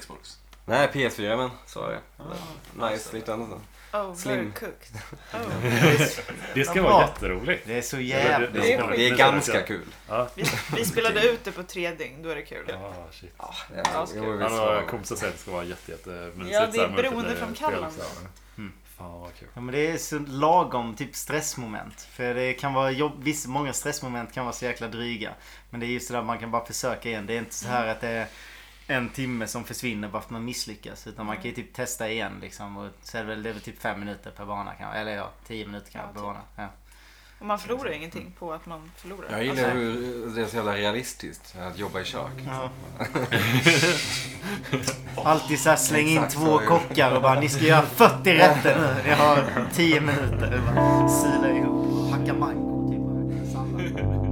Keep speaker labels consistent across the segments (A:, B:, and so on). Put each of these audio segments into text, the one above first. A: Xbox?
B: Nej, PS4 men så är det.
A: Ah,
B: nice, lite annat.
C: Oh, very
B: Slim.
C: cooked. Oh.
D: Det ska
E: Vad
D: vara
E: bra.
D: jätteroligt.
E: Det är så
D: Det
E: jävligt
B: Det
D: Ja,
B: är,
E: roligt.
B: det är ganska kul.
D: Ja.
C: Vi, vi spelade ut det på tre dygn, då är det kul.
D: Ah, shit.
B: Ja,
C: Ja,
B: jo, jo,
D: Han
B: visst var
D: har
B: det.
D: kompisar säger att det ska vara jätte, jättemysigt.
C: Ja, det är
D: så här multiplayer-
C: beroende från Kalmar.
D: spel också. Mm. Fan vad kul.
E: Ja, men det är så lagom typ stressmoment. För det kan vara jobb... Visst, många stressmoment kan vara så jäkla dryga. Men det är just det där man kan bara försöka igen. Det är inte så här att det är en timme som försvinner bara för att man misslyckas. Utan man kan ju typ testa igen liksom. Och så är det väl, det är väl typ fem minuter per bana kanske. Eller ja, tio minuter
C: Ja,
E: kanske per
C: typ.
E: bana. Ja.
C: Och man förlorar ingenting på att man förlorar. Alltså,
B: Jag gillar hur det är så jävla realistiskt att jobba i kök.
E: Alltid så här släng in
B: Exakt
E: två
B: så är det.
E: kockar och bara ni ska göra 40 rätter nu. Jag har 10 minuter. Bara Sila ihop, hacka mango. typ, och sallad.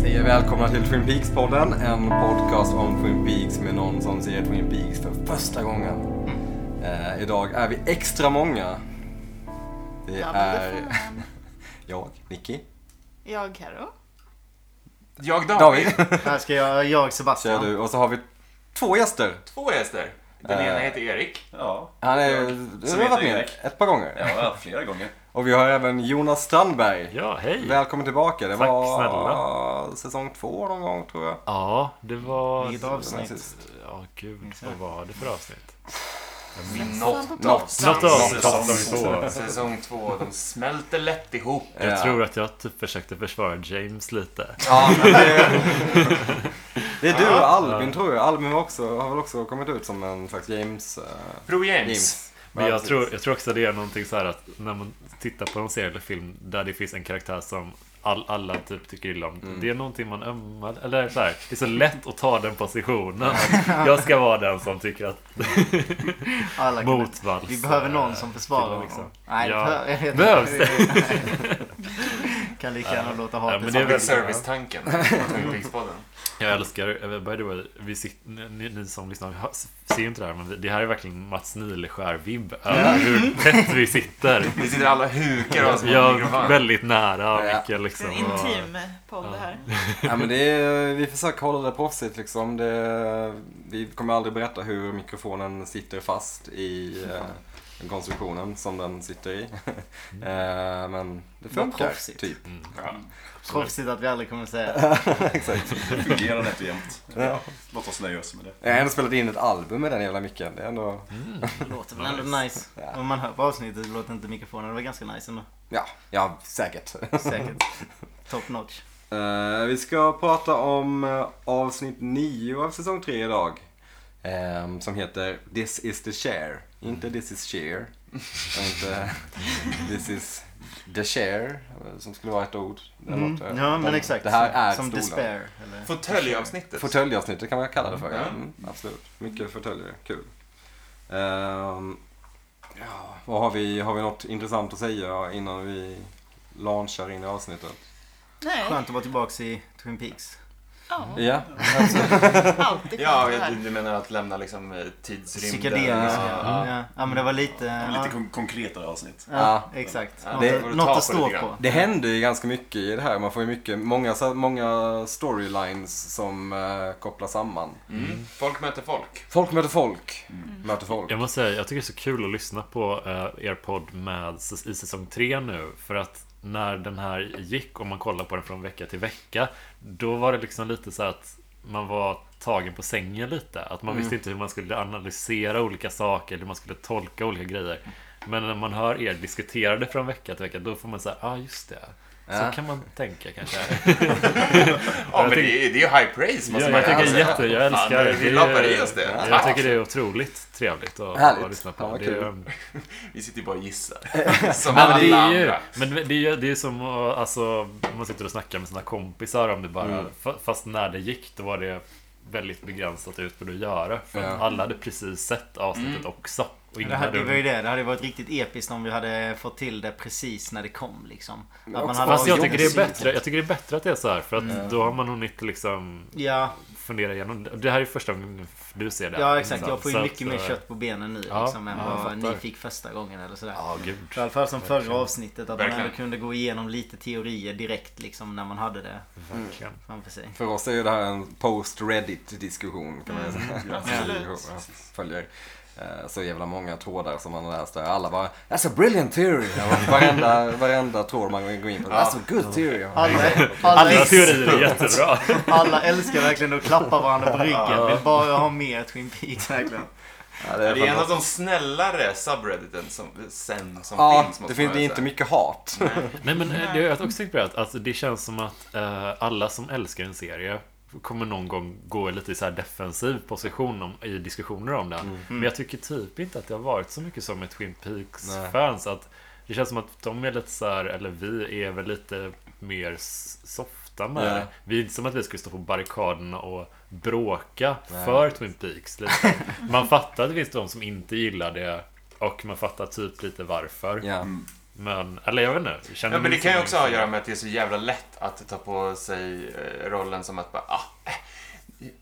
B: Säger välkomna till Twin Peaks-podden, en podcast om Twin Peaks med någon som ser Twin Peaks för första gången. Eh, idag är vi extra många. Det
C: Ja, men
B: är
C: det får man.
B: jag, Nicky,
C: Jag, Karo.
A: Jag
B: David,
E: Här ska jag, jag
B: så är
E: Sebastian.
B: du och så har vi två gäster.
A: Två gäster.
B: Eh,
F: Den ena heter Erik.
A: Ja.
B: Han är,
A: Jag,
B: du
A: som
B: har varit
A: heter
B: med
A: Erik.
B: ett par gånger.
A: Ja, flera gånger.
B: Och vi har även Jonas Strandberg.
D: Ja, hej.
B: Välkommen tillbaka. Det
D: Tack
B: var ah,
D: snälla.
B: säsong två någon gång tror jag.
D: Ja, det var...
E: Vilket avsnitt?
D: Ja, gud. Vad var det för avsnitt?
C: Något.
B: Något.
D: Något avsnitt.
F: Säsong
D: Säsong två.
F: Säsong två, de smälter lätt ihop.
B: Ja.
D: Jag tror att jag typ försökte försvara James lite.
B: Ja, men det... det är du och Albin tror jag. Albin var också, har väl också kommit ut som en slags James... eh,
F: Bro James.
B: James.
D: Men
B: Ja,
D: jag
B: precis.
D: tror, jag tror också det är någonting så här att när man tittar på en serie eller film där det finns en karaktär som all, alla typ tycker illa om.
E: Mm.
D: Det är någonting man ömmar, eller så här, det är så lätt att ta den positionen. Jag ska vara den som tycker att
E: Alla kan-
D: motvalls.
E: Vi behöver någon som försvarar
D: killar,
E: honom.
D: liksom.
E: Nej, det
D: Ja.
E: behöver- jag vet
D: Behövs
E: inte. Kan lika gärna låta
D: Ja,
E: hatet
D: men det
E: ja,
D: är
F: Public
D: väl-
F: service-tanken. Twin Peaks-podden.
D: Jag älskar, eh, by the way, vi sitter, ni, ni som lyssnar hör- ser ju inte det här men vi- det här är verkligen Mats Nileskär-vibb
E: Mm.
D: över hur tätt vi sitter.
F: Vi sitter alla hukar oss mot
D: Jag är
F: mikrofonen.
D: väldigt nära
B: Ja.
D: Micke liksom.
C: En
D: och-
C: intim podd det här.
B: Ja, men det är, vi försöker hålla det proffsigt liksom. Det, vi kommer aldrig berätta hur mikrofonen sitter fast i eh, den konstruktionen som den sitter i. Eh, men det
E: Vad
B: funkar,
E: proffsigt.
B: typ.
E: Proffsigt att vi aldrig kommer säga det.
B: Exakt.
A: Det fungerar nätt och jämnt.
B: Ja.
A: Låt oss nöja oss med det.
B: Jag har ändå spelat in ett album med den jävla micken. Det är ändå...
E: Det låter väl ändå nice.
B: Ja.
E: Om man hör på avsnittet så låter inte mikrofonen. Det var ganska nice ändå.
B: Ja, ja säkert.
E: Säkert. Top notch.
B: Eh, vi ska prata om eh, avsnitt 9 av säsong 3 idag. Eh, som heter This is the share. Inte This is share. Och inte This is the share. eh, Som skulle vara ett ord. eller
E: Mm.
B: något, eh.
E: Ja, men exakt.
B: Det här är
E: som
B: stolen.
E: despair. Eller?
F: Fåtöljavsnittet.
B: Fåtöljavsnittet kan man kalla det för. Ja.
F: Ja.
B: Mm, absolut. Mycket fåtöljer. Kul. Ehm, ja, vad har, vi, har vi något intressant att säga innan vi launchar in i avsnittet?
C: Nej,
E: Skönt att vara tillbaka i Twin Peaks.
C: ja,
B: Ja.
C: alltid skönt
F: Ja,
C: det
F: jag-
C: här.
F: du menar att lämna liksom eh, tidsrymden?
E: Psykedeliska.
F: Ja,
E: Ja, ja. men det var lite...
A: Lite
E: Ja,
A: kon- konkretare avsnitt.
E: ja, exakt.
F: Ja,
E: Något,
B: det-
E: att- något att
F: Ta på
E: stå
F: lite
E: på.
F: grann.
B: Det händer ju ganska mycket i det här. Man får ju mycket, många, så- många storylines som eh, kopplar samman.
F: Mm. Folk möter folk.
B: Folk möter folk. Möter folk.
D: Jag måste säga, jag tycker det är så kul att lyssna på eh, er podd med, i säsong 3 nu. För att när den här gick, om man kollar på den från vecka till vecka, då var det liksom lite så här att man var tagen på sängen lite. Att man visste inte hur man skulle analysera olika saker, hur man skulle tolka olika grejer. Men när man hör er diskutera det från vecka till vecka, då får man säga, ja ah, just det. Så
B: Ja.
D: kan man tänka kanske.
F: Ja, men det är, det är ju high praise.
D: Ja,
F: måste man
D: jag
F: ju
D: tycker
F: säga.
D: jätte, jag älskar
F: Fan, Vi lappar i oss det.
D: Jag tycker det är otroligt trevligt att,
B: Härligt.
D: att lyssna på.
B: Ja, vad
D: det är,
B: kul.
F: Vi sitter ju bara och gissar. Som
D: men
F: alla
D: det är ju,
F: andra.
D: men det är ju det är som att, alltså, man sitter och snackar med sina kompisar om det bara. fa- Fast när det gick då var det väldigt begränsat utbud att göra. För att
B: Ja.
D: alla hade precis sett avsnittet också. Och
E: Mm. Det,
D: ingen
E: här,
D: hade
E: det var ju det. Det hade varit riktigt episkt om vi hade fått till det precis när det kom liksom. Att man
B: också-
E: hade
D: Fast jag
E: avgjort
D: tycker, det är
E: syntet.
D: bättre, jag tycker det är bättre att det är så här för att
E: Mm.
D: då har man hunnit liksom
E: Ja,
D: fundera igenom det. Det här är första gången du ser det. här,
E: ja exakt.
D: liksom.
E: Jag får
D: Så
E: ju mycket
D: att,
E: mer
D: eh,
E: kött på benen nu
D: Ja,
E: liksom, än
D: ja,
E: vad
D: jag
E: ni
D: fattar.
E: fick första gången eller sådär.
D: Ja, gud.
E: I alla fall som förra avsnittet, att man
F: Verkligen.
E: ändå kunde gå igenom lite teorier direkt liksom när man hade det Mm.
D: Verkligen.
E: framför sig.
B: För oss är ju det här en post-Reddit-diskussion kan man ju
F: Mm,
B: säga.
C: absolut.
B: Ja, Följer eh, så jävla många trådar som man har läst där. Alla bara “That's a brilliant theory”. Och Varenda, varenda tråd man går in på. “That's a good theory”.
E: Alla,
D: Alla
E: alla,
D: teorier är jättebra.
E: alla älskar verkligen att klappa varandra på ryggen. Vill bara ha mer Twin Peaks verkligen.
B: Ja,
F: Det är en av
B: fantastiskt.
F: de snällare subredditen som, sen som
B: Ja,
F: finns. måste
B: det finns det
F: man väl
B: är inte
F: säga. Mm.
B: mycket hat.
D: Nej men eh, det har jag också tänkt på det, att alltså, det känns som att eh, alla som älskar en serie kommer någon gång gå lite i så här defensiv position om, i diskussioner om den.
B: Mm.
D: Men jag tycker typ inte att det har varit så mycket som med Twin
B: Nej.
D: Peaks-fans. Att det känns som att de är lite så här, eller vi är väl lite mer s- softa med
B: Ja.
D: det. Vi är inte som att vi skulle stå på barrikaderna och bråka
B: Nej.
D: för Twin Peaks. Lite. Man fattar att det finns de som inte gillar det och man fattar typ lite varför.
B: Ja.
F: Mm.
D: Men, eller jag vet inte. Jag känner
F: Ja,
D: mig
F: men
D: liksom
F: det kan ju
D: som-
F: också ha att göra med att det är så jävla lätt att ta på sig eh, rollen som att bara, ah, eh,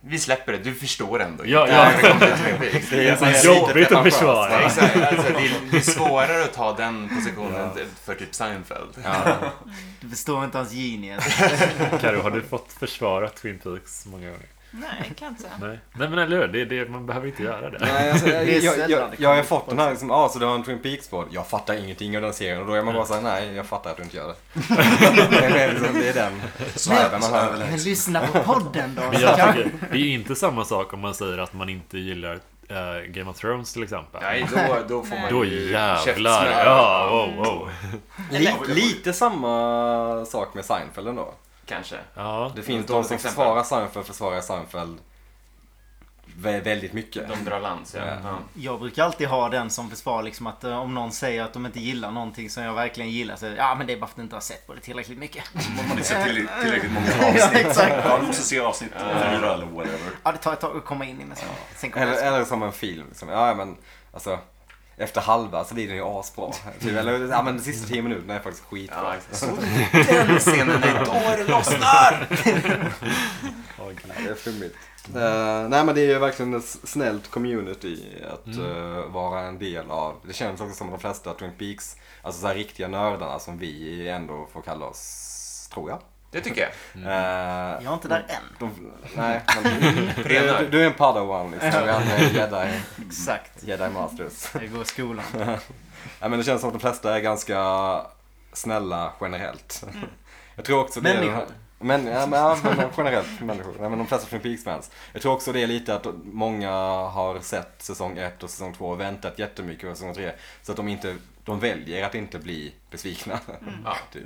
F: vi släpper det, du förstår ändå.
D: Ja,
F: inte
D: ja.
F: när det kommer till Twin Peaks."
B: Det är så
F: Ja,
B: jävla-
D: Jobbigt att
F: ja,
D: försvara.
F: Exakt, alltså, det är- det är svårare att ta den positionen för typ Seinfeld.
B: Ja.
E: Du förstår inte hans genius.
D: Karo, har du fått försvara Twin Peaks många gånger?
C: Nej, kan jag inte säga.
D: Nej, Nej men eller hur? Det, är det, man behöver inte göra det.
B: Nej, alltså, jag,
E: Det är
B: jag, jag,
E: sällan det
B: jag har
E: kommer
B: ju fått den här liksom, ja så du har en Twin peaks podd Jag fattar ingenting av den serien och då är man bara såhär, nej jag fattar att du inte gör det. det, är liksom, det är den viben man har.
E: Men lyssna på podden då.
D: Men jag tycker, det är ju inte samma sak om man säger att man inte gillar eh, Game of Thrones till exempel.
F: Nej, då, då får man
D: Då
F: ju
D: jävlar.
F: käftsmäll.
D: Ja, wow, wow.
B: Li- lite samma sak med Seinfeld ändå.
F: Kanske.
D: Ja,
B: Det finns
F: Ett
B: de
F: dåligt
B: som
F: exempel.
B: försvarar Seinfeld, försvarar Seinfeld vä- väldigt mycket.
F: De drar lans, ja.
B: Ja.
F: ja.
E: Jag brukar alltid ha den som försvar liksom att eh, om någon säger att de inte gillar någonting som jag verkligen gillar så är det, ja men det är bara för att du inte har sett på det tillräckligt mycket.
D: Mm.
A: Man har inte sett till, tillräckligt många
E: ja
A: avsnitt.
E: exakt.
A: Ja, du måste se avsnitt fyra eller whatever.
E: Ja det tar ett tag att komma in i nästa. Sen kommer
B: Eller,
E: jag.
B: eller som en film. Liksom. Ja, men, alltså, efter halva så blir den ju asbra. Typ. Eller ja, men, de sista tio minuterna är faktiskt skitbra.
F: ja exakt. Så den scenen, är då är det lossnar!
D: Åh, gud.
B: Det är flummigt. Eh, nej men det är ju verkligen ett snällt community att
F: Mm.
B: eh, vara en del av. Det känns också som de flesta Twin Peaks, alltså så här riktiga nördarna som vi ändå får kalla oss, tror jag.
F: Det tycker jag.
B: Eh,
E: Jag är inte där
D: Mm.
E: än.
B: de, nej, men,
F: Renar.
B: du, du är en padawan liksom, vi andra är jedi,
E: Exakt.
B: jedi masters.
E: Jag går i skolan.
B: Nej men det känns som att de flesta är ganska snälla generellt. Jag tror också det Är
E: Människor.
B: men, ja, men, ja, men generellt människor. Nej, men de flesta Twin Peaks-fans. Jag tror också det är lite att många har sett säsong 1 och säsong 2 och väntat jättemycket på säsong 3. Så att de, inte, de väljer att inte bli besvikna.
F: Ja.
B: Typ.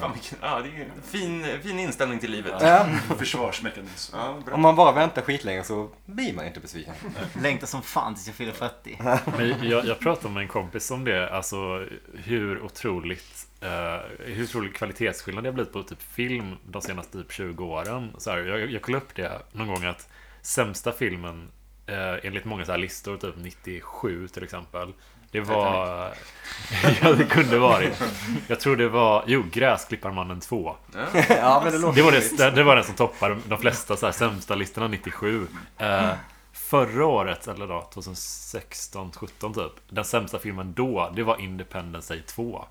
F: Fan, vilken, ja, det är ju en fin, fin inställning till livet.
B: Eh, ja,
A: Försvarsmekanism.
F: Ja, bra.
B: om man bara väntar skitlänge så blir man inte besviken.
E: Längtar som fan tills jag fyller 40.
D: Men jag, jag pratade med en kompis om det, alltså hur otroligt eh, hur otrolig kvalitetsskillnad det har blivit på typ film de senaste typ 20 åren. Så här, jag, jag kollade upp det någon gång att sämsta filmen eh, enligt många så här listor, typ 97 till exempel. Det var... ja, det kunde varit. Jag tror det var... Jo, Gräsklipparmannen 2.
B: ja, men det låter
D: Det var, det, det var den som toppade de flesta så här, sämsta listorna 97. Eh, förra året, eller då, 2016, 17 typ. Den sämsta filmen då, det var Independence Day 2.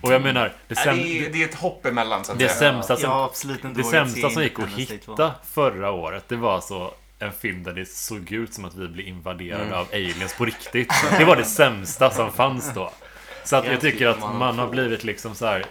D: Och jag menar, det,
F: Ja,
D: säm,
F: det, är, det är ett hopp emellan så att
D: det
F: säga.
D: sämsta
E: Jag
D: som,
E: har absolut inte
D: det
E: vågat
D: sämsta
E: se
D: som gick att
E: Independence Day
D: hitta förra året, det var alltså en film där det såg ut som att vi blev invaderade av aliens på riktigt. Det var det sämsta som fanns då. Så att jag tycker att man har blivit liksom så här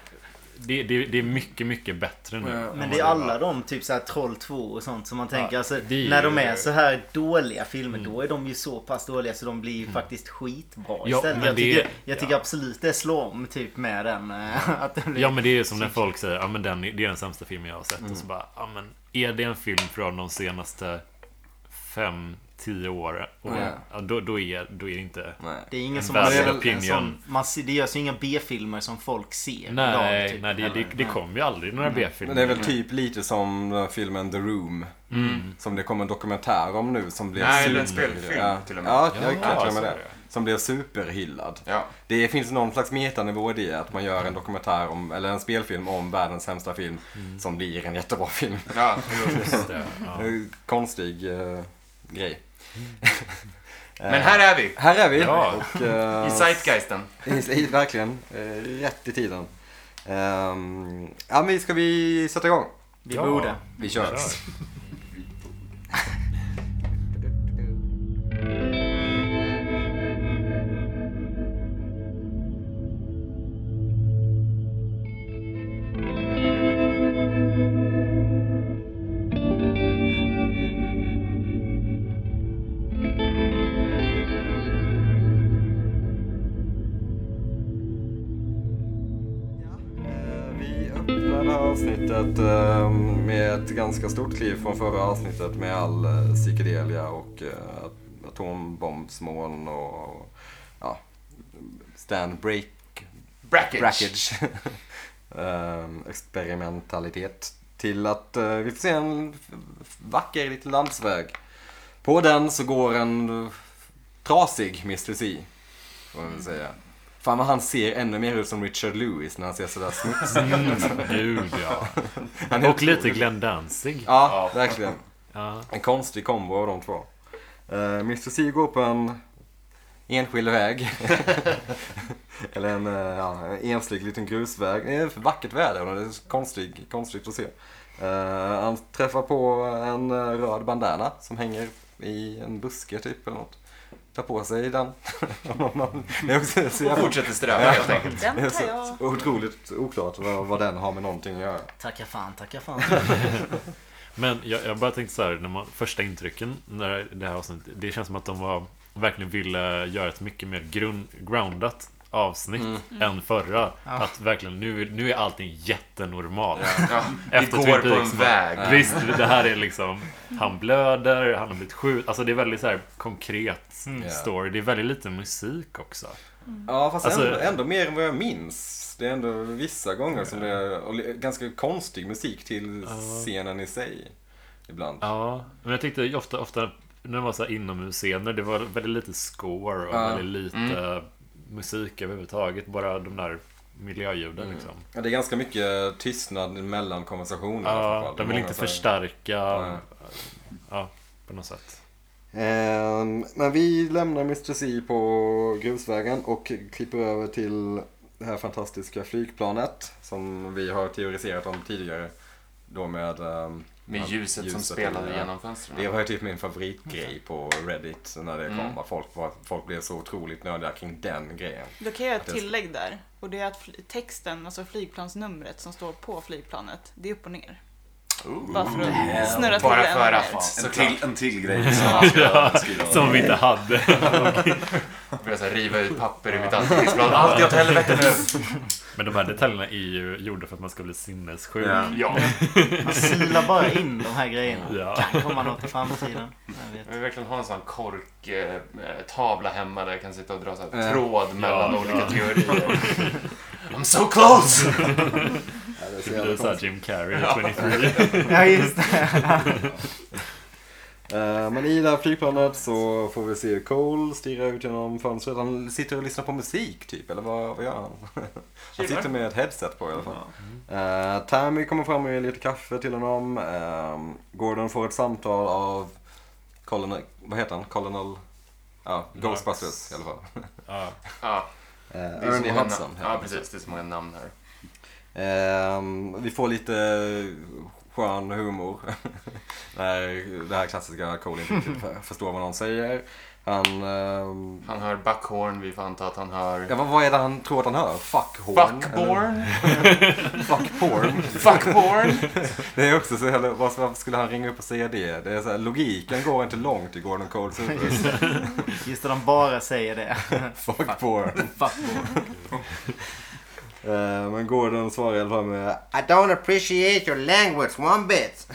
D: det, det, det är mycket, mycket bättre nu.
G: Ja.
D: än
E: Men
D: vad
E: det är
D: var.
E: alla de, typ såhär Troll 2 och sånt som man tänker. alltså,
D: det är
E: när de
D: ju- Mm.
E: är så här dåliga filmer då är de ju så pass dåliga så de blir ju faktiskt skitbra
D: Ja,
E: istället.
D: men
E: Jag
D: det-
E: tycker, jag tycker
D: ja.
E: absolut det slår om typ med den. eh, Att den blir...
D: Ja men det är ju som när folk säger ja men den, är- det är den sämsta filmen jag har sett.
B: Mm.
D: Och så bara, ja men är det en film från de senaste fem, tio åren? Och,
G: Ja.
D: ja, då, då, är, då är det inte...
B: Nej.
E: Det är ingen
D: En
E: som
D: valid
E: har sett
D: opinion.
E: en sån, man, ser- Det görs ju inga B-filmer som folk ser typ,
D: Nej, nej det, det,
E: Eller-
D: det kom ju aldrig några B-filmer.
B: Mm. Men det är väl typ lite som den här filmen The Room.
D: Mm.
B: Som det kom en dokumentär om nu som blev
F: Nej, eller en spelfilm
B: ja.
F: till och med.
B: Ja, jag kan
D: Ja,
B: till och med
D: så är
B: det. Som blev superhyllad.
F: Ja.
B: Det finns någon slags metanivå i det, att man gör en dokumentär om, eller en spelfilm om världens sämsta film som blir en jättebra film.
F: Ja,
D: Just det, Mm. ja. Mm.
B: Det är en Konstig eh, grej. Eh,
F: men här är vi.
B: Här är vi!
D: Ja.
B: Och, eh,
F: I Zeitgeisten.
B: i- i- verkligen, eh, rätt i tiden. Ehm, ja, men ska vi sätta igång?
E: Vi
D: Ja.
E: borde.
B: Vi kör.
D: Kör.
B: Eh, Vi öppnar det här avsnittet eh, med ett ganska stort kliv från förra avsnittet med all eh, psykedelia och eh, at- atombombsmoln och ja, Stan Break,
F: Brackage.
B: Brackage. Eh, experimentalitet. Till att eh, vi får se en f- vacker liten landsväg. På den så går en eh, trasig Mr. C. Får man
D: Mm.
B: väl säga. Fan vad han ser ännu mer ut som Richard Lewis när han ser sådär smutsig
D: Mm, gud ja.
B: han är
D: Och lite
B: otrolig.
D: Glenn Danzig.
B: Ja, verkligen.
D: Ja.
B: En konstig kombo av de två. Eh, Mr. C går på en enskild väg. Eller en, eh, ja, en enslig liten grusväg. Det är vackert väder och det är konstigt, konstigt att se. Eh, han träffar på en eh, röd bandana som hänger i en buske typ eller något. Tar på sig den. det är också så
F: Och
B: jävla...
F: fortsätter ströva helt enkelt.
B: Det
C: Den
B: är
C: tar jag.
B: så otroligt oklart vad, vad den har med någonting att göra.
E: Tacka fan, tacka fan.
D: Men jag, jag bara tänkte så här, när man, första intrycken när det här avsnittet, det känns som att de var, verkligen ville göra ett mycket mer grund, groundat avsnitt än förra. Att verkligen, nu, nu är allting jättenormalt.
F: Ja, vi
D: Efter
F: går
D: Twin
F: på
D: Peaks,
F: en
D: bara,
F: väg.
D: Visst, det här är liksom, han blöder, han har blivit sjuk. Alltså det är väldigt så här konkret story. Det är väldigt lite musik också.
B: Ja fast
D: Alltså-
B: ändå, ändå mer än vad jag minns. Det är ändå vissa gånger som det är och li- ganska konstig musik till scenen i sig. Ibland.
D: Ja, men jag tyckte ofta, ofta när det var så här inomhusscener, det var väldigt lite score och
B: Ja.
D: väldigt lite
F: Mm.
D: musik överhuvudtaget. Bara de där miljöljuden
F: Mm.
D: liksom.
B: Ja, det är ganska mycket tystnad mellan konversationerna.
D: Ja,
B: framförallt.
D: de vill
B: Många
D: inte
B: så här-
D: förstärka.
B: Nej.
D: Ja, på något sätt.
B: Ehm, men vi lämnar Mr. C på grusvägen och klipper över till det här fantastiska flygplanet som vi har teoriserat om tidigare. Då med, ehm,
F: Med
B: att
F: ljuset som
B: i-
F: spelade
B: ja.
F: genom
B: Det
F: fönstren.
B: var ju typ min favoritgrej på Reddit när
F: Mm.
B: det kom. Att folk, var, folk blev så otroligt nördiga kring den grejen.
C: Då kan jag göra
B: Att
C: ett
B: jag-
C: tillägg där. Och det är att fl- texten, alltså flygplansnumret som står på flygplanet, det är upp och ner. Bara för att snurra till
F: Bara
C: det
F: för
C: ännu
F: att,
C: mer.
A: En
F: såklart,
A: till, en till grej som man ska beskriva.
D: Som vi inte hade.
F: börja så här riva ut papper i mitt anteckningsblad. Allt går åt helvete nu.
D: Men de här detaljerna är ju gjorda för att man ska bli sinnessjuk.
B: Ja.
F: Ja,
E: Man silar bara in de här grejerna.
D: Ja.
E: Kan komma något i framtiden. Jag vet.
F: jag vill verkligen ha en sån korktavla hemma där jag kan sitta och dra så
B: Ja.
F: här tråd mellan
D: Ja,
F: olika
D: ja.
F: teorier. I'm so close!
D: Det blir såhär Jim Carrey, 23.
E: Ja, just det.
B: Eh, Men i det här flygplanet så får vi se Cole stirra ut genom fönstret. Han sitter och lyssnar på musik typ, eller vad, vad gör han? Han sitter med ett headset på i alla fall. Eh, Tammy kommer fram och ger lite kaffe till honom. Eh, Gordon får ett samtal av Colonel, vad heter han? Colonel, ja, Ghostbusters i alla fall.
D: Ja.
F: Ja, det
B: Uh,
F: är så
B: Ernie
F: många
B: Hudson
F: namn.
B: heter
F: Ja,
B: han.
F: precis. Det är så många namn här.
B: Ehm, vi får lite skön humor. Nej, det här klassiska Cole inte riktigt förstår vad någon säger. Han... ehm,
F: Han hör Buckhorn, vi får anta att han
B: Ja,
F: hör...
B: vad, vad är det han tror att han hör? Fuckhorn? eller
F: Buckborn?
B: Fuckporn?
F: Fuckborn?
B: Det är också så jävla, varför varför skulle han ringa upp och säga det? det är så här, logiken går inte långt i Gordon Coles huvud.
E: Just att de bara säger det.
B: Fuckporn.
E: Fuck boy.
B: Eh, Men Gordon svarar i alla fall med I don't appreciate your language one bit.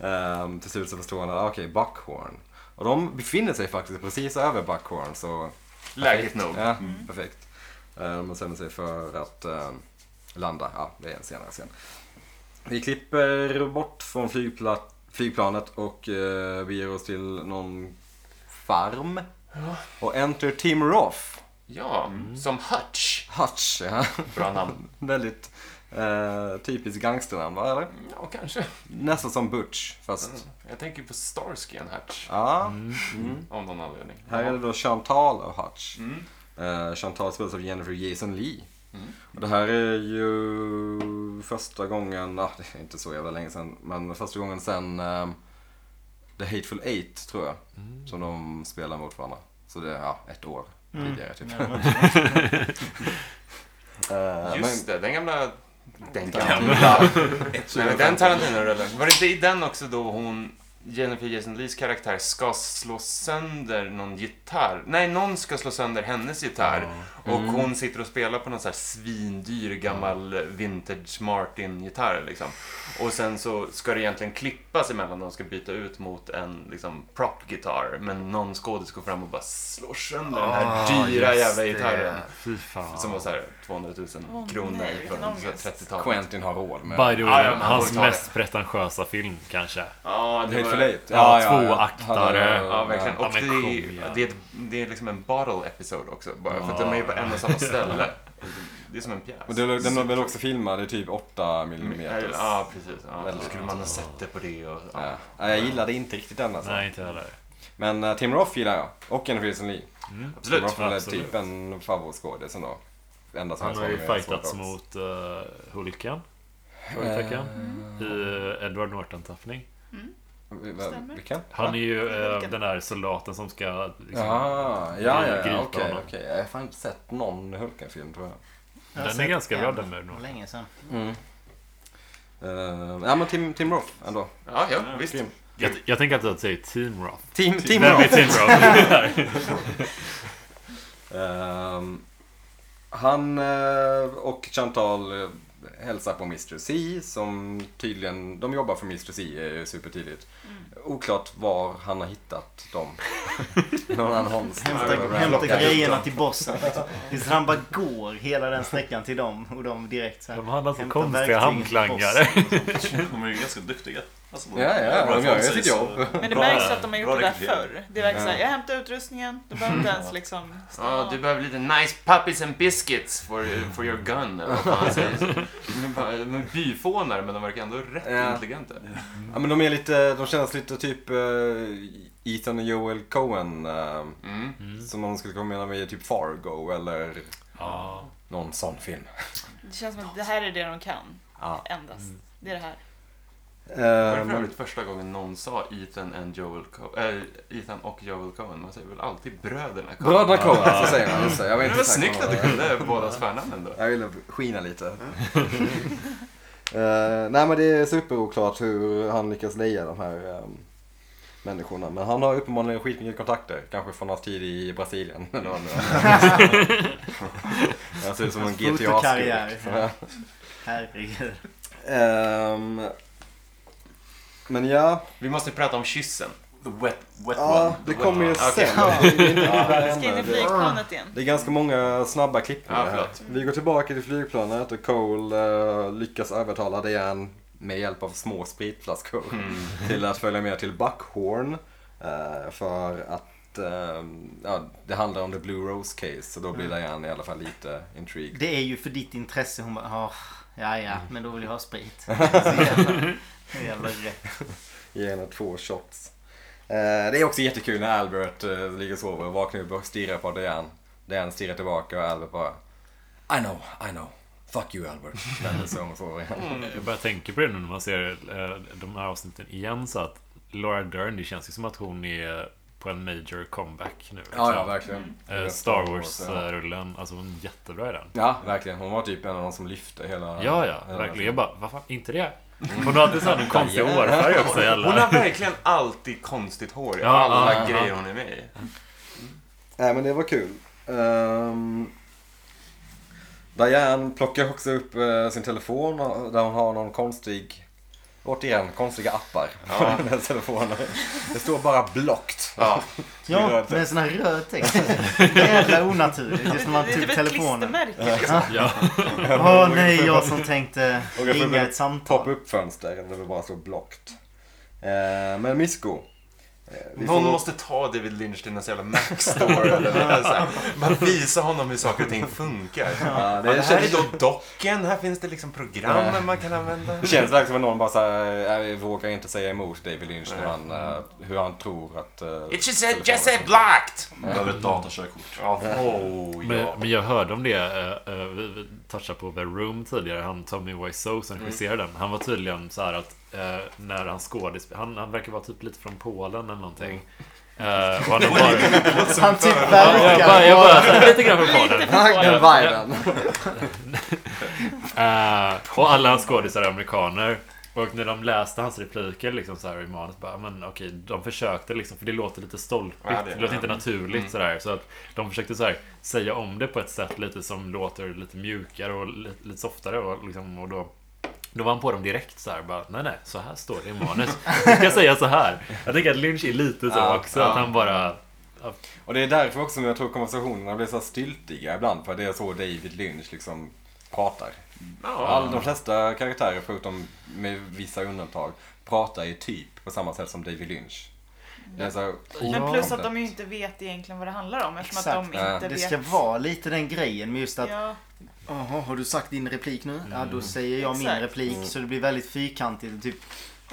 B: Ehm, Till slut så förstår han att ah, okej, Buckhorn. Och de befinner sig faktiskt precis över Buckhorn så
F: Lägligt nog.
B: Ja,
E: Mm.
B: perfekt. Eh, De bestämmer sig för att eh, landa. Ja, det är en senare scen. Vi klipper bort från flygpla- flygplanet och eh, beger oss till någon farm. Och enter Tim Roth.
F: Ja, som Hutch.
B: Hutch, ja.
F: Bra namn.
B: Väldigt eh, typiskt gangsternamn, va? Eller?
F: Ja, kanske.
B: Mm. Nästan som Butch, fast...
F: Jag tänker på Starsky and Hutch.
B: Ja,
F: Av någon anledning.
B: Här är det då Chantal och Hutch. Eh, Chantal spelas av Jennifer Jason Lee. Och det här är ju första gången, ah, det är inte så jävla länge sedan, men första gången sedan ehm, The Hateful Eight tror jag. Som de spelar mot varandra. Så det är ja, ett år tidigare typ. Eh,
F: Just det, den gamla... Den
B: gamla.
F: Nej, men den Tarantino-rullen. Var det inte i den också då hon, Jennifer Jason Lees karaktär, ska slå sönder någon gitarr? Nej, någon ska slå sönder hennes gitarr. Och hon sitter och spelar på någon så här svindyr gammal vintage Martin-gitarr liksom. Och sen så ska det egentligen klippas emellan, de ska byta ut mot en liksom prop-gitarr. Men någon skådis går fram och bara slår sönder den här
E: Ah,
F: dyra
E: just
F: jävla
E: det.
F: gitarren.
D: Fy fan.
F: Som var så här 200 000
C: Åh,
F: kronor
C: nej,
F: från
C: vilken
F: så här
C: ångest.
F: 30-talet.
B: Quentin har råd med.
D: By the way,
F: Ja, ja, men han
D: hans
F: får ta det.
D: mest pretentiösa film kanske.
F: Ja,
B: The
F: det
B: Hateful
F: var...
B: Eight.
D: Ja, tvåaktare.
F: Ja, verkligen.
D: Ja,
F: Och det,
D: men
F: är,
D: cool, ja.
F: det, är ett, det är liksom en bottle episode också, bara för att de är på en och samma ställe. Det är som en pjäs.
B: Och det- den var väl också filmad i typ 8
D: Mm,
B: millimeter.
F: Ja, precis. Ja, då
B: Väldigt
F: skulle man ha sett det på det och...
B: Ja.
F: Ja.
B: Jag gillade inte riktigt den alltså.
D: Nej, inte heller.
B: Men eh, Tim Roth gillar jag. Och Jennifer Jason Lee. Tim
F: Absolut.
B: Roth är väl
D: Mm. absolut.
B: typ en favoritskådis ändå. Enda som
D: Han
B: jag
D: har ju
B: såg med
D: fightats
B: Swordbox.
D: mot uh, Hulken. Frågetecken. I eh, Edward Norton-tappning.
B: V- v-
C: Stämmer.
B: Vilken?
D: Han är ju eh,
C: Hulken.
D: den där soldaten som ska... Liksom,
B: Jaha, ja, ja,
D: gripa
B: ja, okej,
D: honom.
B: okej. Jag har fan inte sett någon Hulken-film tror jag. Mm.
E: Jag har
D: Den är
E: sett
D: ganska bra
E: en
D: den med nog.
E: Länge sedan.
B: Eh, ja, men Tim, Tim Roth ändå.
F: Ja, ja, visst.
B: Grym.
D: Jag, jag tänker alltid att säga Team Roth.
B: Tim, Tim
D: Vem är
B: Roth.
D: Team Roth?
B: Ehm, han eh, och Chantal eh, hälsar på Mr. C som tydligen, de jobbar för Mr. C eh, supertidigt. Oklart var han har hittat dem. Någon annons.
E: Hämta, hämta grejerna till bossen. liksom. Tills han bara går hela den sträckan till dem och de direkt så här,
D: De handlar så
E: hämtar
D: konstiga
E: verktygen till
D: handklangare.
A: De är ju ganska duktiga. Alltså,
B: Ja, ja,
A: bra
B: de gör ju
A: ifrån sig,
B: sitt jobb.
A: så-
C: Men det
A: Bra-
C: märks att de har
A: bra
C: gjort det där
A: rekrytering.
C: förr. Det verkar såhär, jag hämtar utrustningen. Du behöver inte ens liksom...
F: Ja, du behöver lite nice puppies and biscuits for, for your gun. eller vad fan han säger. De är bara- de är byfånar, men de verkar ändå rätt
B: Ja.
F: intelligenta.
B: Ja, men de är lite, de känns lite typ eh, Ethan och Joel Coen. eh,
F: Mm.
B: Som någon skulle kunna mena med typ Fargo eller
D: Ja.
B: någon sån film.
C: Det känns som att det här är det de kan.
B: Ja.
C: Endast.
E: Mm.
C: Det är det här.
F: Var det för
B: Ehm,
F: övrigt första gången någon sa Ethan, and Joel Co- äh, Ethan och Joel Cohen? Man säger väl alltid bröderna Cohen?
B: Bröderna Coen, så säger man. Just det, jag var
F: Det
B: inte
F: var
B: säker på
F: snyggt att
B: vad
F: du
B: det
F: kunde bådas förnamn ändå.
B: Jag ville skina lite. Eh, nej men det är superoklart hur han lyckas leja de här ehm, människorna. Men han har uppenbarligen skitmycket kontakter. Kanske från hans tid i Brasilien. eller vad det nu är. Han ser ut som en
E: Fotokarriär.
B: GTA-skurk.
E: Herregud.
B: Ehm, men ja,
F: Vi måste prata om kyssen.
A: The wet, wet
B: ja
A: one.
B: det kommer ju
F: Okej.
B: sen. Det är inte där
C: Ska in
B: ännu.
C: i
B: Det-
C: flygplanet igen.
B: Det är ganska många snabba klippningar
F: Ja,
B: här.
F: förlåt.
B: Vi går tillbaka till flygplanet och Cole eh, lyckas övertala Diane med hjälp av små spritflaskor
F: Mm.
B: till att följa med till Buckhorn. eh, för att eh, ja, det handlar om The Blue Rose Case så då blir
F: Mm.
B: Diane i alla fall lite intrigued.
E: Det är ju för ditt intresse. Hon bara, "Ah, ja ja,
B: Mm.
E: men då vill jag ha sprit. Så jävla, jävla rätt.
B: Ge henne två shots. Eh, det är också jättekul när Albert eh, ligger och sover och vaknar upp och stirrar på Diane. Diane stirrar tillbaka och Albert bara I know, I know. Fuck you Albert. Den är så hon får igen.
D: Jag bara tänker på det nu när man ser eh, de här avsnitten igen så att Laura Dern, det känns ju som att hon är på en major comeback nu. liksom.
B: Ja, ja, verkligen.
D: Eh, Star
B: ja.
D: Wars-rullen, alltså hon är jättebra i den.
B: Ja, verkligen. Hon var typ en av de som lyfte hela...
D: Ja, ja,
B: hela-
D: verkligen. Jag bara, vad fan, inte det? Hon har alltid sån konstig hårfärg också i
F: Hon har
D: alla...
F: verkligen alltid konstigt hår i
D: Ja,
F: alla
B: ja, ja.
F: grejer hon är med i.
B: Nej men det var kul. Um, Diane plockar också upp eh, sin telefon och- där hon har någon konstig, återigen konstiga appar på den här telefonen. Det står bara blockt.
F: Ja.
E: Ja,
B: röd
E: med en sån här röd text. Jävla onaturligt. Just när man
C: det är
E: tog
C: typ ett
E: telefonen.
C: klistermärke. liksom.
D: Ja,
E: Åh nej, jag som tänkte
B: Och jag får
E: ringa
B: väl
E: ett
B: Poppa
E: samtal.
B: upp fönster där det bara står blockt. Eh, men Misko. eh, vi
F: Någon
B: får-
F: måste ta David Lynch till någon jävla Mac-store eller något så här. Bara visa honom hur saker och ting funkar.
B: Ja, det,
F: Ja, det här är
B: känns,
F: då docken, här finns det liksom program man kan använda.
B: det känns verkligen som att någon bara så här, eh, vågar inte säga emot David Lynch när han, eh, hur han tror att... eh,
F: It just said,
B: telefonen-
F: just said blocked!
A: Hon behöver ett datakörkort.
F: Ja, oh,
D: men,
F: ja.
D: men jag hörde om det, eh, eh, vi vi touchade på The Room tidigare, han Tommy Wiseau som regisserade den. Han var tydligen så här att eh, när han skådespelade, han, han verkar vara typ lite från Polen eller någonting. Eh, och han har bara,
E: Han typ
D: Ja, jag bara,
E: verkar
D: jag bara, så här, lite grann från Polen.
C: Lite
B: Ah, den
C: förvånad.
B: viben.
D: Eh, och alla hans skådisar är amerikaner. Och när de läste hans repliker liksom så här i manus bara, men okej, de försökte liksom, för det låter lite stolpigt.
F: Ja, det-
D: det, låter inte
F: ja.
D: naturligt sådär. Så att de försökte så här, säga om det på ett sätt lite som låter lite mjukare och lite, lite softare. Och, liksom, och då, då var han på dem direkt så här, bara, nej nej, så här står det i manus. Vi ska säga så här. Jag tänker att Lynch är lite så
B: Ja,
D: också,
B: ja.
D: att han bara,
B: Och det är därför också som jag tror konversationerna blir så här styltiga ibland. För det är så David Lynch liksom pratar. All, de flesta karaktärer, förutom med vissa undantag, pratar ju typ på samma sätt som David Lynch. Det är så här,
C: Men plus att de ju inte vet egentligen vad det handlar om eftersom att de
E: Exakt.
B: Ja.
C: inte
E: Det
C: vet.
E: ska vara lite den grejen med just att
C: Ja,
E: Jaha, har du sagt din replik nu? Ja,
D: Mm.
E: då säger jag min
C: Exakt.
E: replik. Så det blir väldigt fyrkantigt och typ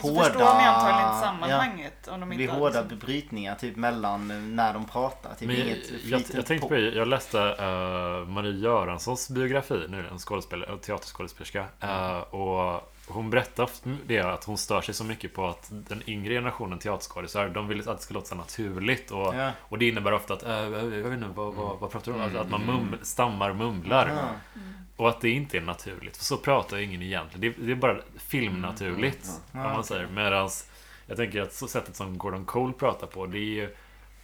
C: så
E: hårda...
C: förstår man ju antagligen inte
E: Ja,
C: sammanhanget. Om de
E: det
C: inte
E: blir
C: har
E: hårda
C: liksom-
E: brytningar typ mellan eh, när de pratar. Typ
D: Men jag,
E: inget
D: jag,
E: flytande
D: jag tänkte
E: på.
D: på, jag läste eh, Marie Göranssons biografi nu, en skådespelare, en teaterskådespelerska.
E: Mm.
D: Eh, och hon berättar ofta det att hon stör sig så mycket på att den yngre generationen teaterskådisar, de vill att det ska låta så naturligt. Och,
E: Ja. Mm.
D: och det innebär ofta att, eh, jag vet inte, vad, vad, vad pratar du om? Alltså att man mum, stammar och mumlar.
E: Ja.
D: Och att det inte är naturligt. För så pratar ju ingen egentligen. Det är, det är bara filmnaturligt. Om man säger. Medans jag tänker att så sättet som Gordon Cole pratar på. Det är ju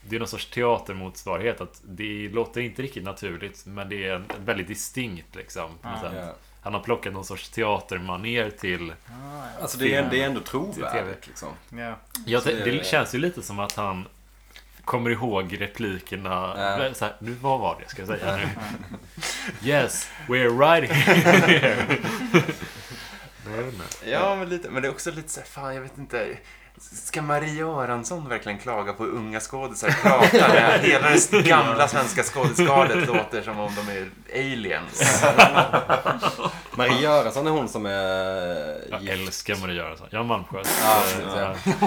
D: det är någon sorts teatermotsvarighet. Att det låter inte riktigt naturligt. Men det är en- väldigt distinkt liksom. på något sätt.
B: ja.
D: Han har plockat någon sorts teatermaner till...
B: Alltså det är, det är ändå trovärdigt liksom.
E: Ja.
D: Ja,
B: Så
D: det,
B: är
D: det
B: det.
D: känns ju lite som att han kommer ihåg replikerna.
B: Ja.
D: Så här, nu, vad var det jag ska säga nu? yes, we're right here. Nej, nej.
F: Ja, men lite. Men det är också lite så här, fan jag vet inte. Ska Maria Göransson verkligen klaga på hur unga skådisar pratar? när Hela det gamla svenska skådisskalet låter som om de är aliens.
B: Marie Göransson är hon som är
D: Jag
B: gift.
D: älskar Marie Göransson. Jag är eh, Malmsjö.
B: Ja,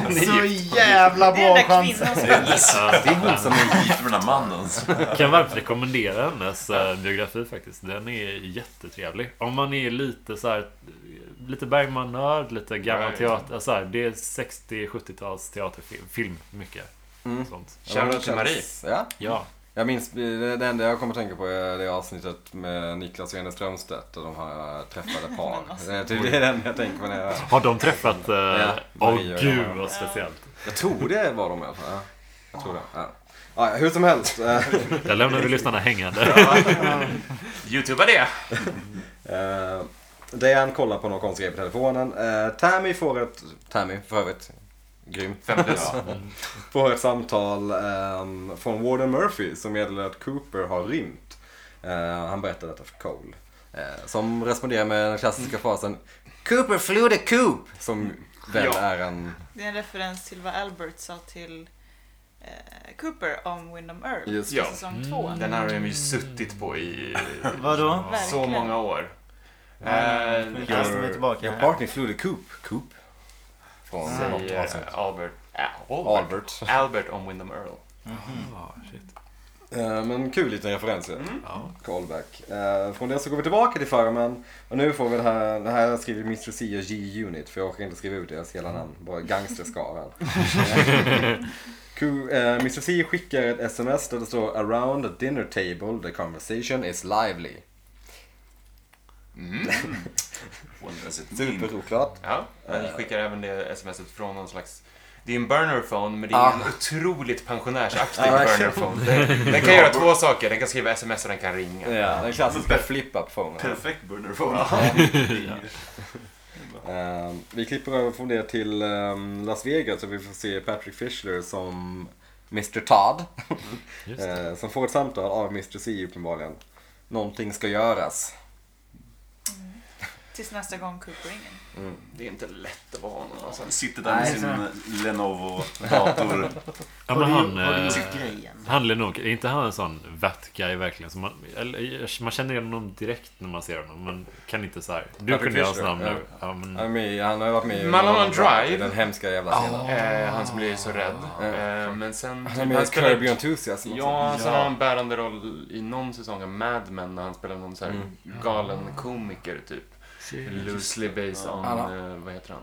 B: precis, ja.
E: Så jävla
C: Det är
E: bra
C: den där
E: chans.
C: kvinnan som är gift.
B: Det är hon som är
A: Gift med den här mannen.
D: eh, Kan varmt rekommendera hennes eh, biografi faktiskt. Den är jättetrevlig. Om man är lite så här, lite Bergman-nörd, lite gammal
F: Ja, ja.
D: teater. Så här, det är 60-70-tals teaterfilm. Film, mycket. Sånt.
F: Shoutout till Marie.
B: Ja.
D: Ja.
B: Jag minns, det det enda jag kommer att tänka på är det avsnittet med Niklas Wene Strömstedt och de här träffade par.
C: Men alltså.
B: Det är typ det enda jag tänker på när jag...
D: Har de träffat... eh, Åh
B: Marie och
D: gud
B: Göran.
D: vad speciellt.
B: Jag tror det var de i alla fall. Ja. Jag tror det. Ja. Ja, hur som helst. eh,
D: Där lämnar vi lyssnarna hängande.
F: Youtuba det!
B: eh, Diane kollar på någon konstig grej på telefonen. Eh, Tammy får ett... Tammy, för övrigt. Grym.
F: Fem plus.
B: Får ett samtal ehm, från Warden Murphy som meddelar att Cooper har rymt. Eh, han berättar detta för Cole. Eh, som responderar med den
F: Mm.
B: klassiska frasen Cooper flew the coop! Som väl
F: Ja.
B: är en...
C: Det är en referens till vad Albert sa till eh, Cooper om Windom Earp
B: Just
C: i
F: det.
C: säsong två.
E: Mm.
F: Den här har de ju suttit på i
E: Vadå?
F: så
C: Verkligen.
F: många år. Eh,
E: Men kastar mig tillbaka.
B: Your partner flew the coop. Coop. Från något
F: Säger
B: avsnitt.
F: eh, Albert. Ä- Albert.
B: Albert.
F: Albert om Windham Earl.
D: Ah, shit.
B: Eh, Men kul liten referens ju.
D: Ja.
B: Callback. Eh, Från det så går vi tillbaka till farmen. Och nu får vi det här, det här har jag skrivit Mr. C och G-Unit för jag orkar inte skriva ut deras hela namn. Bara gangsterskaran. Ku- eh, Mr. C skickar ett sms där det står Around the dinner table the conversation is lively.
A: What does it mean?
B: Superoklart.
F: Ja, han skickar även det smset från någon slags... Det är en burnerphone, men det är en otroligt pensionärsaktig
B: Ah.
F: burnerphone. Den, den kan göra två saker. Den kan skriva sms och den kan ringa.
B: Ja, den klassiska flip-up phone.
A: Perfekt burnerphone.
B: Ehm, vi klipper över från det till ehm, Las Vegas och vi får se Patrick Fischler som Mr Todd.
D: Just
B: Ehm, som får ett samtal av Mr C uppenbarligen. Någonting ska göras.
C: Tills nästa gång Cooper ringer.
F: Det är inte lätt att vara honom. Alltså.
A: Sitter där med
E: Nej,
A: sin eh, Lenovo-dator.
D: Ja, men
E: har du,
D: han,
E: har du
D: eh,
E: gjort grejen?
D: han Lenok, är inte han en sån vat guy verkligen? Som man, eller, man känner igen honom direkt när man ser honom. Man kan inte så här. Du
B: Patrick
D: kunde ju hans
B: Fisher,
D: namn
B: ja.
D: nu. Ja, men,
B: Han, är med, i- han har ju varit med i
F: Mulholland
B: Mulholland i
F: Drive.
B: Den hemska jävla scenen.
F: Eh, han som blir så rädd. Eh, men sen...
B: Han är med i Curb Your Enthusiasm också.
F: Ja, sen har han en bärande roll i någon säsong av Mad Men när han spelar någon så här galen komiker typ. Loosely based on, eh, vad heter han?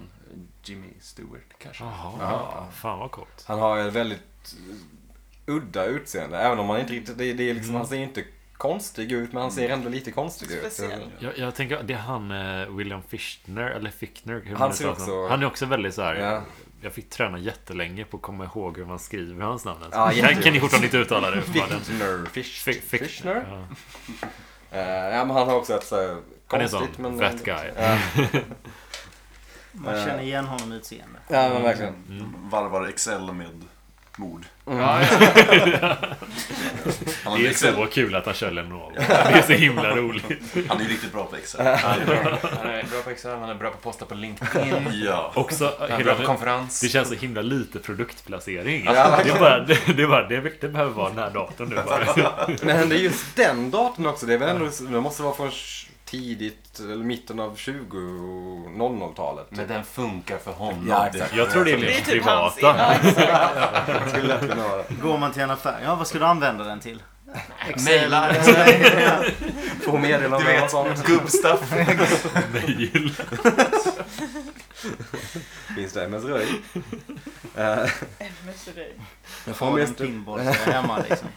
F: Jimmy Stewart kanske?
D: Jaha, fan vad coolt.
B: Han har ett väldigt eh, udda utseende. Även om han inte riktigt, det, det är
D: Mm.
B: liksom, han ser inte konstig ut men han ser ändå lite konstig ut.
C: Speciell.
D: Jag, jag tänker, det är han eh, William Fichtner, eller Fichtner. Hur man
B: Han
D: nu
B: ser
D: pratar om.
B: också-
D: han är också väldigt så här.
B: Ja.
D: Jag fick träna jättelänge på att komma ihåg hur man skriver hans namn. Alltså.
B: Ja,
D: jag
B: jättekul.
D: kan ju fortfarande inte uttala det. uppenbarligen.
B: Fichtner. Fisch-
D: Fi- Fichtner.
B: Fichtner.
D: Ja.
B: Eh, ja, men han har också ett så här
D: Han är en
B: konstigt
D: sån
B: men...
D: fat guy.
B: Ja,
E: Man
D: eh.
E: känner igen honom i utseende.
B: ja men verkligen.
A: Varvar Excel med mord.
F: Ja, ja.
A: Han har
D: Det
A: ju
D: är
A: Excel.
D: så kul att han kör Lenovo. Det är så himla roligt.
A: Han är ju riktigt bra på Excel.
F: Han är bra på Excel, han är bra på att posta på LinkedIn.
A: Ja.
D: Också,
F: Han är bra på
D: hela,
F: konferens.
D: det känns så himla lite produktplacering. det, är bara, det, det, är bara, det, det behöver vara den här datorn nu bara.
B: Men det är just den datorn också. Det, är väl ändå, det måste vara från tidigt, eller mitten av 20 och 00-talet.
F: Men den funkar för honom.
B: Typ. Ja, exakt.
D: Jag tror det är
C: Det är
D: liksom
C: typ hans...
D: privata.
C: Ja, exakt.
B: Det skulle lätt kunna vara det.
E: Går man till en affär, ja vad ska du använda den till?
F: Mejlar.
B: Få
F: Du
B: meddelanden och sånt.
F: vet, gubbstuff.
D: Mejl.
B: Finns det MS-röj? Eh,
C: MSRI.
B: Jag får
E: Har en
B: mest...
E: pinball så är jag hemma liksom.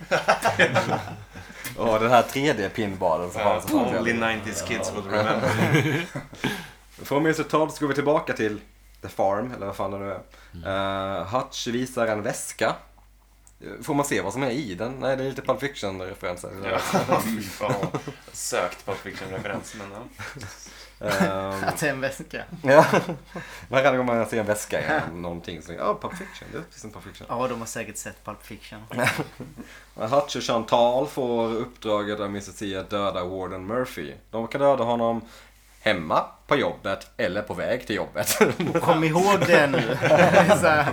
B: Åh, den här 3D-pinballen som har så
F: Only 90s kids will remember.
B: Från Mr Todd så går vi tillbaka till The Farm, eller vad fan det nu är.
F: Mm.
B: Eh, Hutch visar en väska. Eh, Får man se vad som är i den? Nej, det är lite Pulp Fiction-referenser.
F: Ja, fy fan. Sökt på fiction-referens, men ja.
B: Ehm,
E: Att det är en väska.
B: ja. Varje gång man ser en väska eller någonting så ja, Pulp Fiction, det är precis som Pulp Fiction.
E: Ja, de har säkert sett Pulp Fiction.
B: Men Hutch och Chantal får uppdraget av Mr. C att döda Warden Murphy. De kan döda honom hemma, på jobbet eller på väg till jobbet.
E: Och kom ihåg det nu. så, här,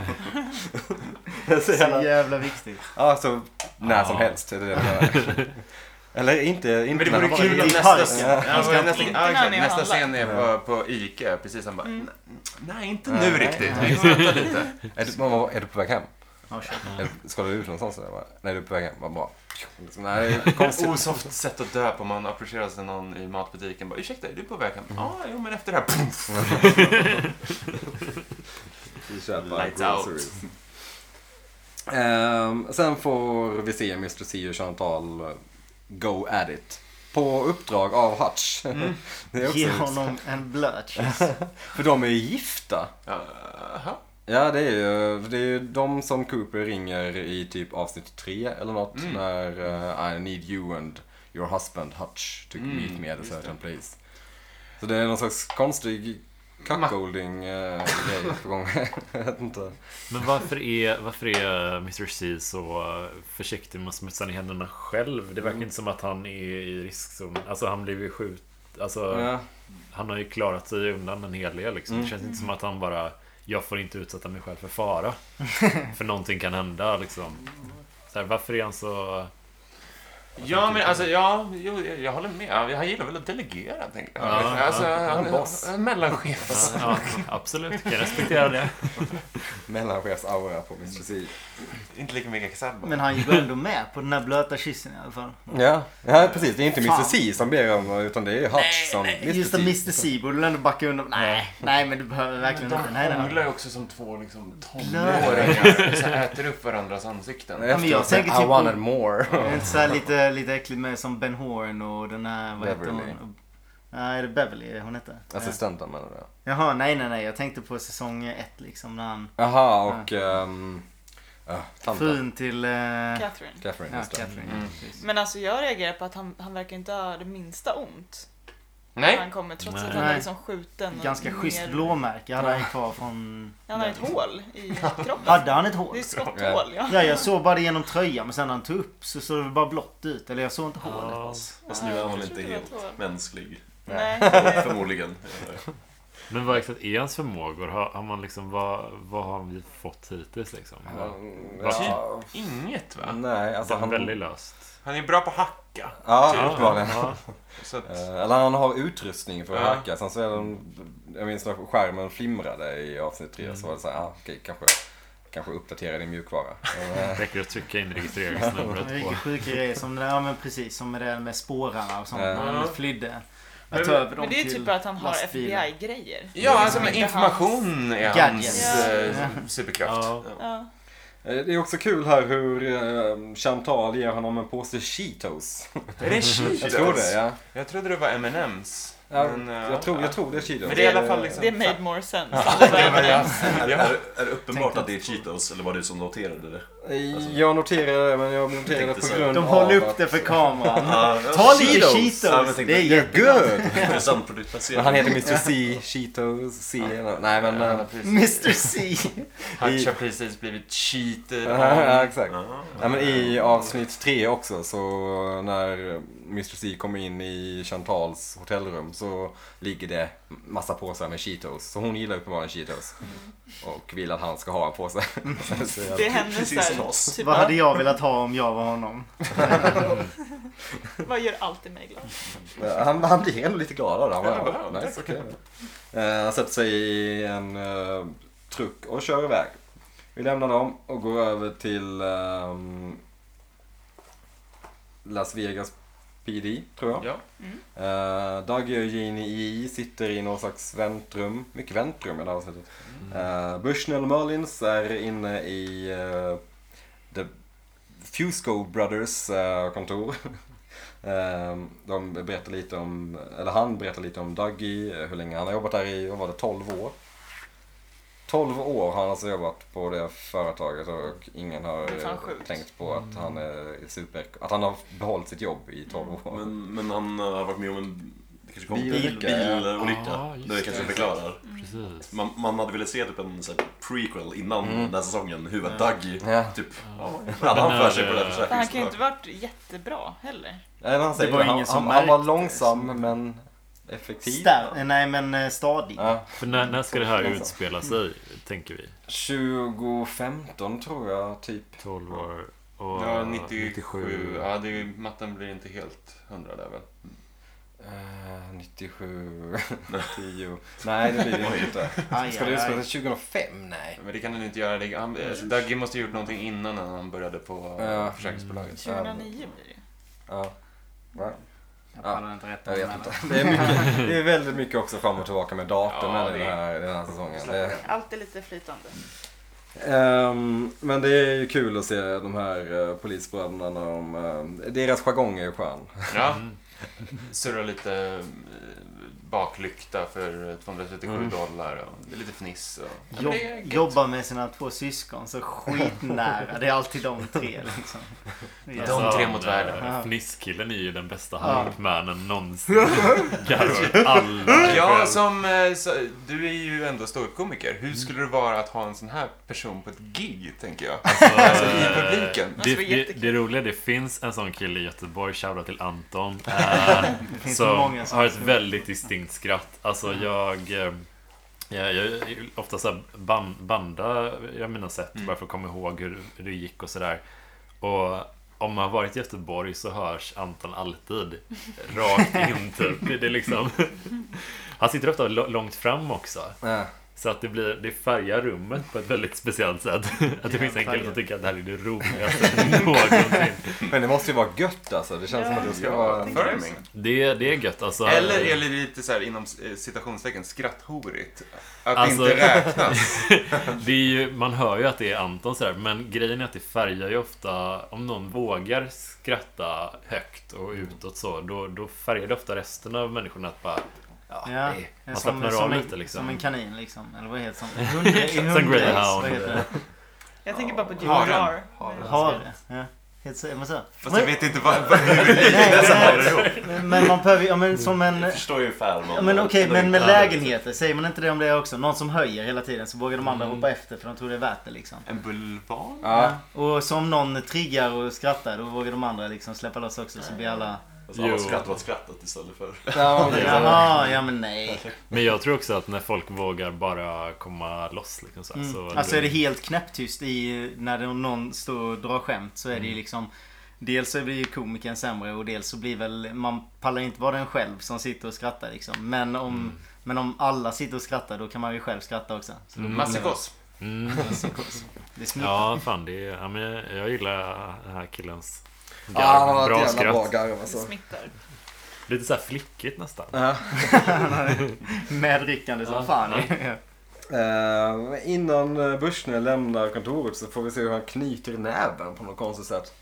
B: Så jävla-
E: så jävla viktigt.
B: Ja, så när som helst. är Det det jag Eller inte, inte
F: Men
B: när
F: det vore
B: de var
F: kul
B: i-
F: om
E: i
F: nästa
E: parken.
F: scen...
E: Ja.
F: Ja,
C: Inte
F: nästa, ja,
C: när
F: exakt.
C: ni
F: nästa
C: handlar.
F: scen är på, på Ica, precis. Han bara, nej, inte nu
B: Nej,
F: riktigt.
B: nej.
F: Vi får vänta lite.
B: Är du, mamma, är du på väg hem?
E: Ja, kör.
B: Är du, ska du ut någonstans? Eller? bara, Nej, du är på väg hem. Vad bra. Liksom, Nej, det är konstigt.
F: Osoft sätt att dö på. Man approcherar sig någon i matbutiken. Bara, ursäkta, är du på väg hem? Ja, ah, jo, men efter det här. Pff,
B: Vi köper
F: Lights
B: groceries. Ehm, sen får vi se Mr. C och Chantal eh, go at it. På uppdrag av Hutch. Det är också
E: Mm. Ge
B: lite-
E: honom en blöt kyss.
B: För de är ju gifta.
F: Jaha.
B: Ja, det är ju, det är ju de som Cooper ringer i typ avsnitt tre eller något. När eh, I need you and your husband Hutch to meet me at a certain place. Så det är någon slags konstig cuckolding eh, grej på gång. Jag vet inte.
D: Men varför är, varför är Mr C så försiktig med att smutsa ner händerna själv? Det verkar inte som att han är i riskzon. Alltså han blev ju skjut... Alltså
B: Ja.
D: han har ju klarat sig undan en hel del liksom. Det känns inte som att han bara... Jag får inte utsätta mig själv för fara. för någonting kan hända liksom. Så här, varför är han så...
F: Ja, men alltså, ja, jo, jag, jag håller med. Ja, Han gillar väl att delegera, tänker jag.
D: Ja,
F: alltså,
D: ja.
F: han,
B: En boss.
F: en mellanchef.
D: Ja, absolut, jag respekterar det.
B: Mellanchefsaura på Mr. C.
F: Inte lika mycket Xabba.
E: Men han gick ändå med på den där blöta kyssen i alla fall.
B: Ja, ja, precis. Det är inte Mr.
E: Fan.
B: C som ber om utan det är Hutch som
E: Nej, just det, Mr. C borde väl ändå backa undan. Nej, nej men du behöver verkligen
F: De
E: inte. Nej, nej, nej.
F: hånglar ju också som två liksom, tonåringar. Så äter upp varandras
E: Ja,
F: ansikten.
E: men jag
B: Efteråt säger,
E: tänker typ
B: I wanted
E: på-
B: more.
E: Är det inte så här lite, lite äckligt med som Ben Horn och den här, vad heter
B: Beverly.
E: hon? Nej, är det Beverly hon hette?
B: Assistenten menar du?
E: Jaha, nej nej nej. Jag tänkte på säsong ett liksom när han...
B: Jaha, och... ehm, ah, tanten.
E: Frun till... eh,
C: Catherine.
B: Catherine,
E: Ja,
B: just det.
E: Catherine.
F: Mm.
E: precis.
C: Men alltså jag reagerar på att han, han verkar inte ha det minsta ont. När
F: Nej,
C: han kommer trots
D: Nej.
C: att han är
E: Nej.
C: liksom skjuten. och
E: Ganska schysst
C: ner-
E: blåmärke hade han kvar från...
C: Han har ett hål i kroppen.
E: Hade han ett hål?
C: Det är skotthål ja.
E: Ja, jag såg bara det genom tröjan men sen när han tog upp så såg det bara blått ut. Eller jag såg inte hålet.
D: Ja.
A: Fast nu är
C: Jag
A: han väl
C: trodde
A: inte
C: det var
A: helt
C: två.
A: mänsklig.
C: Nej.
A: Förmodligen.
D: Men vad exakt är hans förmågor? Har, har man liksom, vad, vad har vi fått hittills liksom?
B: Ja,
F: Va?
B: ja,
F: inget Typ, va?
B: nej, alltså
D: Alltså,
B: han...
D: Väldigt löst.
F: Han är bra på att hacka. typ.
B: Ja, uppenbarligen.
D: ja.
F: Så att,
B: Eh, Eller han har utrustning för att
F: Ja.
B: hacka. Sen så är den, jag minns när skärmen flimrade i avsnitt 3
F: Mm.
B: så var det så här, ah, okej, kanske, kanske uppdatera din mjukvara. Eh,
D: Räcker att trycka in registreringsnumret på.
E: Vilken sjuk grej som det där, ja, men precis som med det där med spårarna och sånt
B: Ja.
E: när han flydde.
F: Men-
E: Jag tar över dem
C: Men det är ju
E: till
C: typ att han har
E: lastbilen.
C: FBI-grejer.
F: ja, alltså
C: Det är
F: med
C: inte
F: information är
E: Gadgets.
F: hans
E: Ja.
F: eh, superkraft.
D: Ja.
C: Ja.
B: eh, Det är också kul här hur eh, Chantal ger honom en påse Cheetos.
F: Är det
B: Jag tror det,
F: Cheetos?
B: ja.
F: Jag trodde det var M&M's.
B: ja
F: Men, eh,
B: jag, tror,
F: ja.
B: jag tror det är Cheetos.
F: Men det är i alla fall liksom...
C: Det made more sense.
F: Det var det jag-
A: Är,
F: Ja.
A: är, är det uppenbart
E: Tänkte
A: att det är Cheetos eller var det du som noterade det?
B: Eh, Jag noterade det, men jag noterade det
A: Tänkte
B: på
A: så.
B: grund
E: De
B: av
E: håller upp
B: att-
E: det för kameran.
A: Ah,
E: Ta lite
B: Cheetos.
A: Ja, men
E: Cheetos.
A: jag tänkte,
E: Det är
B: You're
E: jättegott.
B: good!
A: Intressant
B: Men
A: produktplacering.
B: han heter Mr. C, Cheetos, C. Nej men... eh,
F: Ja, precis.
E: Mr C.
C: Typ
F: Hutch har precis blivit cheated.
B: Ja, exakt.
A: Ja.
B: Ja, men I avsnitt tre också, så när Mr. C kommer in i Chantals hotellrum så ligger det massa påsar med Cheetos. Så hon gillar uppenbarligen Cheetos. Och vill att han ska ha en påse. Och sen Mm. så
C: Det
B: jag-
C: händer
A: Precis som oss.
C: såhär, typ,
E: Vad hade
C: vad,
E: jag velat ha om jag var honom?
C: vad gör alltid mig glad?
B: han, han blir ändå lite glad av det. Han
F: Ja,
B: bara,
F: vad
B: ja,
F: bra.
B: nice, okay. Eh, Han sätter sig i en eh, truck och kör iväg. Vi lämnar dem och går över till ehm, Las Vegas PD, tror jag.
F: Ja.
B: Uh, Dagge och Gini i sitter i någon slags väntrum. Mycket väntrum i det här avsnittet. Eh, Bushnell och Merlins är inne i eh, The Fusco Brothers eh, kontor. Eh, de berättar lite om, eller han berättar lite om Duggy, eh, hur länge han har jobbat där i, vad var det, 12 år? 12 år har han alltså jobbat på det företaget och ingen har
C: Det är fan
B: eh,
C: sjukt.
B: tänkt på att han är super, att han har behållit sitt jobb i 12 år.
A: Men, men han eh, har varit med om en det kanske kom
B: Bilolycka,
A: bil,
B: ja.
A: bilolycka.
D: Ah, just
A: det kanske
D: det.
A: förklarar.
D: Precis.
A: Man, man hade velat se typ en så här, prequel innan den här säsongen. Hur var Duggy?
B: Ja.
A: Typ, ja. hade han för sig på den här
C: För han kan ju inte
A: försäkringsbolaget?
C: varit jättebra heller.
B: Nej, men han säger
E: var
B: det. han,
E: ingen som
B: han, han var
E: märkte,
B: långsam men effektiv.
E: Star- eh, Nej men eh, stadig.
B: Ja,
D: För när, när ska det här utspela sig, tänker vi?
B: 2015 tror jag typ.
D: 12 år och
F: Ja, 97. Ja, det är, ju- matten blir inte helt hundra där väl.
B: Eh, 97, 10. Nej det blir det inte.
E: Aj,
B: Ska
E: aj,
B: det
E: aj.
B: utspelas 2005? Nej.
F: Men det kan han inte göra. Det- Han, alltså, Dagge måste ha gjort någonting innan han började på
B: Ja.
F: uh, försäkringsbolaget.
C: 2009 blir det
B: Ja. Va?
E: Jag pallar inte rätt
B: Jag vet
E: men-
B: inte. Det är, mycket, det är väldigt mycket också fram och tillbaka med datorn
F: Ja,
B: i
F: det
B: den
F: är-
B: här, den här säsongen. Det,
C: Allt är lite flytande.
B: Ehm, men det är ju kul att se de här uh, polisbröderna när de... eh, deras jargong är ju skön.
F: Ja. Mm. Surra lite eh, baklykta för 237 dollar. Och det är lite fniss. Och... Mm. Ja, men
E: Jobb,
F: det är gött.
E: jobbar med sina två syskon så skitnära. Det är alltid de tre liksom.
F: De tre mot
D: eh,
F: världen.
E: Ja.
D: Fnisskillen är ju den bästa
E: Ja.
D: hypemannen någonsin. Garvar alla.
F: Ja, som, eh, så, du är ju ändå ståuppkomiker. Hur skulle det vara att ha en sån här person på ett gig, tänker jag? Alltså i publiken.
D: eh,
C: Alltså,
D: Det,
C: det var
D: det,
C: jättekul.
D: det roliga, det finns en sån kille i Göteborg, shoutout till Anton. eh,
E: Det finns
D: som
E: många som-
D: har ett väldigt distinkt skratt. Alltså jag... eh, Jag, jag ofta så här
F: Mm.
D: ban, banda jag mina sätt bara för att komma ihåg hur, hur det gick och sådär. Och om man har varit i Göteborg så hörs Anton alltid. Rakt in typ. Det är liksom... Han sitter ofta lo- långt fram också.
B: Ja.
D: Så att det, blir, det färgar rummet på ett väldigt speciellt sätt. Att det finns en kille som tycker att det här är det roligaste någonsin.
B: Men det måste ju vara gött alltså. Det känns som att det ska vara...
F: Affirming.
D: Det, det är gött alltså.
F: Eller är det lite så här inom eh, citationstecken skratthorigt? Att
D: Alltså-
F: inte räknas.
D: Det är ju, man hör ju att det är Anton sådär, men grejen är att det färgar ju ofta, om någon vågar skratta högt och utåt så, då, då färgar det ofta resten av människorna att bara, ja,
E: Ja,
D: nej. man slappnar av
E: som, en-
D: lite liksom.
E: som en kanin liksom. Eller vad heter det? Som, hundre, i
D: Som
E: hundre,
D: greyhound.
E: Vad heter
C: Jag tänker bara på
F: Haren.
C: Djurgården.
E: det? Hare. Ja. Heter så? Är man så?
F: Fast Alltså, jag vet inte vad, vad hur det
E: Nej,
F: ligger.
E: men- men, men man behöver ju- ja, men som en...
A: Jag förstår ju ungefär.
E: Ja, men okej, men med
D: Ja.
E: lägenheter, säger man inte det om det också? Någon som höjer hela tiden så vågar de andra hoppa efter för de tror det är värt det liksom.
F: En bulvan?
B: Ja.
E: Och som någon triggar och skrattar då vågar de andra liksom släppa loss också så blir alla...
A: Alltså, alla
D: Jo.
A: skrattar åt skrattet istället för...
B: Ja, men-
E: Jaha, ja men nej.
D: Men jag tror också att när folk vågar bara komma loss liksom
C: Mm.
D: så, här,
B: Mm.
D: så
E: Alltså är det helt knäpptyst i när det- om någon står och drar skämt så är det ju liksom Dels så blir ju komikern sämre och dels så blir väl man pallar inte vara den själv som sitter och skrattar liksom. Men om, men om alla sitter och skrattar då kan man ju själv skratta också. Så då-
F: Massikos.
D: Mm.
E: Det smittar.
D: Ja, fan det är, ja, men jag- jag gillar den här killens garv.
B: Ja, han har
D: bra
B: ett jävla
D: skratt.
B: bra garv
C: Det
B: alltså.
C: smittar.
D: Lite såhär flickigt nästan.
E: Medryckande som
D: Ja.
E: fan.
B: Eh, innan eh, Bushner lämnar kontoret så får vi se hur han knyter näven på något konstigt sätt.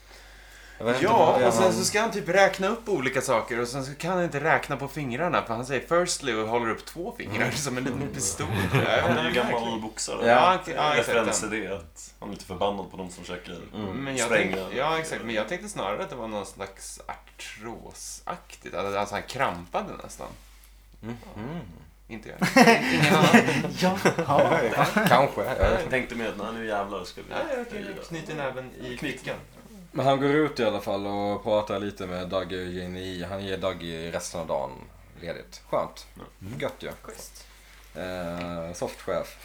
B: Jag vet inte vad det
F: Ja,
B: är
F: och sen
B: han-
F: så ska han typ räkna upp olika saker och sen så kan han inte räkna på fingrarna för han säger firstly och håller upp två fingrar som en liten pistol.
A: Han är ju gammal boxare.
F: Ja, han- ja, Mm. exakt.
A: Referens i det att han är lite förbannad på de som försöker
F: Men jag
A: spränga.
F: tänkte, ja, exakt. Men jag tänkte snarare att det var någon slags artrosaktigt. Alltså alltså, han krampade nästan. Inte jag. Ingen annan.
E: Jaha.
B: Kanske. jag vet inte.
A: Jag tänkte mer att nej, nu jävlar ska vi...
F: Nej, jag knyter näven i knyckan.
B: Men han går ut i alla fall och pratar lite med Dagge och Jenny. Han ger Dagge resten av dagen ledigt. Skönt. Mm. Gött ju. Eh, softchef.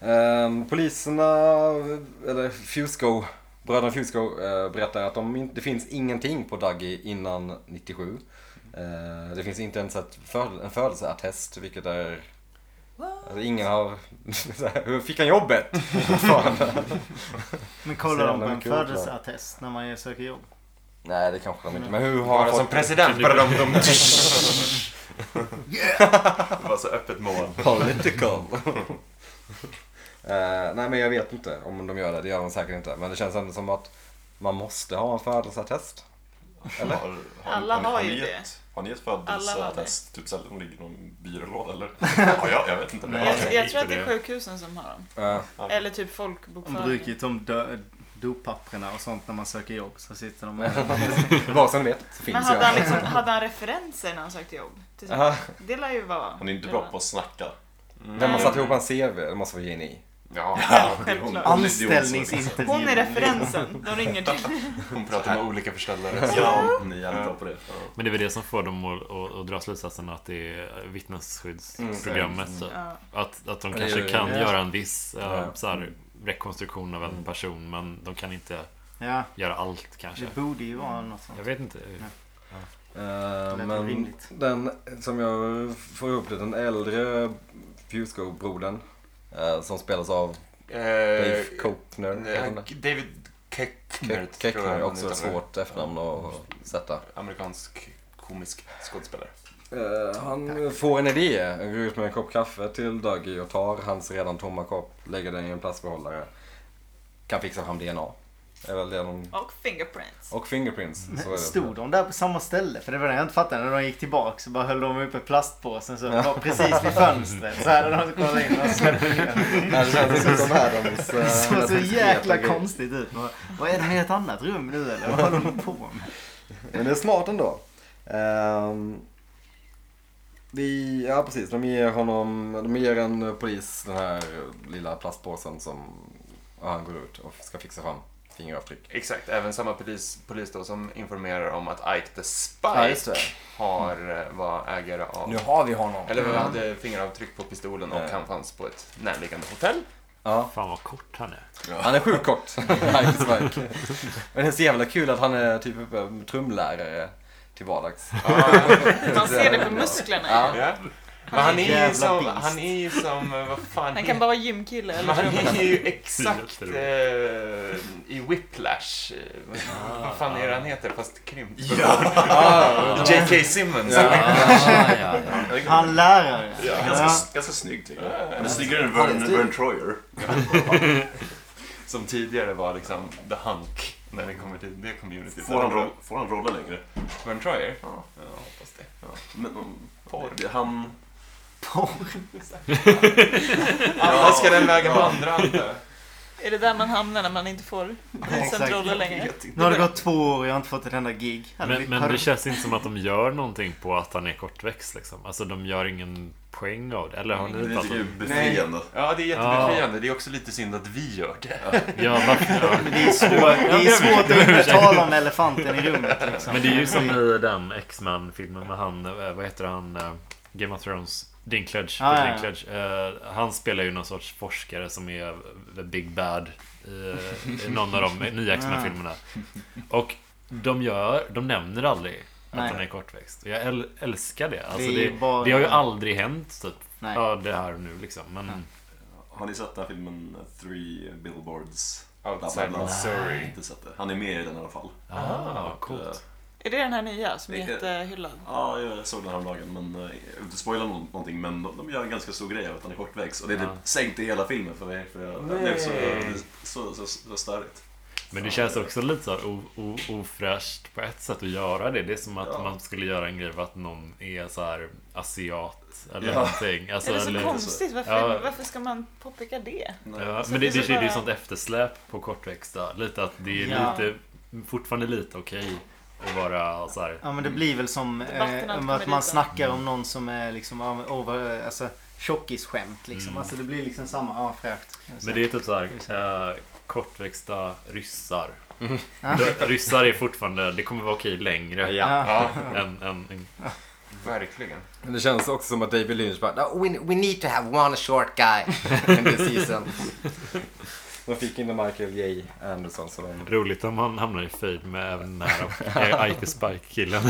B: Eh, poliserna, eller Fusco, bröderna Fusco eh, berättar att de, in- det finns ingenting på Dagge innan 97. Eh, det finns inte ens ett föd, en födelseattest, vilket är... Alltså ingen har... så här, Hur fick han jobbet? Fortfarande.
E: Men
B: Så
E: kollar de på
B: jävla
E: en
B: mycket oklart.
E: födelseattest när man söker jobb?
B: Nej, det kanske de inte... Men hur har
F: Bara
B: han
F: som
B: fått...
F: president. Bara de, de... Det var så öppet mål.
B: Political. Eh, nej men jag vet inte om de gör det. Det gör de säkert inte. Men det känns ändå som att man måste ha en födelseattest.
A: Eller? Har, har,
C: Alla har ju
A: gett-
C: det.
A: Har ni gett
C: Alla har det.
A: födelseattest? Typ sällan ligger i någon byrålåda eller? Har jag? Jag vet inte.
E: Nej.
A: Jag har
C: Jag,
A: det.
C: jag tror att det är
D: det.
C: sjukhusen som har dem.
B: Eh,
C: Eller typ
E: De
C: folkbokföring.
E: brukar ju ta om dö- dopapperna och sånt när man söker jobb. Så sitter de med
B: Bara så ni vet så
C: Men
B: finns
C: hade han,
B: jag.
C: liksom, hade han referenser när han sökte jobb? Till exempel?
B: Aha,
C: Det lär ju vara...
A: Hon är inte bra på att snacka.
B: När man satte ihop en CV, det måste vara Jenny.
F: Ja,
A: det är hon.
C: självklart.
A: Hon är idiot som-
E: anställningsintervju.
C: Hon är referensen. De ringer till.
F: hon pratar med olika förställare.
A: Ja, ni är jävligt bra på det. Ja.
D: Men det är väl det som får dem att, att, att dra slutsatsen att det är vittnesskyddsprogrammet.
B: Mm.
D: så.
C: Ja.
D: Att, att de
B: Ja,
D: kanske
B: ja, ja.
D: kan
E: Ja.
D: göra en viss eh,
B: Ja. Mm.
D: så här, rekonstruktion av en person men de kan inte
E: Ja,
D: göra allt kanske.
B: Mm.
E: det borde ju vara något sånt.
D: Jag vet inte.
B: Eh,
E: lät
B: men
E: rimligt.
B: den som jag får ihop det, den äldre Fusco-brodern. eh, som spelas av
F: Eh,
B: Dave Kopner. heter han det?
F: David
B: Ke-
F: Keckner, tror jag
B: Keckner,
F: han
B: också ett
F: uttalar det.
B: svårt efternamn att sätta.
F: Amerikansk komisk skådespelare.
B: Eh, han får en idé. Han går ut med en kopp kaffe till Dougie och tar hans redan tomma kopp, lägger den i en plastbehållare. Kan fixa fram DNA. Är väl det de...
C: Och fingerprints.
B: Och fingerprints. så är det.
E: Men stod de där på samma ställe? För det var det jag inte fattade. När de gick tillbaka så bara höll de uppe plastpåsen så var precis vid fönstret. Så här hade de kollat in och släppte ner.
B: Ja, Det känns inte som världens... eh,
E: Det
B: mest
E: såg så
B: diskreta
E: jäkla
B: grej.
E: konstigt ut. Vad- Vad är de i ett annat rum nu eller? Vad håller de på med?
B: Men det är smart ändå. Ehm, vi, ja precis, de ger honom, de ger en polis den här lilla plastpåsen som ja, han går ut och ska fixa fram fingeravtryck.
F: Exakt, även samma polis, polis då som informerar om att Ike the
B: Ja, just
F: Spike
B: det.
F: har, eh, var ägare av...
B: har vi honom.
F: Mm. Eller hade fingeravtryck på pistolen och
B: Ja.
F: han fanns på ett närliggande hotell.
B: Ja.
D: Fan vad kort han är.
B: Han är sjukt kort. Heinz Werk. Men det är så jävla kul att han är typ trumlärare till vardags.
F: Ah.
C: Man ser det på musklerna.
B: Ja.
F: Ja. Men han är ju
E: Jävla
F: som,
E: beast.
F: han är ju som, eh, vad fan
C: Han
F: heter-
C: kan bara vara gymkille eller
F: Men han
C: trummis.
F: är ju exakt
D: Fyra,
F: eh, i Whiplash. Eh, vad- Vad fan är det han heter? Fast krympt. J.K. Simmons.
B: Ah, ja, ja.
E: Han lärare.
A: Ja, ganska, ganska snygg till och med. Han är snyggare än
B: Ja, det är
A: Vern,
B: stil.
A: Vern Troyer.
F: Som tidigare var liksom The Hunk. När det kommer till det communityt.
A: Får han, ro- får han rolla längre?
F: Vern Troyer?
A: Ja.
F: Ja, hoppas det.
A: Men, om- det- han...
E: Porr.
F: Alla ska den vägen vandra, inte.
C: Är det där man hamnar när man inte får
E: exakt.
C: proffsroller längre?
E: Nu har det gått två år och jag har inte fått ett enda gig. Hade vi-
D: Men, men
E: hade-
D: det känns inte som att de gör någonting på att han är kortväxt liksom. Alltså de gör ingen poäng av det. Eller har
E: Mm,
D: ni
A: Det
D: pratat
A: tycker jag
D: om
A: är befriande.
F: Ja, det är jättebefriande. Det är också lite synd att vi gör det.
D: Ja, varför? Ja.
E: Men det är svårt, det är svårt att inte tala om elefanten i rummet liksom.
D: Men det är ju som i den X-Man-filmen med han, eh, vad heter han, eh, Game of Thrones, Dinklage.
E: Ah,
D: Peter
E: ja, ja.
D: Dinklage. Eh, han spelar ju någon sorts forskare som är eh, the big bad i, eh, i någon av de nya X-Man-filmerna. Och de, gör, de nämner aldrig att
E: Nej.
D: han är kortväxt. Och Jag äl, älskar det. Alltså,
E: är
D: det,
E: ju
D: det,
E: bara-
D: har ju aldrig hänt typ.
E: Nej.
D: Ja, det här nu liksom. Men
A: Har ni sett den här filmen eh, Three Billboards?
F: Outside Missouri.
A: Inte sett det. Han är med i den i alla fall.
D: ah, coolt.
C: Är det den här nya som är
A: Vilket-
C: jättehyllad?
A: Ja, jag såg den här om dagen men eh, jag vill inte spoila nå- någonting men de, de gör en ganska stor grej av att han är kortväxt och det är typ sänkt i hela filmen för mig för jag, det blev så,
F: Nej.
A: så, så, så, så störigt.
D: Men det känns också lite så här o, o, ofräscht på ett sätt att göra det. Det är som att
A: Ja.
D: man skulle göra en grej för att någon är så här asiat eller
A: Ja.
D: någonting. Alltså,
C: är det så
D: eller,
C: konstigt? Varför,
D: Ja.
C: varför ska man påpeka det?
D: ja,
C: Så
D: men
C: det är
D: det, det,
C: så
D: det, är
C: bara-
D: ju sånt eftersläp på kortväxta. Lite att det är
E: Ja.
D: lite, fortfarande lite okej att vara så här.
E: Ja men det blir väl som
C: Debatten
E: eh,
C: allt
E: om
C: kommer
E: att man
C: dit.
E: snackar om någon som är liksom ja, over, alltså, tjockisskämt liksom.
B: Mm.
E: Alltså det blir liksom samma, ja Alltså, fräckt.
D: Men det är typ så här, eh, kortväxta ryssar. Ryssar är fortfarande, det kommer vara okej längre
B: Ja.
F: Ja,
D: än, än, än
F: verkligen.
B: Men det känns också som att David Lynch bara no, we, we need to have one short guy in this season. De fick in Michael J. Anderson så de...
D: Roligt om han hamnar i fejd med även den här Ike Spike-killen.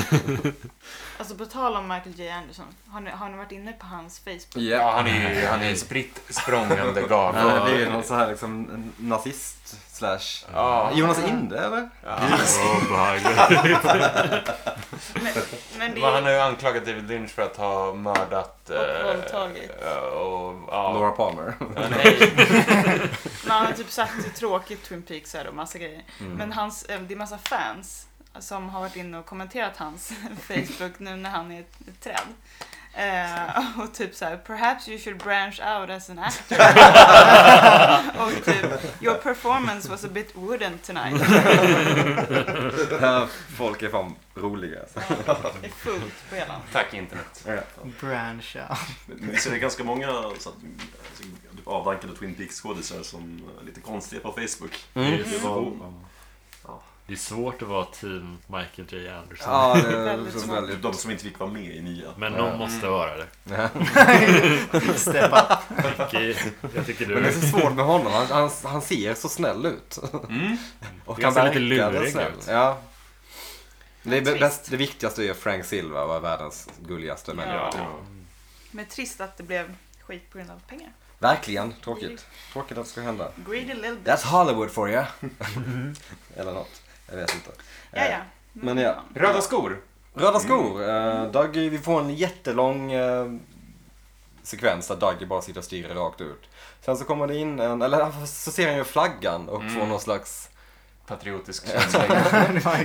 C: Alltså på tal om Michael J. Anderson. Har ni, har ni varit inne på hans Facebook?
F: Ja,
B: Ja.
F: han är ju han är ju spritt språngande
B: Han
F: galen.
B: är- blir ju någon så här liksom en nazist slash...
F: Ja.
B: Jonas Inde eller? Alltså,
D: Obehagligt.
C: Men, men det
F: Men han har
C: är...
F: ju anklagat David Lynch för att ha mördat...
C: Och
F: eh,
C: våldtagit.
F: eh, och, ja.
B: Laura Palmer.
F: Ja, nej.
C: Men han har typ sagt hur tråkigt Twin Peaks är och massa grejer.
F: Mm.
C: Men hans, eh, det är massa fans som har varit inne och kommenterat hans Facebook nu när han är ett, ett träd. Eh, och typ såhär, perhaps you should branch out as an actor. och typ, your performance was a bit wooden tonight.
B: Ja, Folk är fan roliga. alltså.
C: Det är fullt på hela.
F: Tack internet.
E: Branch out.
A: Men Så det är ganska många så att, alltså, typ avdankade Twin Peaks-skådisar som är lite konstiga på Facebook.
D: Det är
A: svårt.
D: Mm. Det är svårt att vara team Michael J. Anderson.
B: Ja, det är
C: Väldigt
B: så
C: smart.
B: väldigt...
A: Typ de som inte fick vara med i nya.
D: Men någon måste vara det.
E: Step up.
D: Okej, Jag tycker du
B: Men det är så svårt med honom. Han, han, han ser så snäll ut. Och
D: Det är så lite
B: verkar
D: lurig
B: snäll.
D: ut.
B: Ja. Det, är
C: Trist.
B: bäst, det viktigaste är Frank Silva var världens gulligaste människa.
F: Ja.
C: Men trist att det blev skit på grund av pengar.
B: Verkligen tråkigt. Tråkigt att det ska hända.
C: Greedy little bit.
B: That's Hollywood for you. Eller något. Jag vet inte.
C: Ja, ja. Mm.
B: Eh, Men ja.
F: Röda skor.
B: Röda skor. Eh, Dougie, vi får en jättelång eh, sekvens där Dougie bara sitter och stirrar rakt ut. Sen så kommer det in en, eller så ser han ju flaggan och får någon slags
F: Patriotisk känsla.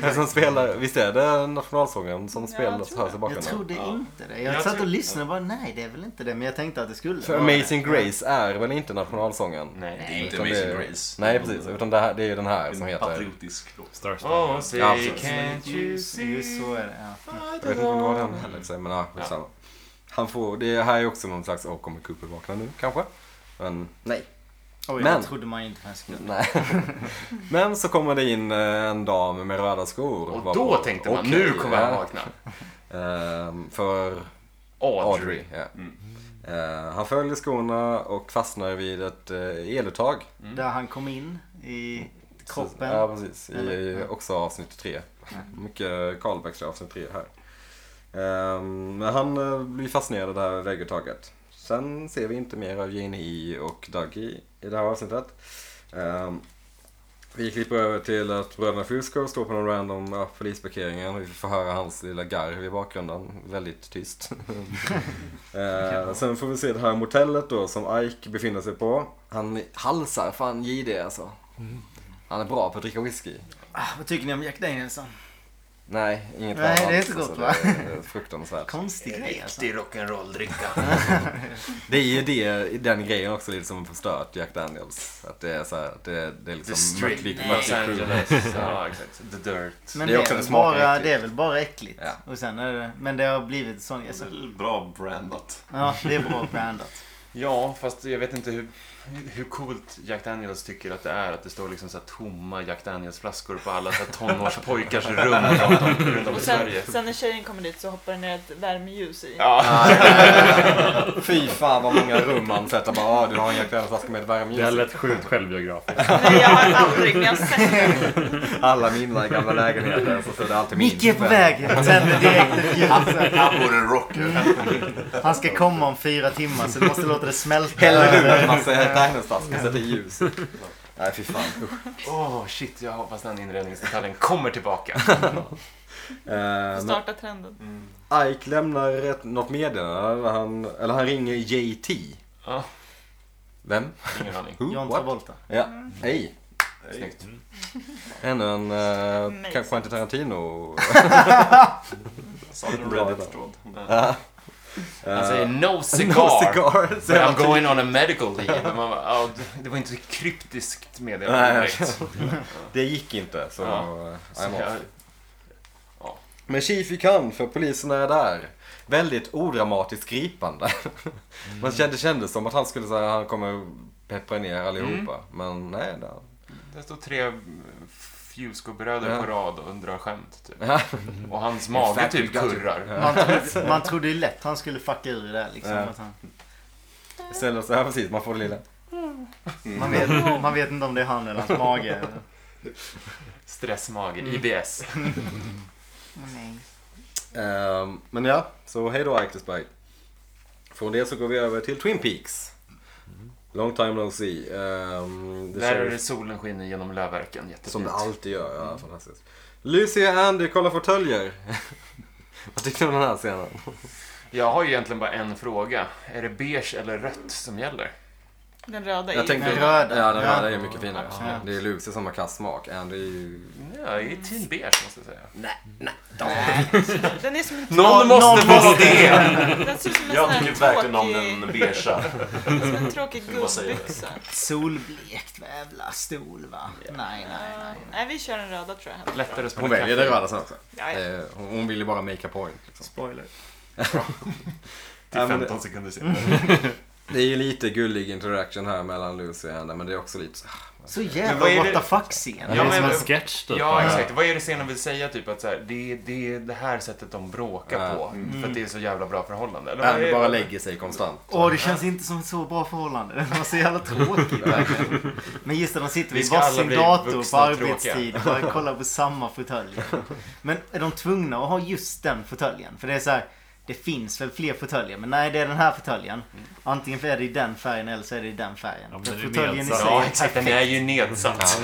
B: Men som spelar, visst är det nationalsången som
C: jag
B: spelas
C: tror
B: hörs i
E: Jag
B: bakgrunden?
E: trodde inte det. Jag,
F: Jag
E: satt
F: tror-
E: och lyssnade och bara nej det är väl inte det. Men jag tänkte att det skulle
B: För
E: vara det.
B: Amazing Grace är väl inte nationalsången?
A: Det är
F: Nej.
A: inte
B: Utan
A: Amazing
B: det är-
A: Grace.
B: Nej precis, utan det, här, det är ju den här som
A: En
B: heter...
A: patriotisk låt.
D: Starstar.
F: Oh, say
B: Ja, absolut.
F: can't you
E: Just
F: see?
E: så är det. Ja.
B: Jag vet inte vad den heller sig, men ja, skitsamma. Han får, det här är också någon slags, åh kommer Cooper vakna nu kanske? Men nej.
E: Oj,
B: Men-
E: det trodde man ju inte man skulle.
B: Nej. Men så kommer det in eh, en dam med röda skor.
F: Och
B: varpå-
F: då tänkte man,
B: okej,
F: nu kommer han
B: ja.
F: vakna.
B: Ehm, För
F: Audrey. Mm.
B: Audrey. ja. Eh, han följer skorna och fastnar vid ett eh, eluttag.
E: Där han kom in i kroppen.
B: Mm. Ja, precis. I,
E: Eller?
B: i
E: Ja.
B: också avsnitt tre. Mycket callbacks till avsnitt tre här. Ehm, Men han eh, blir fascinerad av det här vägguttaget. Sen ser vi inte mer av Jane He och Dougie i det här avsnittet. Ehm, Vi klipper över till att bröderna Fusco står på någon random ja, polisparkeringen. Vi får höra hans lilla garv i bakgrunden. Väldigt tyst. Eh, sen får vi se det här motellet då som Ike befinner sig på. Han halsar fan JD alltså. Han är bra på att dricka whisky.
E: Ah, vad tycker ni om Jack Danielsson?
B: Nej, inget
E: Nej,
B: annat.
E: det är inte gott,
B: Alltså,
E: va?
B: det är Fruktansvärt.
E: Konstig grej alltså.
F: rock'n'roll-dricka.
B: Det är ju det, liksom den grejen också lite som förstört Jack Daniels. Att det är så här, det, det är
F: The
B: liksom
F: Strip,
B: mörkligt.
F: Los Angeles. Ja, exakt. The Dirt.
E: Men
B: Det
E: det
B: är
E: är,
B: också
E: väl
B: det smakar
E: bara,
B: äckligt.
E: det är väl bara äckligt.
B: Ja.
E: Och sen är det, men det har blivit sån... Alltså,
A: Bra brandat.
E: ja, det är bra brandat.
F: Ja, fast jag vet inte hur, hur coolt Jack Daniels tycker att det är att det står liksom så här tomma Jack Daniels-flaskor på alla så här tonårspojkars rum runt om- runt om i
C: Och sen,
F: Sverige.
C: sen när tjejen kommer dit så hoppar det ner ett värmeljus i.
F: Ja,
B: Fy fan vad många rum han sätter bara, ah, du har en Jack Daniels-flaska med
D: Det här
B: värmeljus.
D: lät sjukt självbiografiskt.
C: Nej, jag har aldrig, men jag har sett det.
B: Alla mina gamla lägenheter så står det alltid min.
E: Micke är på
B: Men-
E: väg! Tänder direkt ett ljus.
A: Han vore en rocker.
E: Han ska komma om fyra timmar så du måste låta det smälta.
B: Häller ur en massa Jack Daniels-flaskor, sätter ljus. Nej, fy fan. usch.
F: Åh, shit, jag hoppas den inredningsdetaljen kommer tillbaka.
B: Eh, men-
C: Starta trenden.
B: Ike lämnar ett, något meddelande. där Han, eller han ringer JT.
F: Ja.
B: Vem?
F: Ingen aning.
B: Who?
E: John
B: What?
E: Travolta.
B: Ja. Hej.
F: Snyggt. Mm.
B: Ännu en eh,
C: Amazing.
B: kanske inte Tarantino.
A: Sa du en Reddit-tråd?
B: Ja.
F: Han säger Alltså, no
B: Eh,
F: cigar.
B: No cigar.
F: But
B: säger han
F: I'm
B: till-
F: going on a medical leave. Men Man bara, "Ja, det var inte så kryptiskt meddelande
B: Nej.
F: direkt.
B: Det gick inte. Så,
F: Ja.
B: eh,
F: Så
B: I'm off.
F: jag-
B: Men tji fick han för polisen är där. Väldigt odramatiskt gripande. Man kände, det kändes som att han skulle säga han kommer peppra ner allihopa. Men nej. Det,
F: Det står tre Fusco-bröder
B: Ja.
F: på rad och drar skämt. Typ.
B: Ja.
F: Och hans mage
B: fact, we
F: typ
B: got you.
F: kurrar.
E: Man trodde, man trodde ju lätt han skulle fucka ur det där liksom.
B: Ja.
E: Att han,
B: istället så här precis, man får det lilla.
E: man, vet, man vet inte om det är han eller hans mage. eller-
F: Stressmage,
B: Mm.
F: IBS.
B: Ehm, men ja, så hej då Arktisberg. Från det så går vi över till Twin Peaks. Long time no see. Ehm, det
F: Där är
B: känns
F: det solen skiner genom lövverken. Jättefint.
B: som det Mm. alltid gör. Ja, fantastiskt. Lucy och Andy kollar fåtöljer. Vad tyckte du om den här scenen?
F: Jag har ju egentligen bara en fråga. Är det beige eller rött som gäller?
C: Den röda
B: Jag
C: är ju
B: tänkte,
E: Den röda.
B: Ja, den röda är mycket finare.
C: Absolut.
B: Det är Lucy som har kass smak. Andy är ju...
F: Ja,
B: Mm.
F: jag är team beige måste jag säga.
C: Den är som en
F: Någon måste vara det!
C: Den ser ut som en sån
A: Jag
C: här
A: tycker verkligen om den
C: tråkig,
A: beigea.
C: som en tråkig
A: Vad säger du?
C: gubbyxa.
E: Solblekt jävla stol va? Nej, nej, nej.
C: Nej, vi kör den röda tror jag.
F: Lättare att
B: Hon
F: spela
B: väljer den
F: kaffe.
B: röda sen också.
C: Ja, ja.
B: Eh, Hon hon vill ju bara make a point. Liksom.
E: Spoiler.
B: Ja,
F: Till
B: men det-
F: 15 sekunder senare.
B: Mm. Det är ju lite gullig interaction här mellan Lucy och Andy, men det är också lite så
E: Så
F: Men
E: jävla
F: vad är
E: what
F: det-
E: the fuck-scen.
D: det är
F: men-
D: som en sketch typ.
F: Ja, exakt. Vad är det scenen vill säga? Typ att så här, det, är- det är det här sättet de bråkar
B: Ja. Mm.
F: på. För att det är så jävla bra förhållande. Eller vad är
B: Andy
F: det?
B: bara lägger sig konstant.
E: Åh, det känns inte som ett så bra förhållande. Det var så jävla tråkigt. Men just när de sitter
F: Vi
E: vid
F: ska alla
E: varsin
F: bli
E: dator på
F: vuxna och
E: arbetstid och bara kollar på samma fåtölj. Men är de tvungna att ha just den fåtöljen? För det är så här, det finns väl fler fåtöljer, men nej det är den här fåtöljen. Antingen är det i den färgen eller så är det i den färgen.
D: Ja, men
E: För
D: den är
E: fåtöljen i sig
D: nedsatt.
F: Ja,
E: är
F: exakt. Den
E: perfekt.
F: är ju nedsatt.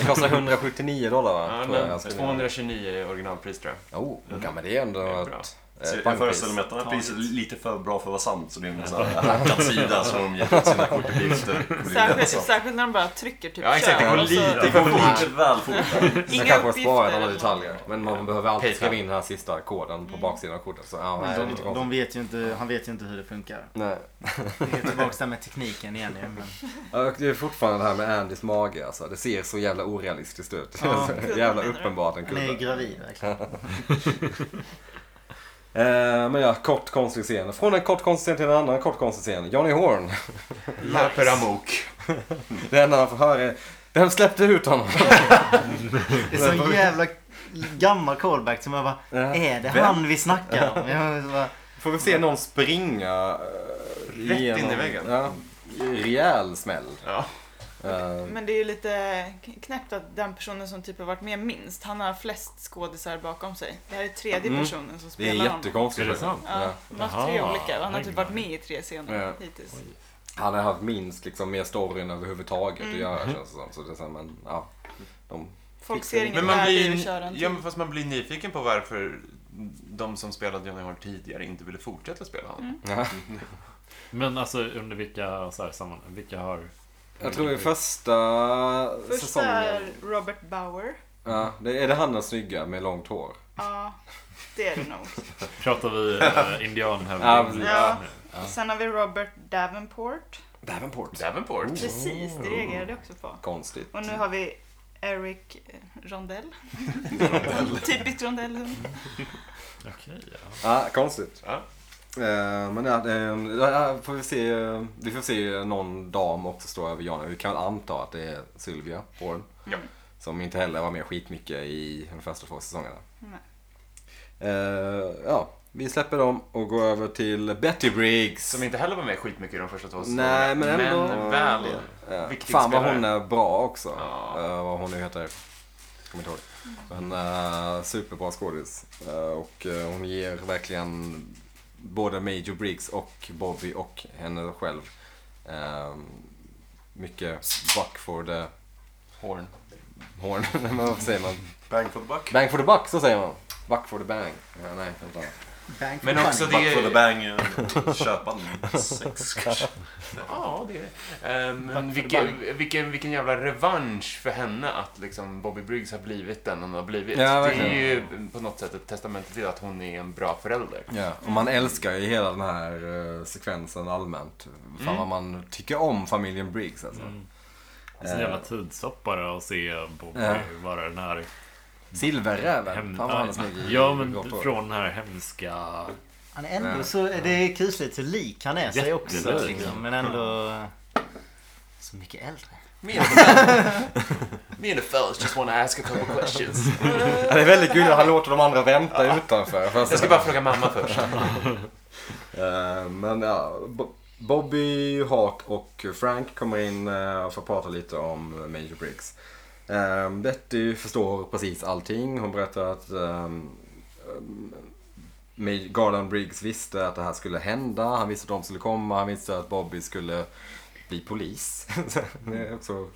B: Det kostar 179 dollar va?
F: Ja,
B: Tror jag
F: men
B: jag skulle-
F: 229 är originalpris tror jag.
B: Oh, ja, men det är ändå
F: Det är
B: ett
F: bra.
B: eh,
A: Så jag
B: pangpris.
A: föreställer mig att den här priset är lite för bra för att vara sant. Så det är en sån här hackad sida som de gett ut sina kortuppgifter. på. Det är
C: Särskilt,
A: den som-
C: särskilt när de bara trycker typ
F: Ja, exakt. Det går
C: kön och så-
A: lite, det går lite väl fort.
B: Man
C: Inga
B: kanske har sparat
C: uppgifter.
B: alla detaljer. Men man behöver alltid
F: Paypal.
B: skriva in den här sista koden på baksidan av kortet. Så ja, nej, det är
E: Men
B: lite
E: de,
B: konstigt.
E: de vet ju inte, han vet ju inte hur det funkar.
B: Nej.
E: Det är tillbaka där med tekniken igen ju. Men...
B: Ja, och Det är fortfarande det här med Andys mage alltså. Det ser så jävla orealistiskt ut. Det är
E: Ja.
B: så jävla uppenbart en
E: Han är ju
B: kudde.
E: gravid verkligen.
B: Eh, men ja, kort konstig scen. Från en kort konstig scen till en annan kort konstig scen. Johnny Horn.
F: Löper amok.
B: Det enda han får höra är Vem släppte ut honom?
E: Det är sån jävla gammal callback som jag bara,
B: Ja.
E: är det
B: Vem?
E: han vi snackar om? Jag bara,
B: Får vi se någon springa eh,
F: Rätt in i väggen.
B: Ja, rejäl smäll.
F: Ja.
B: Eh,
C: Men det är ju lite knäppt att den personen som typ har varit med minst, han har flest skådisar bakom sig. Det här är tredje
B: Mm.
C: personen som
B: det är
C: spelar honom.
B: jättekonstigt.
D: Är det
B: faktiskt.
D: sant?
C: Ja, de har haft tre
D: Jaha.
C: olika och han har typ varit
D: Oj.
C: med i tre scener
B: Ja.
C: hittills.
B: Han har haft minst liksom, med storyn överhuvudtaget att göra känns det som. Så det är så här, men, ja, de,
C: Folk ser inget
F: Men man
C: värde i att
F: blir,
C: köra en
F: ja,
C: till.
F: men fast man blir nyfiken på varför de som spelade Johnny Hart tidigare inte ville fortsätta spela honom.
C: Mm.
D: Men alltså under vilka, så här, samman, vilka har...
B: jag tror i första,
C: typ. Första
B: säsongen.
C: är Robert Bauer.
B: Ja, det, är det han den snygga med långt hår?
C: Ja, det är det nog.
D: Pratar vi äh,
B: Ja,
D: indianhövding?
B: precis.
C: Ja. Sen har vi Robert Davenport.
B: Davenport.
F: Davenport.
B: Oh.
C: Precis, det reagerade jag också på.
B: Konstigt.
C: Och nu har vi Eric eh, Rondell. Typiskt Rondell.
D: Okej, ja.
B: Ja, konstigt.
F: Ja.
B: Eh, men ja, det- ja, får vi, se, eh, vi får se någon dam också stå över Jonna. Vi kan väl anta att det är Sylvia Horn.
F: Ja.
B: Som inte heller var med skitmycket i de första två säsongerna.
C: Nej.
B: Eh, ja, vi släpper dem och går över till Betty Briggs.
F: Som inte heller var med skitmycket i de första två
B: Nej, men ändå.
F: Men väl
B: Eh,
F: viktig
B: fan vad
F: spelare.
B: hon är bra också.
F: Ja.
B: Eh, vad hon nu heter. Kommer inte ihåg. Men eh, superbra skådis. Eh, och eh, hon ger verkligen både Major Briggs och Bobby och henne själv eh, mycket buck for the
F: Horn.
B: horn. Nej, men vad säger man?
A: Bang for the buck.
B: Bang for the buck, så säger man. Buck for the bang. Ja, nej, vänta.
E: Bank
F: Men också det
A: Buck for the
F: är...
A: bang. eh, Köpa en sex kanske.
F: Ja, det är det. Ehm, Men
D: the
F: vilken, vilken, vilken jävla revansch för henne att liksom Bobby Briggs har blivit den hon har blivit.
B: Ja,
F: det är
B: verkligen.
F: ju på något sätt ett testament till att hon är en bra förälder.
B: Ja, och man älskar ju hela den här eh, sekvensen allmänt. Fan
D: Mm.
B: vad man tycker om familjen Briggs alltså.
D: Det är Mm. Alltså, en jävla tidstopp bara att se Bobby
B: Ja.
D: vara den här
B: Silverräven.
D: hem...
B: Fan vad han smyger
D: Ja, men från den här hemska...
E: Han är ändå så... Det är kusligt hur lik han är sig också.
D: Jättelik.
E: Liksom, men ändå... Så mycket äldre.
F: Me and the fellas- me and the fellas just wanna ask a couple questions.
B: Ja, det är väldigt gulligt. Han låter de andra vänta utanför. Fast,
F: Jag ska bara fråga mamma först.
B: Eh, men ja, Bo- Bobby, Hart och Frank kommer in eh, och får prata lite om Major Briggs. Eh, Betty förstår precis allting. Hon berättar att ehm, ehm, Maj- Garland Briggs visste att det här skulle hända. Han visste att de skulle komma. Han visste att Bobby skulle bli polis. det är också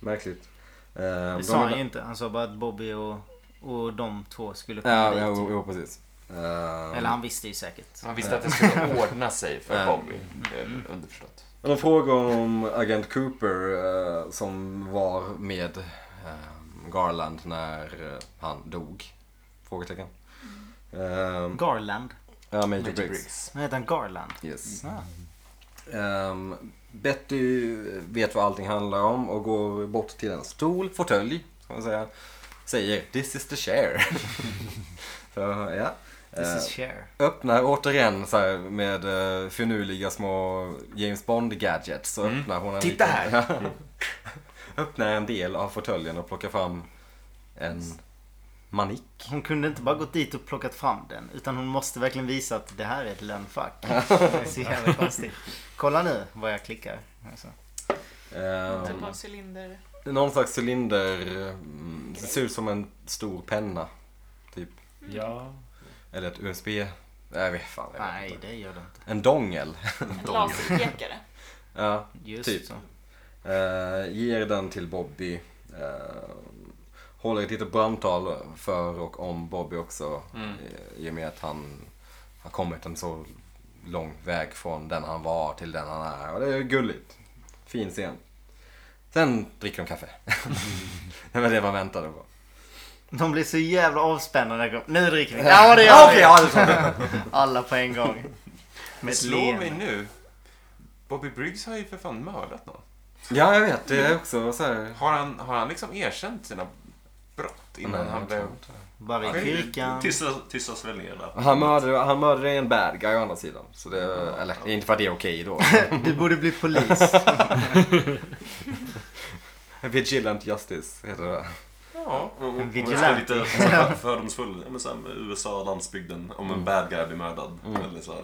B: märkligt. Eh, de
E: Det sa
B: är-
E: han ju inte. Han sa bara att Bobby och, och de två skulle komma
B: Ja,
E: dit.
B: ja, jo, jo, precis. Ehm,
E: Eller han visste ju säkert.
F: Man visste att det skulle ordna sig för Bobby. eh, Underförstått.
B: Men de frågar om agent Cooper eh, som var med eh, Garland när eh, han dog? Frågetecken. Ehm,
E: Garland.
B: ja, Major,
F: Major
B: Briggs.
F: Briggs.
E: Han heter han Garland.
B: Yes.
E: Ah.
B: Ehm, Betty vet vad allting handlar om och går bort till en stol, fåtölj, ska man säga. Säger “This is the chair”. Så, ja.
E: This
B: Eh,
E: is Cher.
B: öppnar återigen så här med eh, finurliga små James Bond-gadgets. Så öppnar hon en
F: Mm. Titta här!
B: öppnar en del av fåtöljen och plockar fram en manik.
E: Hon kunde inte bara gått dit och plockat fram den. Utan hon måste verkligen visa att det här är ett lönnfack. Det är så jävla konstigt. Kolla nu vad jag klickar. Alltså.
B: Eh,
C: Typ av cylinder.
B: någon slags cylinder. mm, Det ser ut som en stor penna. Typ.
D: Ja.
B: Eller ett USB. Nej, vet fan. Jag vet
E: Nej,
B: inte.
E: det gör det inte.
B: En dongel.
C: En laserpekare.
B: ja.
E: Just
B: Typ.
E: så.
B: Eh, ger den till Bobby. Eh, håller ett litet brandtal för och om Bobby också.
F: Mm.
B: eh, I och med att han har kommit en så lång väg från den han var till den han är. Och det är gulligt. Fin scen. Sen dricker de kaffe. det var det man väntade på.
E: De blir så jävla avspända när de går. Nu dricker vi! Ja det gör
B: Okej,
E: vi!
B: ja, det är så.
E: Alla på en gång. Med ett
F: Slå mig
E: leende.
F: nu. Bobby Briggs har ju för fan mördat någon.
B: ja, jag vet. Det är också så här.
F: Har han, har han liksom erkänt sina brott innan
B: Nej,
F: han
B: jag
F: blev...
B: tror inte.
E: Bara i kyrkan.
A: Tysta, tysta svällningar där.
B: Han mördade, han mördade en bad guy å andra sidan. Så det, eller inte för att det är okej då.
E: Du borde bli polis.
B: Vigilant justice heter det.
F: Ja.
A: Om vi ska
E: vigilante.
A: lite för- fördomsfull. Ja, men så här, med USA, landsbygden. Om en bad guy blir mördad. Eller så här,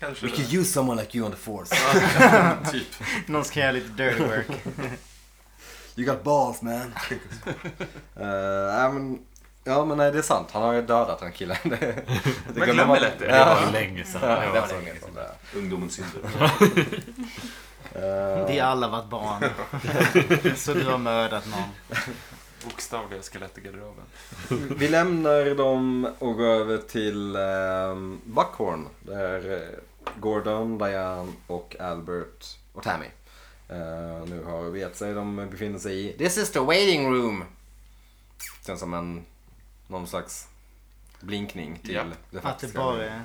A: Kanske
B: We could use someone like you on the force.
A: Ja, typ.
E: Någon ska göra lite dirty work.
B: You got balls man. Eh, men, ja men nej det är sant. Han har ju dödat den killen. Det, det glömmer
F: glömmer lätt det.
D: Det
B: Ja.
D: var länge sedan.
B: Ja, det
D: Det var
B: var
D: så
B: länge
D: länge
B: sedan. där.
A: Ungdomens synder.
B: Eh,
E: Vi har alla varit barn. Så du har mördat någon.
F: Bokstavliga skelett i garderoben.
B: Vi lämnar dem och går över till um, Buckhorn. Där eh, Gordon, Diane och Albert och Tammy eh, nu har vet sig. De befinner sig i This is the waiting room. Känns som en någon slags blinkning till
F: Japp.
B: det
E: Att det
B: faktiska.
E: bara är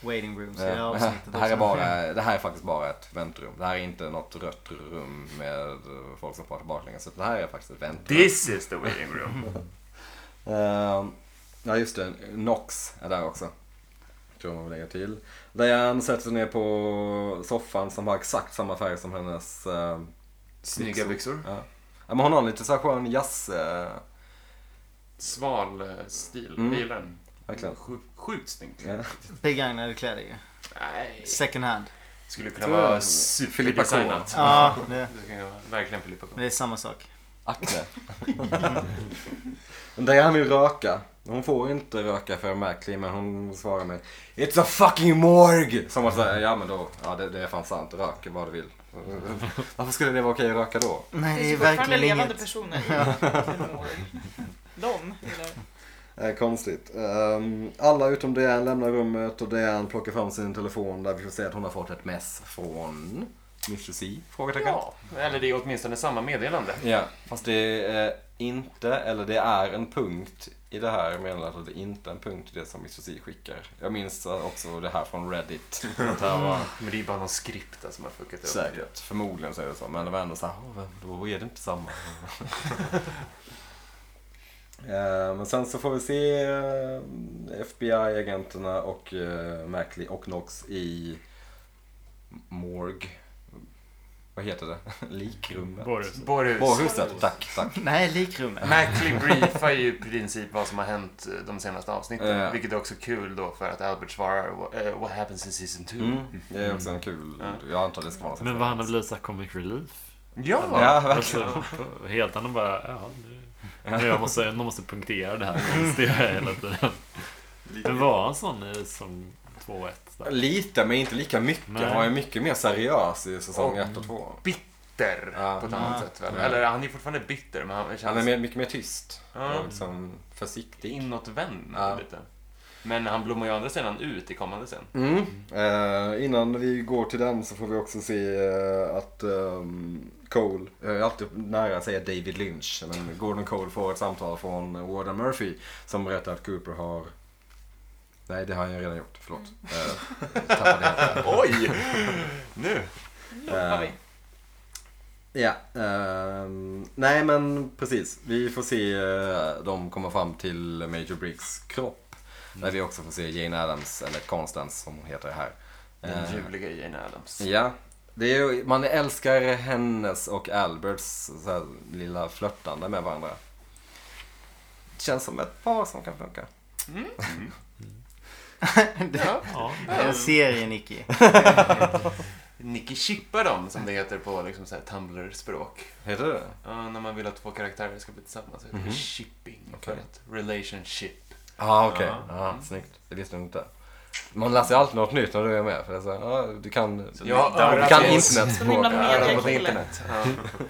E: waiting rooms i det här
B: Ja,
E: avsnittet
B: det, här är
E: också.
B: bara, det här är faktiskt bara ett väntrum. Det här är inte något rött rum med eh, folk som pratar baklänges. utan Det här är faktiskt ett väntrum.
F: This is the waiting room.
B: Ehm, ja just det, Nox är där också. Tror man vill lägga till. Diane sätter sig ner på soffan som har exakt samma färg som hennes... eh,
F: Snygga byxor.
B: ja. ja men hon har en lite så här skön jazz... eh,
F: Sval eh, stil.
B: Mm.
F: Jag gillar den.
B: verkligen.
F: Sju- Sjukt snyggt.
B: Ja.
E: Begagnade kläder ju.
F: Nej.
E: Second hand.
F: Skulle kunna
B: Tror jag
F: vara
B: att- Filippa K.
F: superdesignat.
E: Ja, det,
F: Det kan ju vara verkligen Filippa K.
E: det är samma sak.
B: Acne. Men Diane vill röka. Hon får inte röka för Merkley men hon svarar med It's a fucking morg! Som att säga, ja men då, ja det, det är fan sant, rök vad du vill. Varför skulle det vara okej att röka då?
E: Nej,
C: Det
E: det är
C: finns fortfarande
E: verkligen
C: levande
E: inget.
C: personer i Gilmore. De gillar
B: Eh, konstigt. Ehm, alla utom Diane lämnar rummet och Diane plockar fram sin telefon där vi får se att hon har fått ett mess från Mr C? Frågetecken.
F: Ja, eller det är åtminstone samma meddelande.
B: Ja, fast det är eh, inte, eller det är en punkt i det här meddelandet och det är inte en punkt i det som Mr C skickar. Jag minns också det här från Reddit. Att det här var
F: Men det är bara någon skript där som har fuckat upp.
B: säkert, förmodligen så är det så. Men det var ändå så här, "Åh, då är det inte samma. Eh, Men sen så får vi se eh, FBI-agenterna och eh, Mackley och Knox i morg. Vad heter det? Likrummet?
D: Borg.
F: Borghus.
B: Borghuset, tack, tack.
E: Nej, likrummet.
F: Mackley briefar ju i princip vad som har hänt eh, de senaste avsnitten.
B: Ja.
F: Vilket är också kul då för att Albert svarar "Wha- eh, What happens in season 2?
B: Mm. Det är också en kul, jag antar det ska vara något
D: Men vad han har blivit såhär comic relief.
F: Ja!
B: Ja, verkligen.
D: Alltså, helt annan bara, ja nu. nu jag måste, de måste punktera det här. Det gör jag hela tiden. Men var han sån i som 2-1? där?
B: Lite, men inte lika mycket.
D: Nej.
B: Han var ju mycket mer seriös i säsong
F: Och-
B: 1 och 2.
F: Bitter
B: Ja.
F: på ett annat
E: Ja.
F: sätt väl?
B: Ja.
F: Eller han är fortfarande bitter men han känns
B: Han är mer, mycket mer tyst.
F: Ja.
B: Och liksom försiktig.
F: inåtvänd
B: Ja.
F: lite. Men han blommar ju å andra sidan ut i kommande scen.
B: Mm. Eh, innan vi går till den så får vi också se eh, att ehm, Cole, jag är alltid nära att säga David Lynch, men Gordon Cole får ett samtal från Warden Murphy som berättar att Cooper har Nej, det har jag redan gjort. Förlåt. Eh, tappade helt.
F: Oj! Nu!
C: loppar vi.
B: Ja, ehm, nej men precis. Vi får se eh, de komma fram till Major Briggs kropp. Där vi också får se Jane Addams, eller Constance som hon heter här.
F: Den
B: Eh,
F: ljuvliga Jane Addams.
B: ja, det är, ju- man älskar hennes och Alberts så här, lilla flörtande med varandra. Känns som ett par som kan funka.
F: Ja.
D: Ja.
E: Det är en serie, Nicky.
F: Nicky chippar dem som det heter på liksom så här Tumblr-språk.
B: Heter det
F: Ja, när man vill att två karaktärer ska bli tillsammans. heter det
B: Mhm.
F: Shipping.
B: Okej.
F: För att relationship.
B: Ja, ah, okej.
F: Ja.
B: Ah, snyggt. Det visste jag inte. Man läser ju alltid något nytt när du är med. För det är så, här, ah, du kan,
F: Så ni- där
B: du
F: har
B: kan
F: vi oss.
C: Så
B: internetspråk.
C: himla
F: Öron på
C: mediakille.
F: internet. Ja.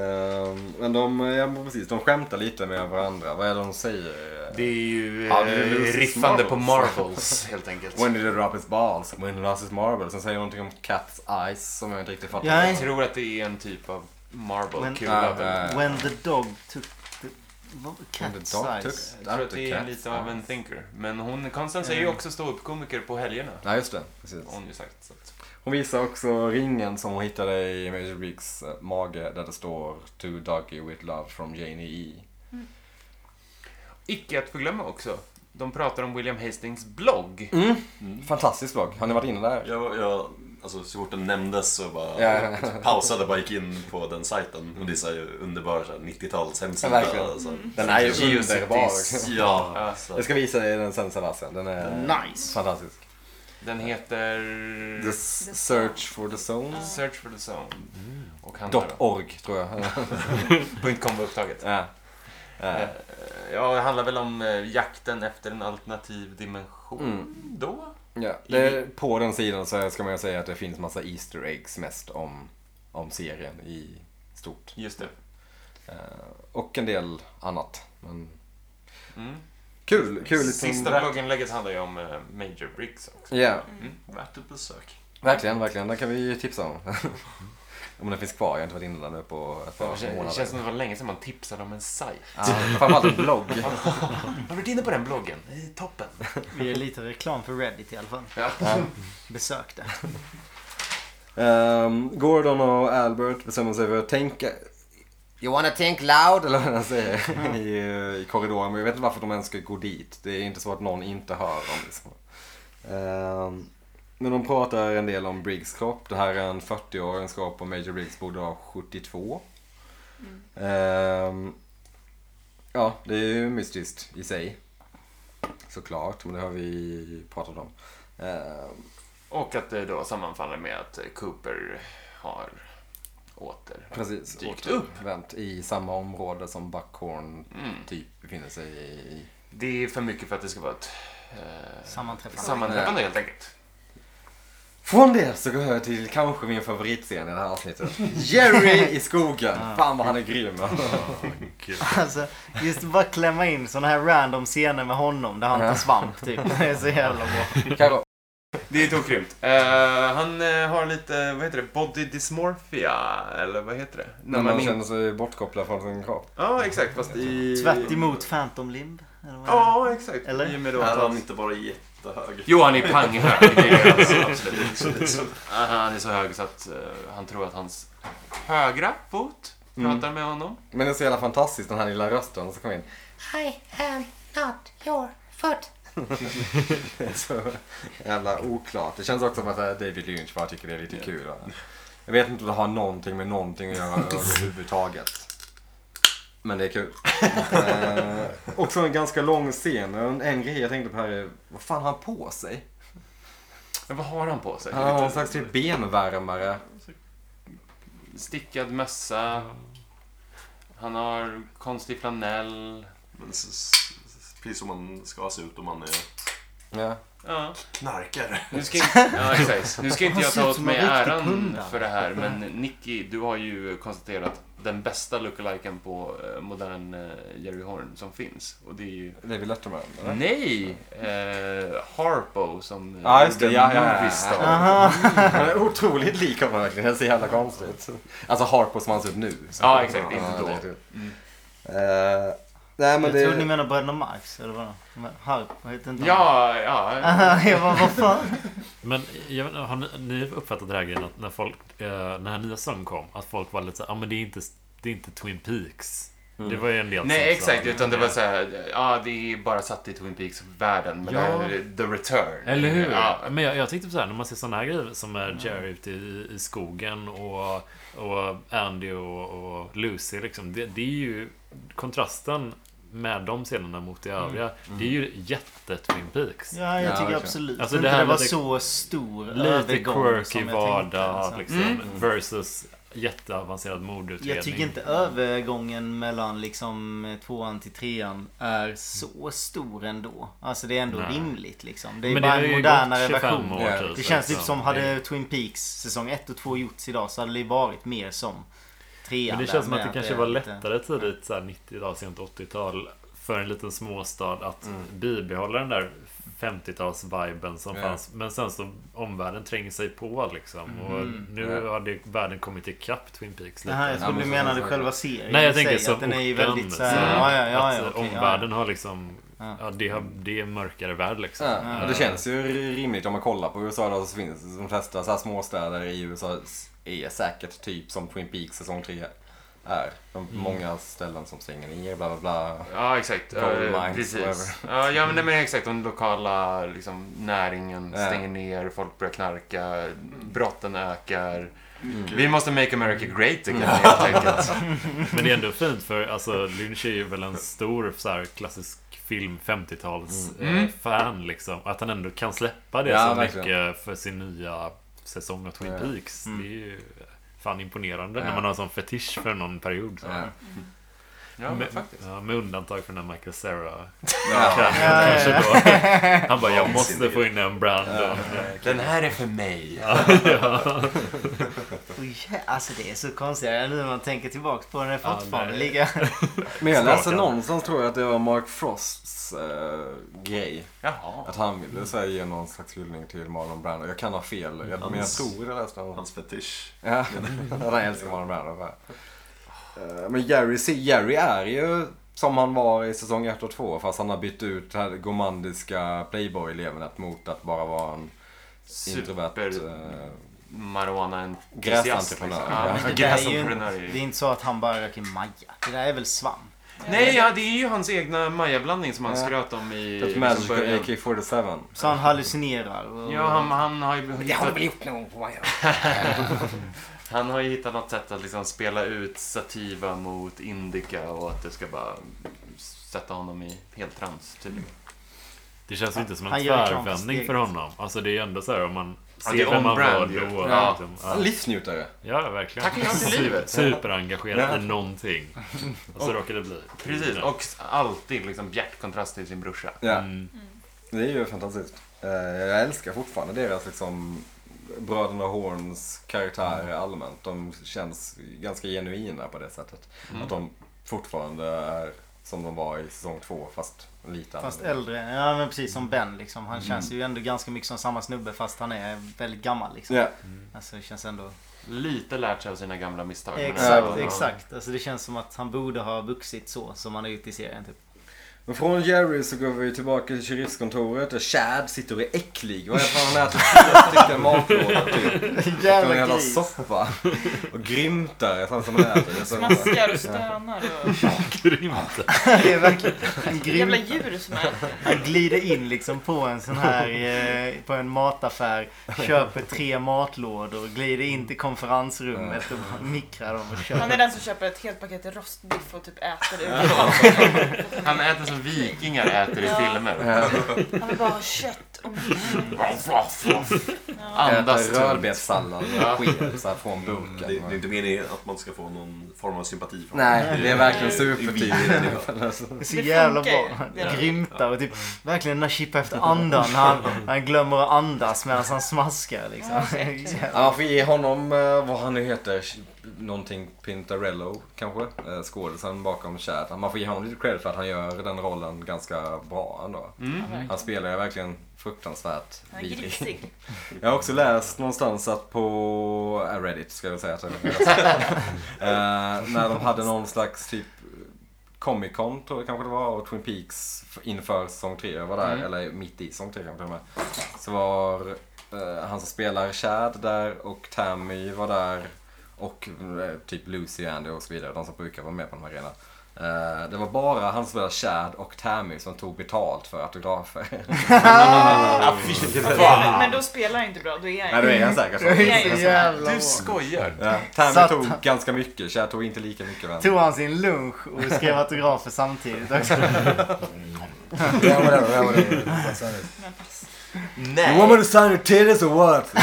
B: Ehm, men de, ja, men precis, de skämtar lite med varandra. Vad är det de säger?
F: Det är ju
B: Ja, det är
F: eh,
B: Lucy's
F: riffande på
B: Marbles.
F: Marvels helt enkelt.
B: When did it drop his balls? When did it lost his marble? Sen säger de någonting om cat's eyes som jag inte riktigt fattar.
E: Jag
F: Jag tror att det är en typ av
E: Men-
F: Marvel-kula.
B: Ja,
F: väl.
B: ja, ja.
E: When the dog took the... vad-
B: When
E: Cat
B: the dog took
E: size.
F: Jag tror att
B: the
F: det är
B: cat's
F: lite av en
B: eyes.
F: thinker. Men hon, Constance
B: Mm.
F: är ju också ståuppkomiker på helgerna.
B: Ja, just det. Precis.
F: Har hon ju sagt. Så att,
B: Hon visar också ringen som hon hittade i Major Briggs eh, mage där det står To Dougie with love from Janie E.
F: icke att förglömma också. De pratar om William Hastings blogg.
B: Mm. Fantastisk vlogg. Har ni varit inne där?
A: Jag, jag, alltså, så fort den nämndes så bara
B: Ja.
A: pausade och bara gick in på den sajten. Och det är så här underbar så här 90-tals
B: Ja,
A: hemsida.
B: verkligen.
A: alltså.
B: Den är ju
A: Geocities.
B: underbar.
F: Alltså,
A: Ja. Så.
B: Jag ska visa dig den sen Sebastian. Den är
E: Nice.
B: fantastisk.
F: Den heter
B: The S- Search for the Souls.
F: Search for the Zone. Och handlar
B: Mm. Dot
F: om...
B: org tror jag.
F: Punkt com var upptaget.
B: ja. Ja.
F: Eh, Ja, det handlar väl om eh, jakten efter en alternativ dimension då?
B: Mm. Ja, det, på den sidan så ska man ju säga att det finns massa Easter eggs mest om, om serien i stort.
F: Just det.
B: Eh, och en del annat. Men
F: Mm.
B: kul, kul. liksom-
F: Sista blogginlägget handlar ju om eh, Major Bricks också.
B: Ja,
F: Mm.
A: Värt ett besök.
B: verkligen, verkligen. Den kan vi ju tipsa om. om den finns kvar. Jag har inte varit inne där nu på ett
F: Fan,
B: par
F: det kän- Det
B: månader.
F: känns som det var länge sedan man tipsade om en sajt.
B: Ja, framförallt en blogg.
F: Har du varit inne på den bloggen? Det är Toppen!
E: Vi är lite reklam för Reddit i alla fall.
F: Ja.
E: Besök det.
B: Ehm, Gordon och Albert bestämmer sig för att tänka... You wanna think loud, eller vad han säger, i, eh, i korridoren. Men jag vet inte varför de ens ska gå dit. Det är inte så att någon inte hör dem. Liksom. Ehm, men de pratar en del om Briggs kropp. Det här är en 40-årings kropp och Major Briggs borde vara 72. Ehm, ja, det är ju mystiskt i sig. Såklart, men det har vi pratat om. Ehm,
F: Och att det då sammanfaller med att Cooper har åter...
B: Precis,
F: dykt
B: återvänt i samma område som Buckhorn
F: Mm.
B: typ befinner sig i.
F: Det är för mycket för att det ska vara ett eh,
E: Sammanträffande.
F: sammanträffande helt enkelt.
B: Från det så går jag till kanske min favoritscen i det här avsnittet. Jerry i skogen!
F: Ah.
B: Fan vad han är grym!
E: Alltså, just bara klämma in såna här random scener med honom där han tar svamp typ. Det är så jävla bra.
B: Karo,
F: Det är tokrymt. Eh, han eh, har lite, vad heter det, body dysmorphia, eller vad heter det?
B: när man
F: in-
B: känner sig bortkopplad från sin kropp.
F: Ja, exakt, fast i...
E: Tvärt emot Phantom Limb. Eller vad är det?
F: Ja, exakt.
E: Eller?
F: I och med då
A: Här
F: att
A: har han
F: han...
A: inte varit jättehög.
F: Jo, han är panghög. det är han.
A: Alltså, absolut inte. Så det är så-
F: Ah, Han är så hög så att eh, han tror att hans högra fot
E: Mm.
F: pratar med honom.
B: Men det är så jävla fantastiskt den här lilla rösten som kommer in.
G: I am not your foot.
B: Det är så jävla oklart. Det känns också som att eh, David Lynch bara tycker det är lite kul. Jag vet inte om det har någonting med någonting att göra överhuvudtaget. Men det är kul. eh, också en ganska lång scen. En, en grej jag tänkte på här är, vad fan har han på sig?
F: Men vad har han på sig?
B: Han har
F: Lite
B: någon slags typ benvärmare.
F: Stickad mössa. Han har konstig flanell.
A: Men s- s- s- precis som man ska se ut om man är
B: Ja.
F: Ja,
A: knarkare.
F: nu ska, inte- ja, exakt. Nu ska inte
E: Han
F: jag
E: ser
F: ta
E: ut
F: åt
E: som
F: mig
E: en riktig
F: äran
E: pundare.
F: för det här, men Nicky, du har ju konstaterat den bästa lookaliken på eh, modern eh, Jerry Horn som finns. Och det är ju...
B: David Letterman eller?
F: Nej! Eh, Harpo som
B: Ja, just det.
F: gjorde
B: Ja, ja, ja.
F: Movie Star.
E: Aha.
B: Han är otroligt lik honom verkligen. Det är så jävla konstigt. Alltså Harpo som han ser ut nu.
F: Ja, exakt. Inte då.
B: det är kul. Eh, nej men
E: Jag trodde ni
B: det...
E: menade Bröderna Marx eller vad? De här- Harp, vad heter inte de?
F: Ja, ja.
E: Aha, jag bara, vad fan?
D: Men jag vet, inte, har ni, ni uppfattat det här grejen att när folk, eh, när den här nya säsongen kom, att folk var lite så ja ah, men det är inte, det är inte Twin Peaks.
E: Mm.
D: Det var ju en del
F: Nej,
D: som sa-
F: exakt. Utan det var så här, ja, det är bara satt i Twin Peaks-världen. Men
D: Ja.
F: här är det The Return.
D: Eller hur?
F: Ja.
D: Men jag, jag tänkte på så här, när man ser såna här grejer som
E: Mm.
D: är Jerry ute i, i skogen och, och Andy och, och Lucy liksom. Det, det är ju kontrasten med de scenerna mot det övriga. Det är ju jätte-Twin Peaks.
E: Mm. Ja,
B: Ja,
E: jag tycker
B: verkligen.
E: absolut
D: Alltså,
E: inte
D: det här
E: det var
D: lite-
E: så stor
D: Lite
E: övergång
D: quirky
E: som jag
D: vardag
E: tänkte, alltså.
D: liksom.
F: Mm.
D: Versus jätteavancerad mordutredning.
E: Jag tycker inte övergången mellan liksom tvåan till trean är så stor ändå. Alltså det är ändå
D: Nej.
E: rimligt liksom. Det är
D: Men
E: bara
D: har
E: en
D: ju
E: modernare
D: gått 25
E: version.
D: år,
B: Ja.
D: typ,
E: Det känns typ
D: så.
E: som hade Twin Peaks säsong 1 och 2 gjorts idag så hade det ju varit mer som trean.
D: Men det
E: där
D: känns som
E: med
D: att det kanske
E: är
D: var
E: lite-
D: lättare tidigt, så här 90-tal, sent 80-tal, för en liten småstad att
E: Mm.
D: bibehålla den där 50-tals-viben som
B: Ja.
D: fanns. Men sen så omvärlden tränger sig på liksom.
E: Mm.
D: Och nu
B: Ja.
D: har det, världen kommit ikapp Twin Peaks lite.
E: Jaha, jag
B: Ja,
E: trodde
B: men
E: du
B: så-
E: menade
B: så-
E: själva serien
D: Nej,
E: i
D: jag
E: sig,
D: tänker som
E: att den är ju
D: orten,
E: väldigt så
D: så
E: här,
D: här,
E: ja, ja, ja, ja,
D: att
E: okej, ja.
D: omvärlden har liksom...
E: Ja.
D: Ja, det, har, det är en mörkare värld liksom.
B: Ja, och det känns ju rimligt om man kollar på USA då så finns de flesta så här småstäder i USA är säkert typ som Twin Peaks säsong 3 är. De Många ställen som stänger ner, bla bla bla.
F: Ja, exakt.
B: Gold
F: Eh,
B: mines, whatever.
F: precis. Ja, ja, men, nej, men exakt. Den lokala liksom, näringen
B: Ja.
F: stänger ner, folk börjar knarka, brotten ökar.
B: Mm.
F: Vi måste make America great again, helt enkelt.
D: Men det är ändå fint för alltså, Lynch är ju väl en stor så här, klassisk film 50-tals
E: Mm.
D: eh, fan liksom. Att han ändå kan släppa det
B: Mm. Ja,
D: så
B: verkligen.
D: mycket för sin nya säsong av Twin
B: Ja.
D: Peaks.
E: Mm.
D: Det är ju fan imponerande
B: Ja.
D: när man har en sån fetisch för någon period. Så.
B: Ja.
F: Ja, men
D: Med,
F: faktiskt.
D: ja, med undantag för den här Michael Cera
B: Ja.
D: kanske då. Han bara, jag måste
A: Vansinnigt.
D: få in en Brandon.
F: Den här är för mig.
E: Oj, alltså det är så konstigt nu när man tänker tillbaks på den. är
D: Ja,
E: fortfarande
D: nej.
E: lika...
B: Men jag läste
D: Stakarn.
B: någonstans tror jag att det var Mark Frosts eh, grej.
F: Jaha.
B: Att han ville så här, ge någon slags hyllning till Marlon Brando. Jag kan ha fel, jag, men jag
A: Hans-
B: tror jag läste någonstans.
A: Hans fetisch.
B: Ja, att han älskar Marlon Brando. Eh, Men Jerry, se- Jerry är ju som han var i säsong 1 och 2 fast han har bytt ut det här gomandiska playboy-levernet mot att bara vara en introvert... eh,
F: Marijuana-entusiast.
B: Gräsentreprenör.
F: liksom. Ja,
E: Men det, där är ju,
F: gräsentreprenör. är
E: inte- det är
F: ju-
E: inte så att han bara röker maja. Det där är väl svamp?
F: Nej, ja, det är ju hans egna Maja-blandning som han
B: Ja.
F: skröt om i...
B: That
F: från
B: typ Magic och
F: början.
B: AK47.
E: Så han hallucinerar. Och,
F: Ja, han, han har ju
G: Det har du
F: hittat,
G: väl gjort någon gång på mig?
F: han har ju hittat något sätt att liksom spela ut sativa mot indica och att det ska bara sätta honom i helt trans typ. tydligen.
D: Det känns ju inte som en
E: Han gör reklam för
D: tvärvändning
E: steget.
D: för honom. Alltså det är ju ändå så här om man
F: Ja,
D: ser
F: det är
D: vem han var
F: on-brand
D: då.
F: ju.
D: liksom,
F: Ja.
D: Ja.
B: Livsnjutare.
D: ja, verkligen.
F: Tack ja till livet.
D: Superengagerad
B: Ja.
D: i någonting. Och så råkar det bli.
F: Precis, Mm. och alltid liksom bjärt kontrast till sin brorsa.
B: Ja,
D: Mm.
B: det är ju fantastiskt. Eh, Jag älskar fortfarande deras liksom Bröderna Horns karaktärer allmänt. De känns ganska genuina på det sättet. Att de fortfarande är som de var i säsong två fast lite
E: Fast
B: annorlunda.
E: äldre. Ja, men precis som Ben liksom. Han känns ju ändå ganska mycket som samma snubbe fast han är väldigt gammal liksom.
B: Ja,
E: Alltså det känns ändå...
F: Lite lärt sig av sina gamla misstag.
E: Exakt,
B: Ja.
E: exakt. Alltså det känns som att han borde ha vuxit så som han har gjort i serien typ.
B: Men från Jerry så går vi tillbaka till sheriffskontoret och Chad sitter och är äcklig. Vad är det för han äter fyra stycken matlådor typ. Och en jävla soppa. Och grymtar sen som han äter. Det är så-
C: Smaskar och stönar och
D: Grymt.
E: Det är verkligen en
C: jävla
E: grym...
C: djur som äter.
E: Han glider in liksom på en sån här... Eh, på en mataffär. Köper tre matlådor. Glider in till konferensrummet och bara mikrar dem och
C: Han är
E: köper.
C: den som köper ett helt paket rostbiff och typ äter det.
F: Han äter som vikingar äter i
C: Ja.
F: filmer.
C: Han vill bara ha kött och
F: Andas
B: Äter
F: tungt.
B: rödbetssallad med sked så här från
A: Mm, det, Mm. det
B: burken.
A: är inte meningen att man ska få någon form av sympati för honom.
B: Nej, det är verkligen supertydligt.
E: Det är så
C: Det
E: jävla
C: funkar ju.
E: bra. Han
C: Det är-
E: Grymtar och typ verkligen den där chippa efter andan. Han, han glömmer att andas medan han smaskar liksom.
B: Ja, man får ge honom, eh, vad han nu heter, sh- någonting Pintarello kanske, eh, skådisen bakom Chad. Man får ge honom lite cred för att han gör den rollen ganska bra ändå. Han spelar ju verkligen fruktansvärt
C: Han är grisig.
B: Jag har också läst någonstans att på eh, Reddit ska jag säga att jag eh, När de hade någon slags typ Comic Con tror jag kanske det var och Twin Peaks inför säsong 3. Jag var där, eller mitt i säsong 3 kanske det var. Så var eh, han som spelar Chad där och Tammy var där. Och eh, typ Lucy, Andy och så vidare. De som brukar vara med på de här grejerna. Eh, det var bara han som spelade Chad och Tammy som tog betalt för autografer.
C: Men, men då spelar han inte bra, då är
B: Nej,
C: han
B: då
C: ju...
B: är han säkert så.
E: Det är så jävla
F: Du
E: bra.
F: skojar.
B: Ja, Tammy
E: Satt
B: tog
E: han-
B: ganska mycket, Cher tog inte lika mycket men...
E: Tog han sin lunch och skrev autografer samtidigt också.
B: Yeah, whatever, yeah, whatever.
C: Men pass.
B: You want me to sign your titties or what?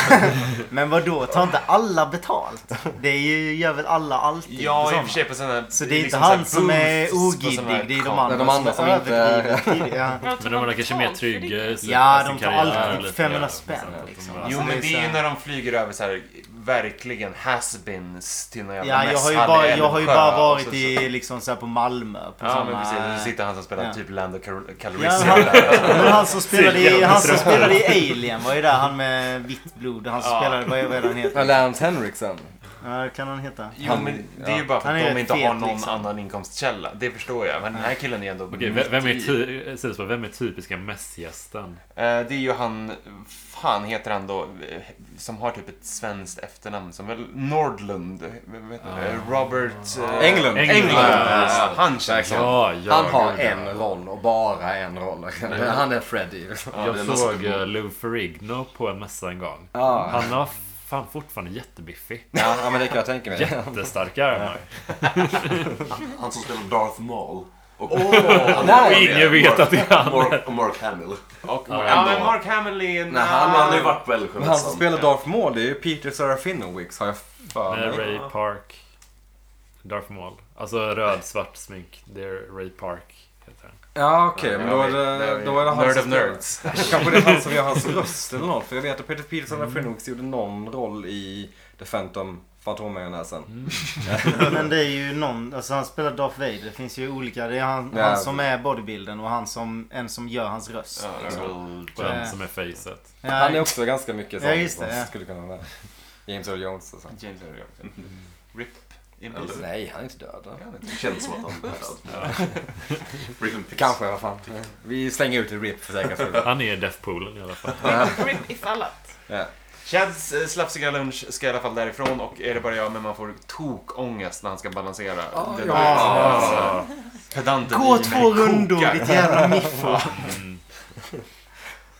E: Men vad då? tar inte alla betalt? Det är ju, gör väl alla alltid? på
F: Ja, i och
E: sådana.
F: för sig på sådana
E: typ, liksom. Så det är inte
F: liksom
E: han
F: sådana
E: som är
F: booths på sådana här
E: ogiddig, det är de
F: kameror.
E: andra,
B: de andra som inte-
E: överdrivet tidiga. Ja.
C: Men
D: Men de är kanske mer
C: betalt för det.
D: trygga i sin-
E: Ja,
D: sin
E: de tar
D: karriär
E: alltid
D: lite
E: 500
D: grann,
E: spänn,
D: liksom. Att de
E: liksom.
D: bara-
E: Alltså,
F: Jo, men
E: det
F: det
E: är så
F: är ju
E: här-
F: när de flyger över så här, verkligen has-beens till någon jävla
E: Ja, jag har ju
F: mässhall i
E: bara, jag har ju
F: Älvsjö
E: bara
F: och
E: varit
F: så-
E: i, liksom, så här på Malmö. På
F: Ja,
E: såna...
F: men precis. Nu sitter han som spelar
E: Ja.
F: typ Lando Cal-
E: Ja,
F: Calrissian
E: han,
F: där.
E: men han som spelade i,
D: Cirkeln
E: han som spelade i Alien var ju där. Han med vitt blod. Han som
F: Ja.
E: spelade, vad är vad är han heter?
B: Lance Henriksen.
E: Ja, kan han heta?
F: Jo, men det är ju bara för
E: Han
F: att
E: är
F: de inte
E: fet,
F: har någon
E: liksom.
F: annan inkomstkälla. Det förstår jag. Men den här killen är ändå... Mm.
D: Okej,
F: mitt
D: vem- vem är,
F: i-
D: ty- eh, Sidospår, vem är typiska mässgästen?
F: Eh, Det är ju han, fan heter han då, eh, som har typ ett svenskt efternamn som väl Nordlund, eh, vet du, eh, Robert... eh, liksom.
B: Englund.
F: Englund!
B: Ja, just
F: Ja, Han känns som.
D: Ja, jag,
B: Han har
D: gud,
B: en roll och bara en roll. Han är Freddy.
F: Ja,
D: Jag
F: det är någon
D: såg
F: som-
D: eh, Lou Ferrigno på en mässa en gång.
B: Ja.
D: Han har fan fortfarande jättebiffig.
B: Ja, ja, men det kan jag tänka mig.
D: Jättestarka armar.
A: Han som spelar Darth Maul och Och,
F: Åh,
A: och
D: Ingen vet att det är han.
A: Mark, och Mark Hamill.
F: Och,
D: Ja,
F: ja, men
A: ändå.
F: Mark Hamill är... eh,
A: Nej, han, han har ju varit på Älvsjö.
B: Men han som
A: nästan.
B: spelar Darth Maul det är ju Peter Serafinowicz har jag för
D: Med
B: mig.
D: Eh, Ray Park. Darth Maul. Alltså röd, svart smink. Det är Ray Park. Heter han.
B: Ja okej, men då är
F: Ja,
B: det,
F: vi-
B: då är det han
F: Nerd
B: som
F: of
B: spelar.
F: Nerds.
B: Kanske det är han som gör hans röst eller något. För jag vet att Peter Peter Serafinowicz gjorde någon roll i The Phantom Fantommajonnäsen.
E: Men det är ju någon, alltså han spelar Darth Vader. Det finns ju olika. Det är han,
B: Ja.
E: han som är bodybuilden och han som, en som gör hans röst.
A: Ja, det är väl-
D: Och
C: Eh.
D: den som är facet.
E: Ja,
B: Han är också ganska mycket sånt.
E: Ja, just det,
B: som
E: ja.
B: skulle kunna vara med. James Earl Jones och så.
F: James Earl
A: Mm.
F: Jones. RIP. in
A: Eller-
F: peace.
B: Nej, han är inte död. va?
A: Det känns som att han är död. Rip in peace.
B: Kanske, vad fan. Vi slänger ut en rip för säkerhets skull.
D: Han är Deathpoolen i alla fall.
C: Rip ifall att.
B: Ja.
F: Chads eh, slafsiga lunch ska i alla fall därifrån och är det bara jag, men man får tokångest när han ska balansera.
B: Ja,
F: Den-
B: ja.
F: alltså, Pedanten
E: Gå
F: i mig
E: två rundor
F: kokar.
E: ditt jävla miffo.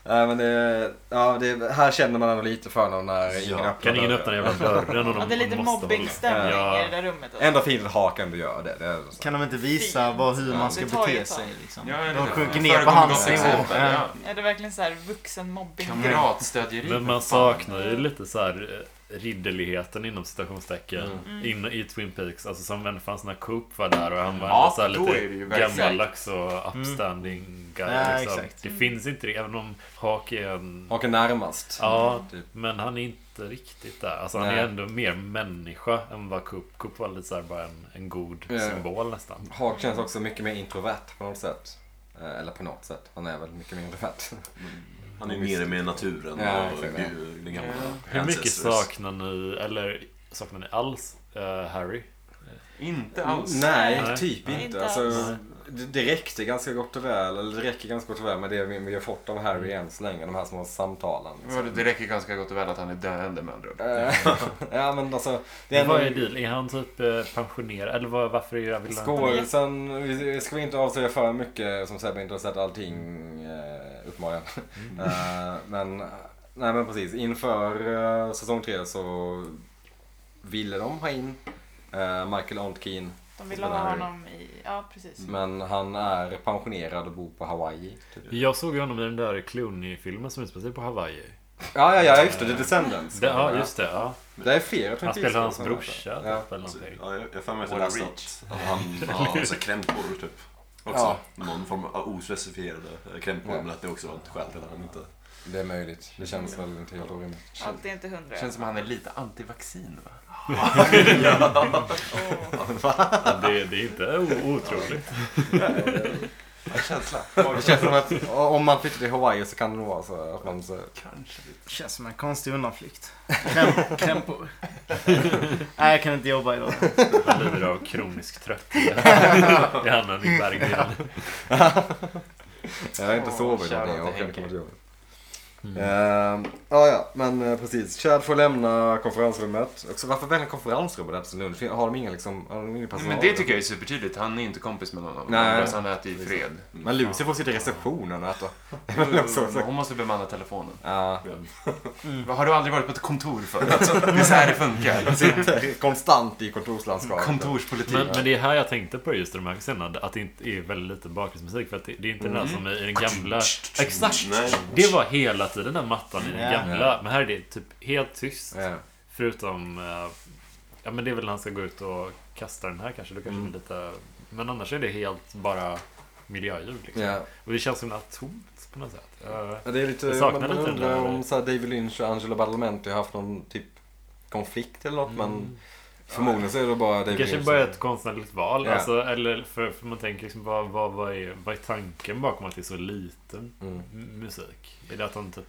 B: Nej, men det, ja, det, här känner man ändå lite för honom när ingen öppnar
D: Kan ingen öppna den jävla dörren om
C: Ja, det är lite
D: de måste hålla.
C: mobbingstämning
D: Ja.
C: i det där rummet. alltså.
B: Enda fienden hakan du gör det. det är så.
E: Kan de inte visa vad, hur man ska
C: Det tar ju
E: bete
C: ett tag.
E: sig liksom?
F: Ja, eller
E: De
F: hur?
E: sjunker ner på
F: Föregående
E: hans
F: gott
E: nivå.
F: exempel,
E: Ja.
F: ja.
C: Är det verkligen så här vuxen mobbing?
F: Kamratstödjeri.
D: Men
F: för
D: man
F: fan.
D: saknar ju lite så här eh, ridderligheten inom citationstecken
F: Mm.
C: Mm.
D: in, i Twin Peaks. Alltså som även fanns när Coop var där och han var
F: Ja,
D: ändå så här
F: då är det ju
D: lite
F: verkligen-
D: gammaldags och
C: Mm.
D: upstanding guy.
E: Ja,
D: liksom.
E: exakt.
D: Det finns inte det, även om Hawk är en...
B: Haken närmast.
D: Ja,
B: Typ.
D: men han är inte riktigt där. Alltså han
B: Nej.
D: är ändå mer människa än vad Coop... Coop var lite så här bara en, en god
B: Ja.
D: symbol nästan.
B: Hawk känns också mycket mer introvert på något sätt. Eh, Eller på något sätt. Han är väl mycket mer introvert.
A: Han är nere med naturen
B: Ja,
A: och
B: exakt, ja.
A: gud, den gamla
D: Hur mycket
A: ancestors.
D: saknar ni, eller saknar ni alls eh, Harry?
F: Inte alls.
B: Nej,
D: Nej.
B: typ
C: Nej,
B: inte.
C: inte
B: Alltså,
D: alls.
B: det, det räckte ganska gott och väl. Eller det räcker ganska gott och väl med det vi, vi har fått av Harry än så länge. De här små samtalen.
F: Men vadå,
B: Liksom.
F: Det räcker ganska gott och väl att han är döende med andra ord.
B: Eh, ja men alltså. Det
D: Vad
B: är
D: är
B: ändå...
D: deal? Är han typ eh, pensionerad? Eller vad, varför är jag vill han-
B: Skådisen, vi vi ska inte avslöja för mycket som Sebbe inte har sett allting eh, uppenbarligen. Eh, men, nej men precis, inför eh, säsong tre så ville de ha in eh, Michael Ontkeen.
C: De ville ha honom i... Ja, precis.
B: Men han är pensionerad och bor på Hawaii. Typ.
D: Jag såg ju honom i den där Clooney-filmen som utspelar sig på Hawaii.
B: Ja, ja, ja, just det. The Descendants.
D: Det, ja, just det. Ja.
B: Eh, Det är flera Twin
D: Han spelar hans
B: Peaks-filmer.
D: brorsa
B: Ja.
D: typ, eller någonting.
A: Alltså, Ja, jag jag har för mig att jag
F: What a
A: läste
F: reach.
A: att att han har så här krämpor typ. Också.
B: Ja.
A: Någon form av ospecifierade eh, krämpor.
B: Ja.
A: Men att det också var ett skäl till att han inte...
B: Det är möjligt. Det känns väl inte helt orimligt.
C: Allt är inte hundra.
F: Känns som att han är lite antivaccin va?
C: Åh.
D: Ja, Det, det är inte o- otroligt.
F: Känsla.
B: Det känns som att om man flyttar till Hawaii så kan det nog vara så att man så...
F: Kanske.
E: Känns som en konstig undanflykt. Kräm, krämpor. Nej, jag kan inte jobba idag.
D: Han lider av kronisk trötthet. Det är han i Berggren.
B: Jag har inte
F: Åh,
B: sovit någonting.
F: shoutout
B: Jag
F: till
B: orkar inte
F: Henke.
B: komma till jobbet.
D: Mm.
B: Ehm, ja, ja, men eh, precis. Chad får lämna konferensrummet. Också, varför väljer konferensrummet eftersom nu? Det fin- Har de ingen liksom, har de ingen personal?
F: Men det tycker jag är supertydligt. Han är inte kompis med någon av dem.
B: Nej.
F: Andras, Han äter i fred.
B: Men Lucy får sitta i receptionen och äta.
F: Ehm, Hon måste bemanna telefonen.
B: Ja,
F: Har du aldrig varit på ett kontor förut? Det är så här det funkar.
B: sitter konstant i kontorslandskapet.
F: Kontorspolitik.
D: Men, men det är här jag tänkte på just i de här scenerna. Att det inte är väldigt lite bakgrundsmusik. För att det, det är inte den här som är i den gamla... Exakt!
A: Nej.
D: Det var hela tiden den mattan i den
E: Ja.
D: gamla. Men här är det typ helt tyst.
B: Ja.
D: Förutom... eh, Ja men det är väl när han ska gå ut och kasta den här kanske. Då kanske
F: Mm.
D: det är lite... Men annars är det helt bara miljöljud liksom.
B: Ja.
D: Och det känns så himla tomt på något sätt. Eh,
B: Ja, Det är lite,
D: Jag saknar
B: man
D: lite den
B: undrar
D: där-
B: om så här, David Lynch och Angelo Badalamenti har haft någon typ konflikt eller något men förmodligen så är det bara
D: Det
B: David
D: mm. kanske
B: Lynch.
D: bara är ett konstnärligt val.
B: Ja.
D: Alltså, eller för, för man tänker liksom vad, vad, vad, är, vad är tanken bakom att det är så liten
B: Mm.
D: m- musik? Är det att han typ...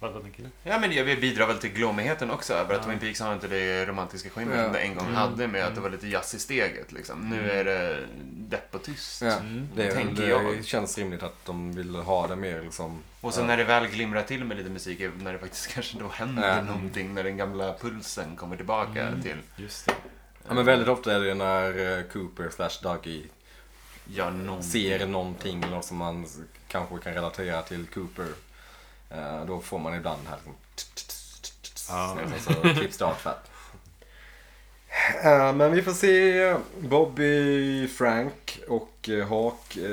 D: Vad, vad tänker ni?
F: Ja, men jag bidrar väl till glommigheten också över att Twin Peaks har inte det romantiska skimmer
B: Ja.
F: som det en gång hade med att det var lite jazz i steget. Liksom. Nu är det depp och tyst.
B: Ja, det, är,
F: Mm. tänker
B: det
F: jag.
B: känns rimligt att de vill ha det mer liksom.
F: Och sen när det väl glimrar till med lite musik är när det faktiskt kanske då händer
B: Ja.
F: någonting när den gamla pulsen kommer tillbaka till
D: Just det.
B: Ja, men väldigt ofta är det ju när eh, Cooper slash Dougie
F: ja, någon...
B: ser någonting eller något som man s- kanske kan relatera till Cooper. Eh, Då får man ibland här liksom...
D: Ja.
B: Alltså, klipp start för att- Eh, Men vi får se Bobby, Frank och eh, Hawk eh,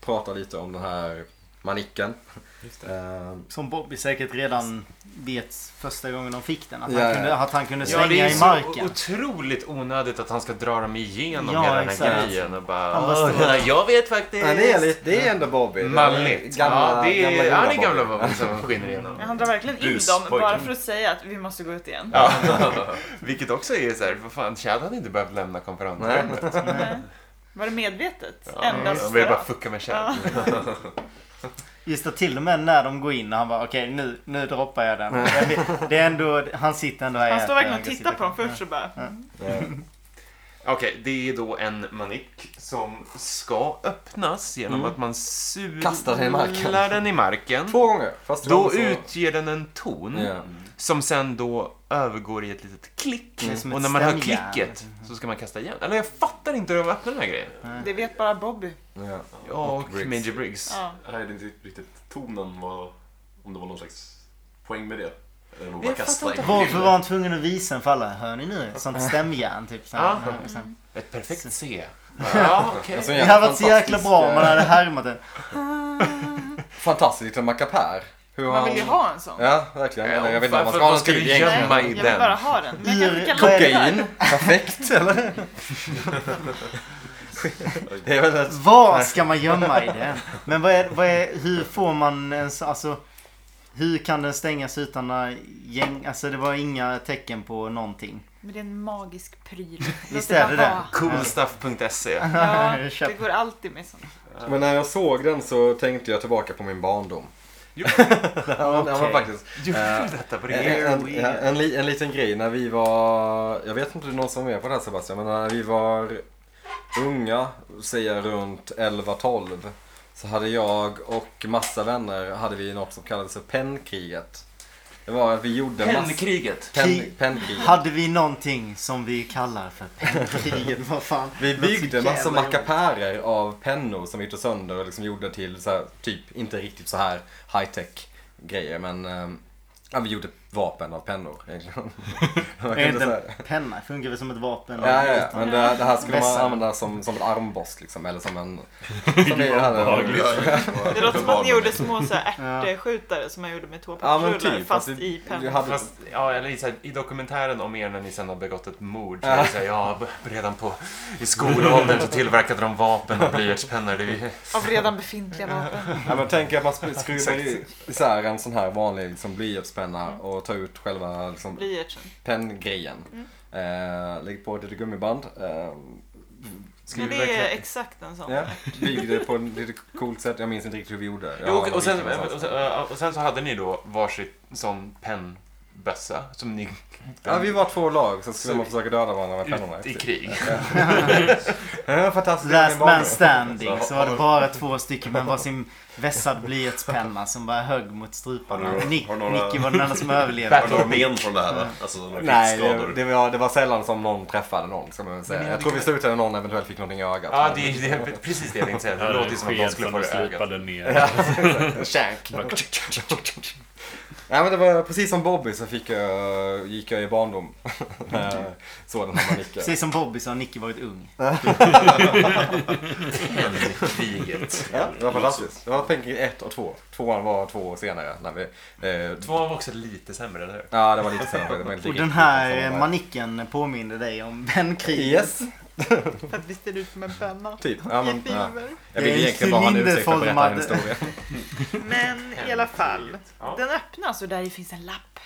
B: prata lite om den här manicken.
F: Just
B: Eh,
E: Som Bobby säkert redan vet första gången de fick den. Att han
B: Ja, ja.
E: kunde, att han kunde
F: Ja,
E: svänga
F: det är
E: i
F: så
E: marken.
F: otroligt onödigt att han ska dra dem igenom
E: Ja,
F: hela den här
E: exakt.
F: grejen och bara...
E: Han bara står där.
F: "Åh, jag vet faktiskt.
B: Men det är, lite, det är ändå Bobby. Det är
F: Malligt.
B: Gamla,
F: ja, det är
B: gamla,
F: ja, det är
B: goda
F: gamla
B: Bobby.
F: Bobby som skiner igenom.
C: Han drar verkligen in
A: Bus,
C: dem bara
A: pojken.
C: för att säga att vi måste gå ut igen.
F: Ja. Vilket också är så här, vad fan, Chad hade inte behövt lämna konferensrummet.
C: Nej. Var det medvetet?
F: Ja,
C: Enda
F: Han ville bara fucka med Chad.
C: Ja.
E: Just att till och med när de går in och han bara okej nu, nu droppar jag den. Jag vet- Det är ändå, han sitter ändå här
C: Han
E: och
C: står
E: äter,
C: verkligen och
E: kan
C: tittar
E: sitta
C: på dem
E: kvar.
C: först och bara...
F: Okej, det är då en manik som ska öppnas genom att man sular
B: Mm. Kastar den i marken.
F: den i marken.
B: Två gånger. Fast
F: Då
B: så-
F: utger den en ton
B: Ja.
F: som sen då övergår i ett litet klick.
B: Mm,
E: Det är som ett
F: Och när man hör
E: stämjärn.
F: klicket så ska man kasta igen. Eller jag fattar inte hur de öppnar den här grejen.
C: Det vet bara Bobby.
B: Ja.
F: Ja, och,
B: Briggs.
F: Major Briggs.
C: Ja.
A: Jag hörde inte riktigt tonen, var, om det var någon slags poäng med det. Eller om de bara
F: Jag fattar
A: kastade
F: inte.
A: in
E: Varför
A: bilder.
E: var han tvungen att visa den för alla? Hör ni nu? Sånt stämjärn typ. Så här.
F: Ja.
E: Och
B: Mm.
E: sen-
F: Ett perfekt C. Ja, okej.
B: Alltså,
E: Det hade varit så jäkla bra om man hade härmat den.
B: Fantastisk liten mackapär. Hur
C: Man vill ju
B: han-
C: ha en sån.
B: Ja, verkligen. Eller jag vet inte om man
F: Varför
B: ska ha
F: vad
B: något
F: ska du
B: kul egentligen.
F: gömma
C: Jag
F: i
C: vill
F: den?
C: bara ha den. Men jag
E: Ur-
C: kan skicka
B: Kokain. Perfekt, eller? det är väl ett...
E: Vad ska man gömma i den? Men vad är, vad är, hur får man en så- alltså hur kan den stängas utan några gäng? Alltså det var inga tecken på någonting.
C: Men det är en magisk pryl.
E: Visst
C: Låt
E: är det
C: bara
E: det?
C: vara.
F: Coolstuff.se.
C: Ja,
E: Köp.
C: det går alltid med sånt.
B: Men när jag såg den så tänkte jag tillbaka på min barndom.
F: Jo.
B: Ja, men- ja, men
E: Okej.
B: faktiskt.
F: Gjorde du detta på din
B: En, en,
F: Airwheel?
B: en, en, li- en liten grej när vi var, jag vet inte om det är någon som var med på det här Sebastian, men när vi var unga, säger jag runt 11-12, så hade jag och massa vänner, hade vi något som kallades för pennkriget. Det var att vi gjorde massa...
F: Pennkriget.
B: Pen, pennkriget.
E: Hade vi någonting som vi kallar för pennkriget? Vad fan?
B: Vi
E: Något så
B: byggde massa
E: jävla jobbigt.
B: mackapärer av pennor som vi tog sönder och liksom gjorde till så här, typ, inte riktigt så här high tech grejer men ehm, ja, vi gjorde vapen av pennor egentligen. Man kan
E: Är
B: inte
E: inte
B: säga det.
E: en penna funkar väl som ett vapen?
B: Ja, ja, ja. men det, det här skulle man
E: Vässar.
B: använda som, som en armborst liksom, eller som en... Som vi hade.
D: obehagligt.
C: Det låter som att ni gjorde små så här ärtskjutare som man gjorde med
B: Ja men
C: toapappersrullar
B: typ.
C: fast
B: att vi-
C: i
B: vi
C: pennan.
B: hade-
F: Fast, ja, eller i, så här, i dokumentären om er när ni sen har begått ett mord så är det så här, ja, b- redan på, i skolåldern så tillverkade de vapen och blyertspennor. Det är ju-
C: Av redan befintliga vapen.
B: Ja, men tänk att man skulle skruva i- isär en sån här vanlig liksom, blyertspenna och ta ut själva liksom,
C: Blyertsen.
B: penngrejen.
C: Mm.
B: Eh, lägg på ett litet gummiband. Eh,
C: Men
F: skriver
C: det
F: verkligen-
C: är exakt en sån.
B: ja. Bygg det på ett lite coolt sätt. Jag minns inte riktigt hur vi gjorde. Jag
F: Jo,
B: har
F: och,
B: en
F: och, sen,
B: bild någonstans.
F: och, sen, eh, och sen så hade ni då varsitt sån pennbössa som ni
B: Ja, vi var två lag så skulle
F: Så-
B: man försöka döda varandra med pennorna.
F: ut i krig.
B: Ja, fantastiskt.
E: Last
B: Min barndom.
E: man standing så var det bara två stycken med varsin vässad blyertspenna som bara högg mot struparna.
A: Har du-
E: Nick,
A: har några-
E: Nicky var den enda som
A: Har
E: överlevde.
A: du några men från det här? va? Alltså några
B: Nej,
A: krigsskador?
B: det, det, var, det var sällan som någon träffade någon ska man väl säga.
F: Men ni
B: Jag
F: hade
B: tror vi
F: kunnat-
B: slutade någon eventuellt fick någonting i ögat.
F: Ja, det är det, är precis det jag tänkte säga. Det låter ju som att de skulle få det i ögat.
D: slipade ner.
B: Shank. Nej men det var precis som Bobby så fick jag, gick jag i barndom. så den här manicken.
E: Precis som Bobby så har Nicky varit ung.
F: Kriget.
B: Ja, det var fantastiskt. Det var Penking 1 och 2. Tvåan var två år senare. När vi, eh,
F: Tvåan var också lite sämre, eller hur?
B: Ja, det var lite senare. Det var inte
E: Och
B: riktigt
E: den här
B: samma-
E: manicken påminner dig om vänkriget.
B: Yes,
C: För att vi ser ut som en penna.
B: typ. Ja, men,
C: I
B: ja.
C: filmer.
B: Jag vill
E: Det är
B: egentligen bara ha en ursäkt för att berätta en
E: cylinderformad.
B: historia.
C: Men i alla fall.
F: Ja.
C: Den öppnas och där i finns en lapp.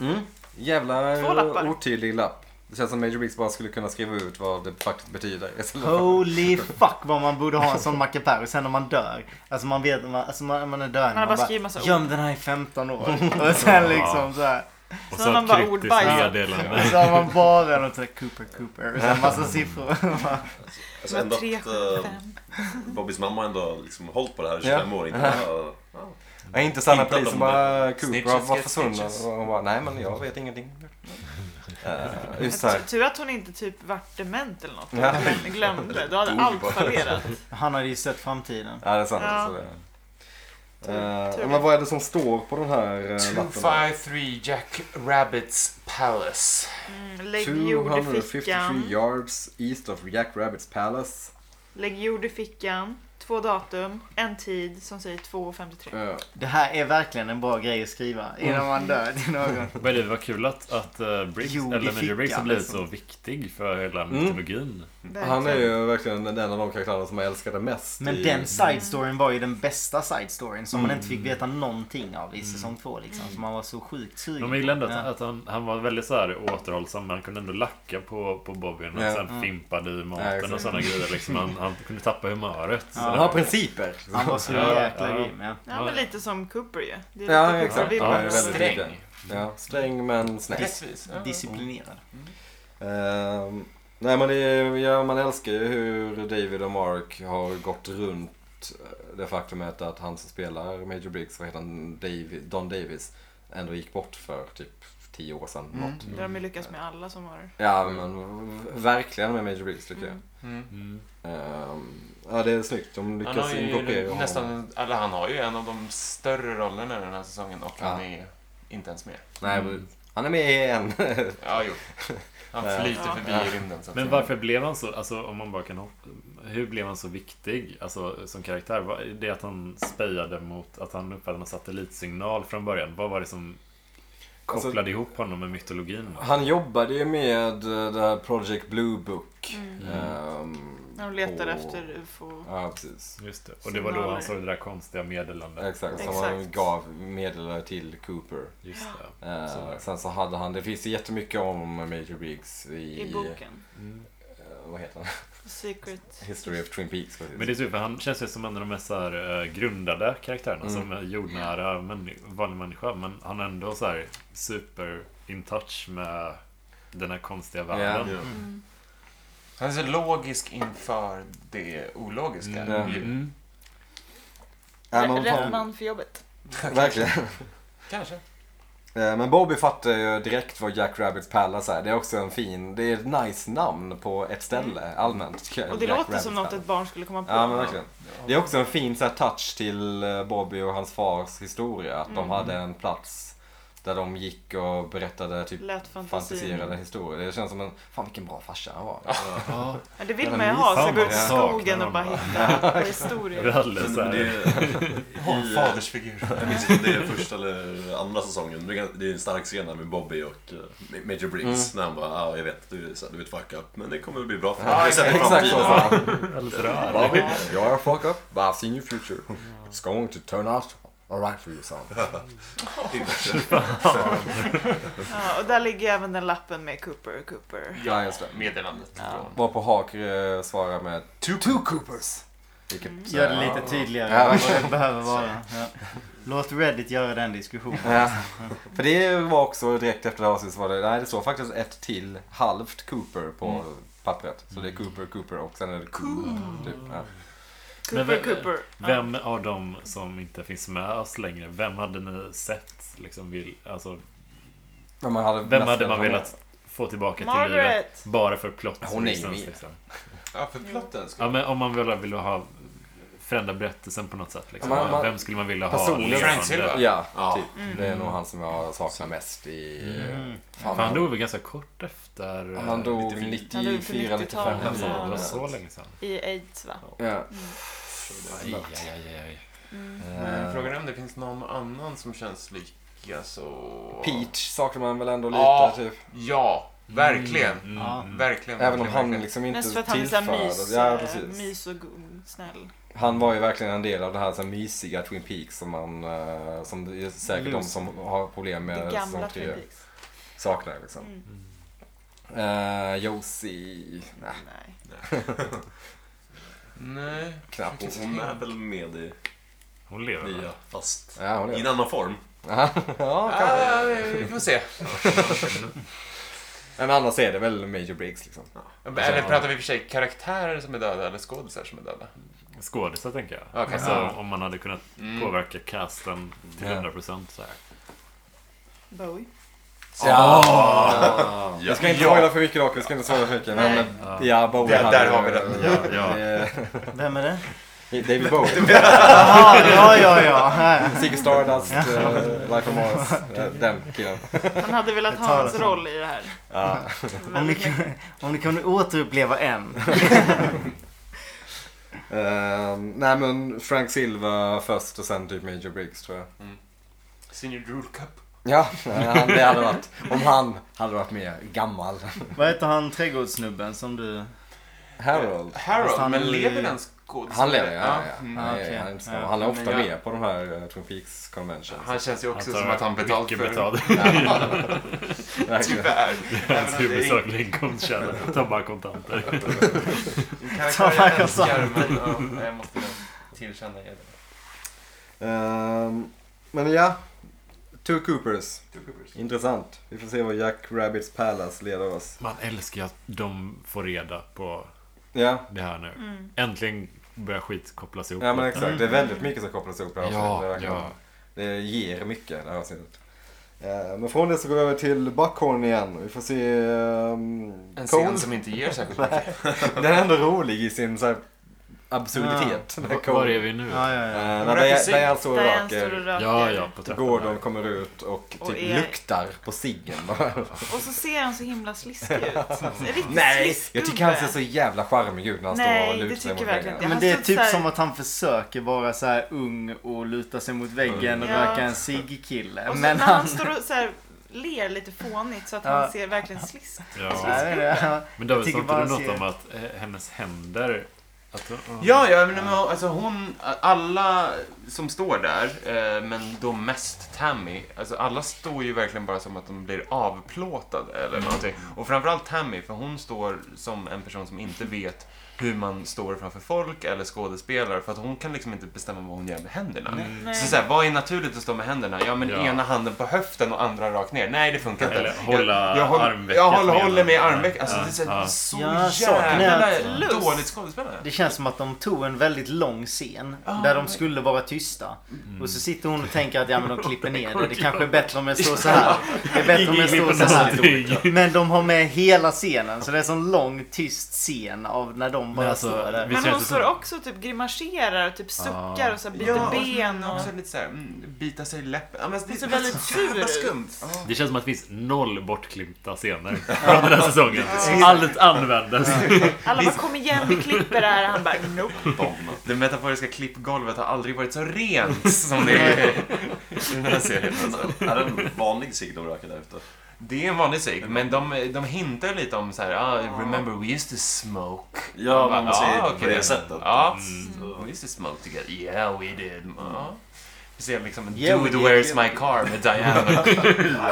B: Mm.
C: Två
B: Jävla
C: lappar.
B: otydlig lapp. Det känns som Major Briggs bara skulle kunna skriva ut vad det faktiskt betyder.
E: Holy fuck vad man borde ha en sån mackapär och sen när man dör. Alltså man vet, man, alltså man, man är död.
C: har bara skrivit massa ord.
E: Göm den här i 15 år. Och sen liksom så här.
D: Och
C: Så
D: så
C: har
D: ett
C: man bara
D: kryptiskt
C: ordbajsat.
D: meddelande.
E: Och så har man bara något sånt här Cooper Cooper. Och sen massa siffror.
A: Alltså,
C: Det
A: ändå
C: var
A: att
C: tre, sju,
A: eh,
C: fem.
A: Bobbys mamma ändå har liksom hållit på det här i 25 år. Inte bara, ja.
B: Ja, inte sanna
A: Inte
B: polis som
A: de-
B: bara "Ah, Cooper
F: Snitches
B: har var
F: get
B: försvunnen.
F: snitches.
B: Och hon bara, nej men jag vet ingenting. Uh, just så här.
C: Tur att hon inte typ vart dement eller något.
B: Ja.
C: Glöm- Glömde. Då hade allt fallerat.
E: Han hade ju sett framtiden.
B: Ja, det är sant.
C: Ja.
B: Så det, Eh, men vad är det som står på den här eh, lappen? då?
F: 253 Jack Rabbits Palace.
C: Mm, lägg jord i
B: 253
C: fickan.
B: yards east of Jack Rabbits Palace.
C: Lägg jord i fickan. Två datum, en tid som säger 2.53.
B: Eh,
E: Det här är verkligen en bra grej att skriva innan man dör till någon.
D: Men det var kul att, att eh, Briggs,
E: Jo,
D: eller
E: det
D: Major
E: fick
D: Briggs har
E: jag,
D: blivit
E: liksom.
D: så viktig för hela
B: Mm.
D: mytologin.
B: han är
C: liksom-
B: ju verkligen en av de karaktärerna som jag älskade mest.
E: Men
B: i...
E: den side storyn var ju den bästa side storyn som man inte fick veta någonting av i säsong två liksom. Så man var så sjukt sugen.
D: Men man gillade ändå att,
E: Ja.
D: att han, han var väldigt så här återhållsam. Men han kunde ändå lacka på, på Bobbyn och
B: Ja.
D: sen fimpade i
B: Ja,
D: maten
B: exakt.
D: och sådana grejer. Liksom. Han, han kunde tappa humöret. Så
B: Han
D: det
B: har
D: var-
B: principer.
E: Han var så
D: Ja,
E: jäkla
D: ja.
E: grym. Ja.
C: Ja, men lite som Cooper ju. Det är
B: Ja,
C: lite
B: exakt.
C: Cooper-vibbar.
B: Ja, det är väldigt
F: Sträng.
B: lika. Ja, sträng men snäll.
F: Rättvis. Ja.
E: Disciplinerad.
B: Ehm, nej men det, är- ja, man älskar ju hur David och Mark har gått runt eh, det faktumet att han som spelar Major Briggs, vad heter han, Davi- Don Davis, ändå gick bort för typ tio år sedan.
F: Mm.
B: Något.
C: Det har de ju lyckats med alla som har...
B: Ja men v- verkligen med Major Briggs tycker jag.
F: Mm.
D: Mm.
B: Ehm, ja det är snyggt, de
F: Han har
B: lyckas inkorporera
F: ju
B: honom.
F: nästan, eller han har ju en av de större rollerna den här säsongen och han
B: Ja.
F: är inte ens med.
B: Nej, men han är med i en.
F: Ja, jo. Han
B: Ja.
F: flyter
C: Ja.
F: förbi
B: Ja.
F: i rymden så att
D: Men
F: säga.
D: varför blev han så, alltså om man bara kan hoppa, hur blev han så viktig, alltså som karaktär? Var- Det att han spejade mot, att han uppfattade en satellitsignal från början. Vad var det som
B: Alltså-
D: kopplade ihop honom med mytologin? va?
B: Han jobbade ju med eh, det här Project Blue Book.
F: Mm.
B: ehm,
C: När de letar
B: på-
C: efter UFO.
B: Ja, precis.
D: Just det. Och det var då han såg det där konstiga meddelandet.
B: Exakt, som
C: Exakt.
B: han gav meddelande till Cooper.
D: Just det.
B: Eh,
D: Så var det.
B: sen så hade han, det finns ju jättemycket om Major Briggs i,
C: I boken.
B: eh, vad heter den?
C: Secret.
B: History of Twin Peaks. precis.
D: Men det är tur för han känns ju som en av de mest så här, eh, grundade karaktärerna
B: Mm.
D: som är jordnära män, vanlig människa. Men han är ändå så här super in touch med den här konstiga världen.
B: Ja.
F: Han är så logisk inför det ologiska.
B: Mm.
F: ju.
D: Mm.
B: Ja, men
C: Rätt
B: fan,
C: man för jobbet.
B: Verkligen.
F: Kanske.
B: Eh, Men Bobby fattar ju direkt vad Jack Rabbits Palace är. Det är också en fin, det är ett nice namn på ett ställe allmänt. tycker jag.
C: Mm. Och det
B: Jack
C: låter
B: Rabbits
C: som något
B: Palace.
C: ett barn skulle komma på.
B: Ja men verkligen. Det är också en fin så här, touch till eh, Bobby och hans fars historia. Att de hade en plats där de gick och berättade typ
C: Lät fantasin.
B: fantiserade historier. Det känns som en, fan vilken bra farsa han var.
D: Ja.
C: Ja, det vill
B: Jävla
C: man ju ha. Så
D: mysig.
C: gå ut i
D: Ja.
C: skogen
D: Saknar
C: och bara
D: honom.
C: hitta på
D: Det är
C: historier.
D: alldeles så
A: Men det,
D: här.
F: Ha en
A: i, eh,
F: fadersfigur.
A: jag minns inte om det är första eller andra säsongen. Det är- Det är en stark scen där med Bobby och eh, Major Briggs. När han bara, ja ah, jag vet, du, är så här, du är ett fuck up. Men det kommer att bli bra för dig.
F: Ja,
A: Vi sätter
F: exakt.
B: Exakt
A: framtiden.
B: så sa han.
D: Eller så där.
B: Bobby, you are a fuck up, but I've seen your future. It's going to turn out alright for you son.
C: Ja, och där ligger även den lappen med Cooper och Cooper.
B: Ja, just det.
F: Meddelandet från...
B: Var på Hawk eh, svarar med two, two Coopers. Vilket,
E: Gör det
B: eh,
E: lite tydligare
B: Ja,
E: vad det behöver vara. Ja. Låt Reddit göra den diskussionen.
B: Ja, för det var också direkt efter det här avsnittet så var det, nej det står faktiskt ett till halvt Cooper på
D: Mm.
B: pappret. Så det är Cooper, Cooper och sen är det Cool. Typ. Ja.
D: Men
C: Cooper
D: vem-
C: Cooper.
D: Vem av dem som inte finns med oss längre, vem hade ni sett? Liksom, vill, alltså,
B: Men man hade
D: vem
B: nästan-
D: hade man velat få tillbaka till livet?
C: Margaret!
D: Bara för plot
B: Hon är ju
D: reasons,
B: med.
D: liksom.
F: Ja, för plotten.
D: Ja, men om man vill, vill ha förändra berättelsen på något sätt. Liksom.
B: Ja, man- man-
D: vem skulle man vilja ha?
B: Personligen-
F: Frank Silva.
B: Ja,
A: Ja.
B: typ.
C: Mm.
B: Det är nog han som jag saknar mest i...
E: Mm.
B: Fan,
D: För han dog väl ganska kort efter... eh,
B: han dog
D: lite-
B: 94, 95
C: Ja,
D: Ja,
B: eller
D: så Det var
B: så.
D: så länge Mm. sedan.
C: I aids va?
B: Ja.
D: Aj, aj, aj, aj.
B: eh,
F: Men
D: Mm.
F: frågan är om det finns någon annan som känns lika så...
B: Peach saknar man väl ändå lite
F: Ja.
B: typ.
F: Ja, verkligen.
E: Ja.
F: Verkligen.
B: Mm. Även om
F: verkligen,
B: han
F: verkligen.
B: liksom
C: Mest
B: inte
C: för att han är så här
B: tillför.
C: mys,
B: Ja,
C: eh,
B: precis.
C: mys och go- snäll.
B: Han var ju verkligen en del av det här så här mysiga Twin Peaks som man, eh, som det är säkert de
E: Loose.
B: som har problem
C: Det
B: med
C: gamla
B: säsong
C: Twin
B: 3
C: Peaks.
B: saknar liksom.
C: Mm.
B: Eh, Josie, nej,
C: Nej.
F: Nej.
B: knappt.
A: Och Hon är väl med i
D: Hon lever va?
A: nya, fast
B: Ja, hon
A: i
B: är
A: en
B: det.
A: annan form.
B: ja, kanske.
F: Ah, vi får se.
B: Men annars är det väl Major Briggs liksom.
F: Eller pratar vi i och för sig karaktärer som är döda eller skådisar som är döda?
D: Skådisar tänker jag.
F: Okej.
D: Alltså,
F: Ja.
D: Om man hade kunnat
F: Mm.
D: påverka casten till
B: Ja.
D: 100% så här.
C: Bowie.
B: Ja. Jag ska inte
F: Ja.
B: spoila för mycket dock, jag ska inte spoila för mycket. Men
C: Nej.
B: eh, ja, Bowie
F: Där-
B: hade
F: där har
B: ju-
F: vi den.
D: Ja, ja.
B: Eh,
E: Vem är det?
B: David Bowie.
E: Jaha, ja, ja, ja.
B: Ziggy Stardust, eh, Life on Mars. eh, Den killen.
C: Han hade velat ha
E: tar
C: hans
E: det.
C: roll i det här.
B: Ja.
E: Om ni,
C: Väldigt mycket.
E: kunde, om ni kunde återuppleva en.
B: Eh, nej men Frank Silva först och sen typ Major Briggs tror jag.
F: Senior Drool Cup.
B: Ja, han, det hade varit. Om han hade varit mer gammal.
E: Vad heter han trädgårdssnubben som du...
B: Harold.
E: Fast
F: Harold,
E: han
F: men
E: är-
F: lever den skådespelaren?
B: Han lever, ja. ja.
F: Mm.
B: Han, är,
E: okej.
B: han, är inte snabb.
E: Ja,
B: han är
F: men
B: ofta
F: jag-
B: med på de här eh, Twin Peaks Conventions.
F: Han känns ju också
D: tar
F: som att han betalt för
D: mycket
F: det.
D: betalt.
B: Verkligen.
F: Tyvärr.
D: Hans
F: Även om det är ingen-
D: huvudsakliga inkomstkälla. Ta bara kontanter.
F: en
E: Ta
F: karaktär
E: vad
F: jag
E: jag sa.
F: älskar, men ja, jag måste nog tillkänna er det.
B: Ehm, men ja, Two Coopers. Intressant. Vi får se vad Jack Rabbits Palace leder oss.
D: Man älskar ju att de får reda på
B: Ja,
D: det här nu.
C: Mm.
D: Äntligen börjar skit kopplas ihop.
B: ja men exakt. Det är väldigt mycket som kopplas ihop i det här
D: Ja,
B: avsnittet. Det är verkligen-
D: ja.
B: Det ger mycket det här avsnittet. Eh, Men från det så går vi över till Buckhorn igen. Vi får se ehm,
F: En
B: Cole.
F: scen som inte ger särskilt mycket.
B: Den är ändå rolig i sin så här absurditet. Ja.
D: Var är vi nu?
E: Ja, ja, ja.
B: Eh,
F: Hon
B: när
F: röker
B: Dian-
F: cigg.
B: Diane står och
C: Diane står och
B: röker.
C: röker.
D: Ja, ja, på trappan.
B: Gordon kommer ut och typ
C: Och är-
B: luktar på ciggen.
C: Och så ser han så himla sliskig ut. En riktig
B: Nej,
C: sliskgubbe.
B: jag tycker han ser så jävla charmig ut när han
C: Nej,
B: står och
C: det
B: lutar sig
C: tycker
B: mot
C: jag
B: väggarna.
C: verkligen inte.
E: Men
C: han
E: det är
C: stod
E: typ
C: Alltså så här-
E: som att han försöker vara så här ung och luta sig mot väggen och
C: Ja.
E: röka en ciggkille.
C: Och så
E: Men
C: när han
E: han...
C: står och så här, ler lite fånigt så att
E: Ja.
C: han ser verkligen sliskig
D: Ja.
E: Nej, det är-
D: Men David,
E: Jag
D: sa inte
E: tycker
D: du
E: bara
D: något
E: ser-
D: om att eh, hennes händer... Att,
F: Ja, ja men, men, alltså hon, alla som står där, eh, men då mest Tammy, alltså alla står ju verkligen bara som att de blir avplåtade
D: Mm.
F: eller någonting. Och framförallt Tammy, för hon står som en person som inte vet hur man står framför folk eller skådespelar för att hon kan liksom inte bestämma vad hon gör med händerna.
C: Nej.
F: Så, så här, vad är naturligt att stå med händerna? Ja, men
D: Ja.
F: ena handen på höften och andra rakt ner. Nej, det funkar inte.
D: Eller hålla
F: jag, jag, håller,
D: armvecket
F: jag håller,
D: med
F: håller med i
D: ena.
F: armvecket. Alltså,
D: Ja,
F: det är så, här,
D: ja.
F: så
E: Ja, saken är
F: jävla
E: att-
C: Lust.
F: dåligt skådespelare.
E: Det känns som att de tog en väldigt lång scen
C: Ah,
E: där de skulle vara tysta.
D: Mm.
E: Och så sitter hon och tänker att ja, men de klipper ner det. Det kanske är bättre om jag står så här. Det är bättre om jag står så här. Men de har med hela scenen. Så det är en sån lång tyst scen av när de bara
D: Men alltså,
E: står där.
D: vi- Visst
C: Men
D: känns
C: hon
D: det
C: står
D: så?
C: också och typ grimaserar och typ suckar och så här, byter
F: Ja, och
C: ben och...
F: också lite såhär, mm, bita sig i läppen. Ja, men det,
C: Hon ser väldigt sur
F: jävla
C: ut.
F: skumt.
D: Det känns som att det finns noll bortklippta scener från den här säsongen. Allt användes.
C: Alla bara kom igen vi klipper det här. Han bara nope.
F: Bomb. Det metaforiska klippgolvet har aldrig varit så rent som det är i den här serien. Alltså.
A: Är det en vanlig cigg de röker där ute?
F: Det är en vanlig cigg, men de, de hintar lite om så här, ah, remember we used to smoke.
A: Ja,
F: Man
A: man
F: bara,
A: säger
F: "Ah,
A: det på
F: okej."
A: det sättet.
F: Ja,
C: Mm.
F: we used to smoke together. Yeah, we did. Ja. Vi ser liksom en
E: Yeah, we
F: Dude
E: did.
F: Where's My Car med Diana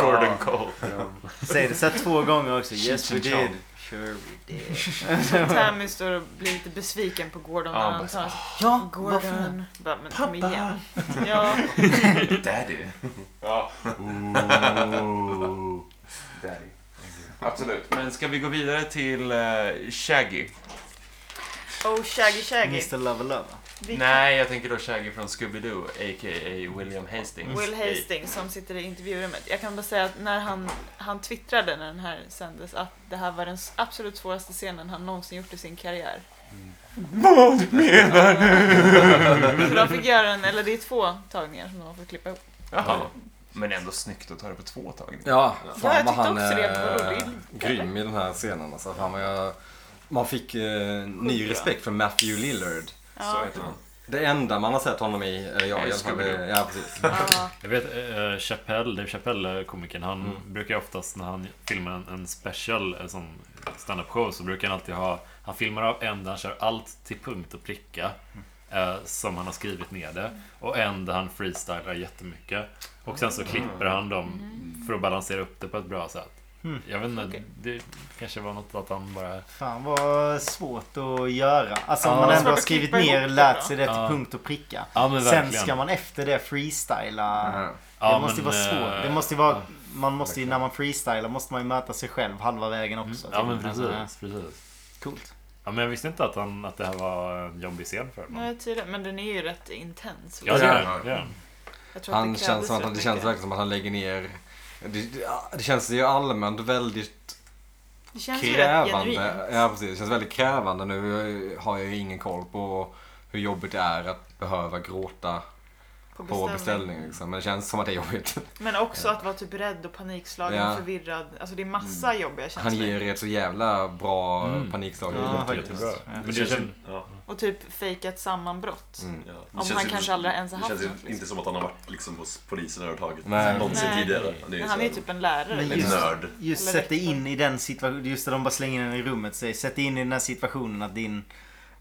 F: och Gordon Cole.
E: Säger det så här två gånger också. Yes we
F: and
E: did.
F: John.
E: Sure we did.
C: Tammy står och blir lite besviken på Gordon när
F: Ja,
C: han
F: bara,
C: tar
E: Ja, varför?
C: Gordon. Bara, men kom igen. Ja,
F: Daddy. Ja. Daddy. Absolut. Men ska vi gå vidare till eh, Shaggy?
C: oh shaggy shaggy.
E: Mr Lover Lover.
C: Vi-
F: Nej, jag tänker då Shaggy från Scooby-Doo, a.k.a. William Hastings.
C: Will Hastings som sitter i intervjurummet. Jag kan bara säga att när han, han twittrade när den här sändes att det här var den s- absolut svåraste scenen han någonsin gjort i sin karriär. Mm. Vad menar du? För de fick göra en, eller det är två tagningar som de har fått klippa ihop.
F: Jaha. Men ändå snyggt att ta det på två tagningar.
B: Ja,
C: Ja,
B: fan
C: jag
B: vad han
C: tyckte också det, men vadå, det är
B: är
C: lite-
B: grym i den här scenen. Alltså, fan vad jag, man fick eh, ny
C: Sjukt,
B: respekt för Matthew Lillard.
C: Ja,
F: heter han.
B: Det enda man har sett honom i, eller jag i alla fall, det- ja, precis.
C: ja.
D: Jag vet eh, Chappelle, Dave Chappelle, eh, komikern, han brukar ju oftast när han filmar en, en special, en sån stand-up show så brukar han alltid ha, han filmar av en där han kör allt till punkt och pricka eh, som han har skrivit ner det och en där han freestylar jättemycket och sen så klipper han dem för att balansera upp det på ett bra sätt. Jag vet inte,
C: Okej.
D: det kanske var något att han bara...
E: Fan vad svårt att göra. Alltså om
D: Ja.
E: man
D: Svårt
E: ändå har
C: att
E: skrivit
C: klippa ihop
E: ner
C: det
E: och
C: då.
E: lärt sig det till
D: Ja.
E: punkt och pricka.
D: Ja men
E: Sen
D: verkligen.
E: ska man efter det freestyla.
D: ja,
E: det måste ju
D: men,
E: vara svårt. Det
D: eh,
E: måste ju vara... Man måste ju, när man freestylar måste man ju möta sig själv halva vägen också.
D: Mm. Ja men
E: Alltså,
D: precis, precis.
E: Coolt.
D: Ja, men jag visste inte att, han, att det här var en jobbig scen för honom.
C: Nej, tydligen. Men den är ju rätt intens.
D: Ja, det är han. det är han.
C: Jag tror att
B: Han
C: det
B: känns
C: krävdes
B: som att han,
C: rätt
B: det känns
C: mycket.
B: verkligen som att han lägger ner det, det, det känns ju allmänt väldigt
C: Det känns ju rätt genuint.
B: krävande. Ja, precis. Det känns väldigt krävande. eh, Nu har jag ju ingen koll på hur jobbigt det är att behöva gråta på beställning. Liksom. Men det känns som att det är jobbigt.
C: Men också att vara typ rädd och panikslagen
B: Ja. Mm.
C: och förvirrad. Alltså det är massa jobbiga känslor.
B: Han ger ett så jävla bra
F: Mm.
B: panikslag.
E: Ja, faktiskt.
D: Jättebra.
E: Ja.
D: Men det känns,
A: Ja,
C: Och typ fejkat sammanbrott.
B: Mm.
A: ja. Det
C: han
A: känns ju-
C: kanske aldrig ens har
A: det
C: haft
A: känns ju
C: något, liksom.
A: inte som att han har varit liksom, hos polisen överhuvudtaget
B: Nej.
A: någonsin
C: Nej.
A: tidigare. Det
C: Men
A: så
C: han är
A: här-
C: ju typ en lärare.
E: Men
A: En
E: Just-
A: nörd.
E: Just
C: Eller
E: sätt dig
C: rektorn.
E: in i den situationen. Just det, de bara slänger in den i rummet. Säg, sätt dig in i den här situationen att din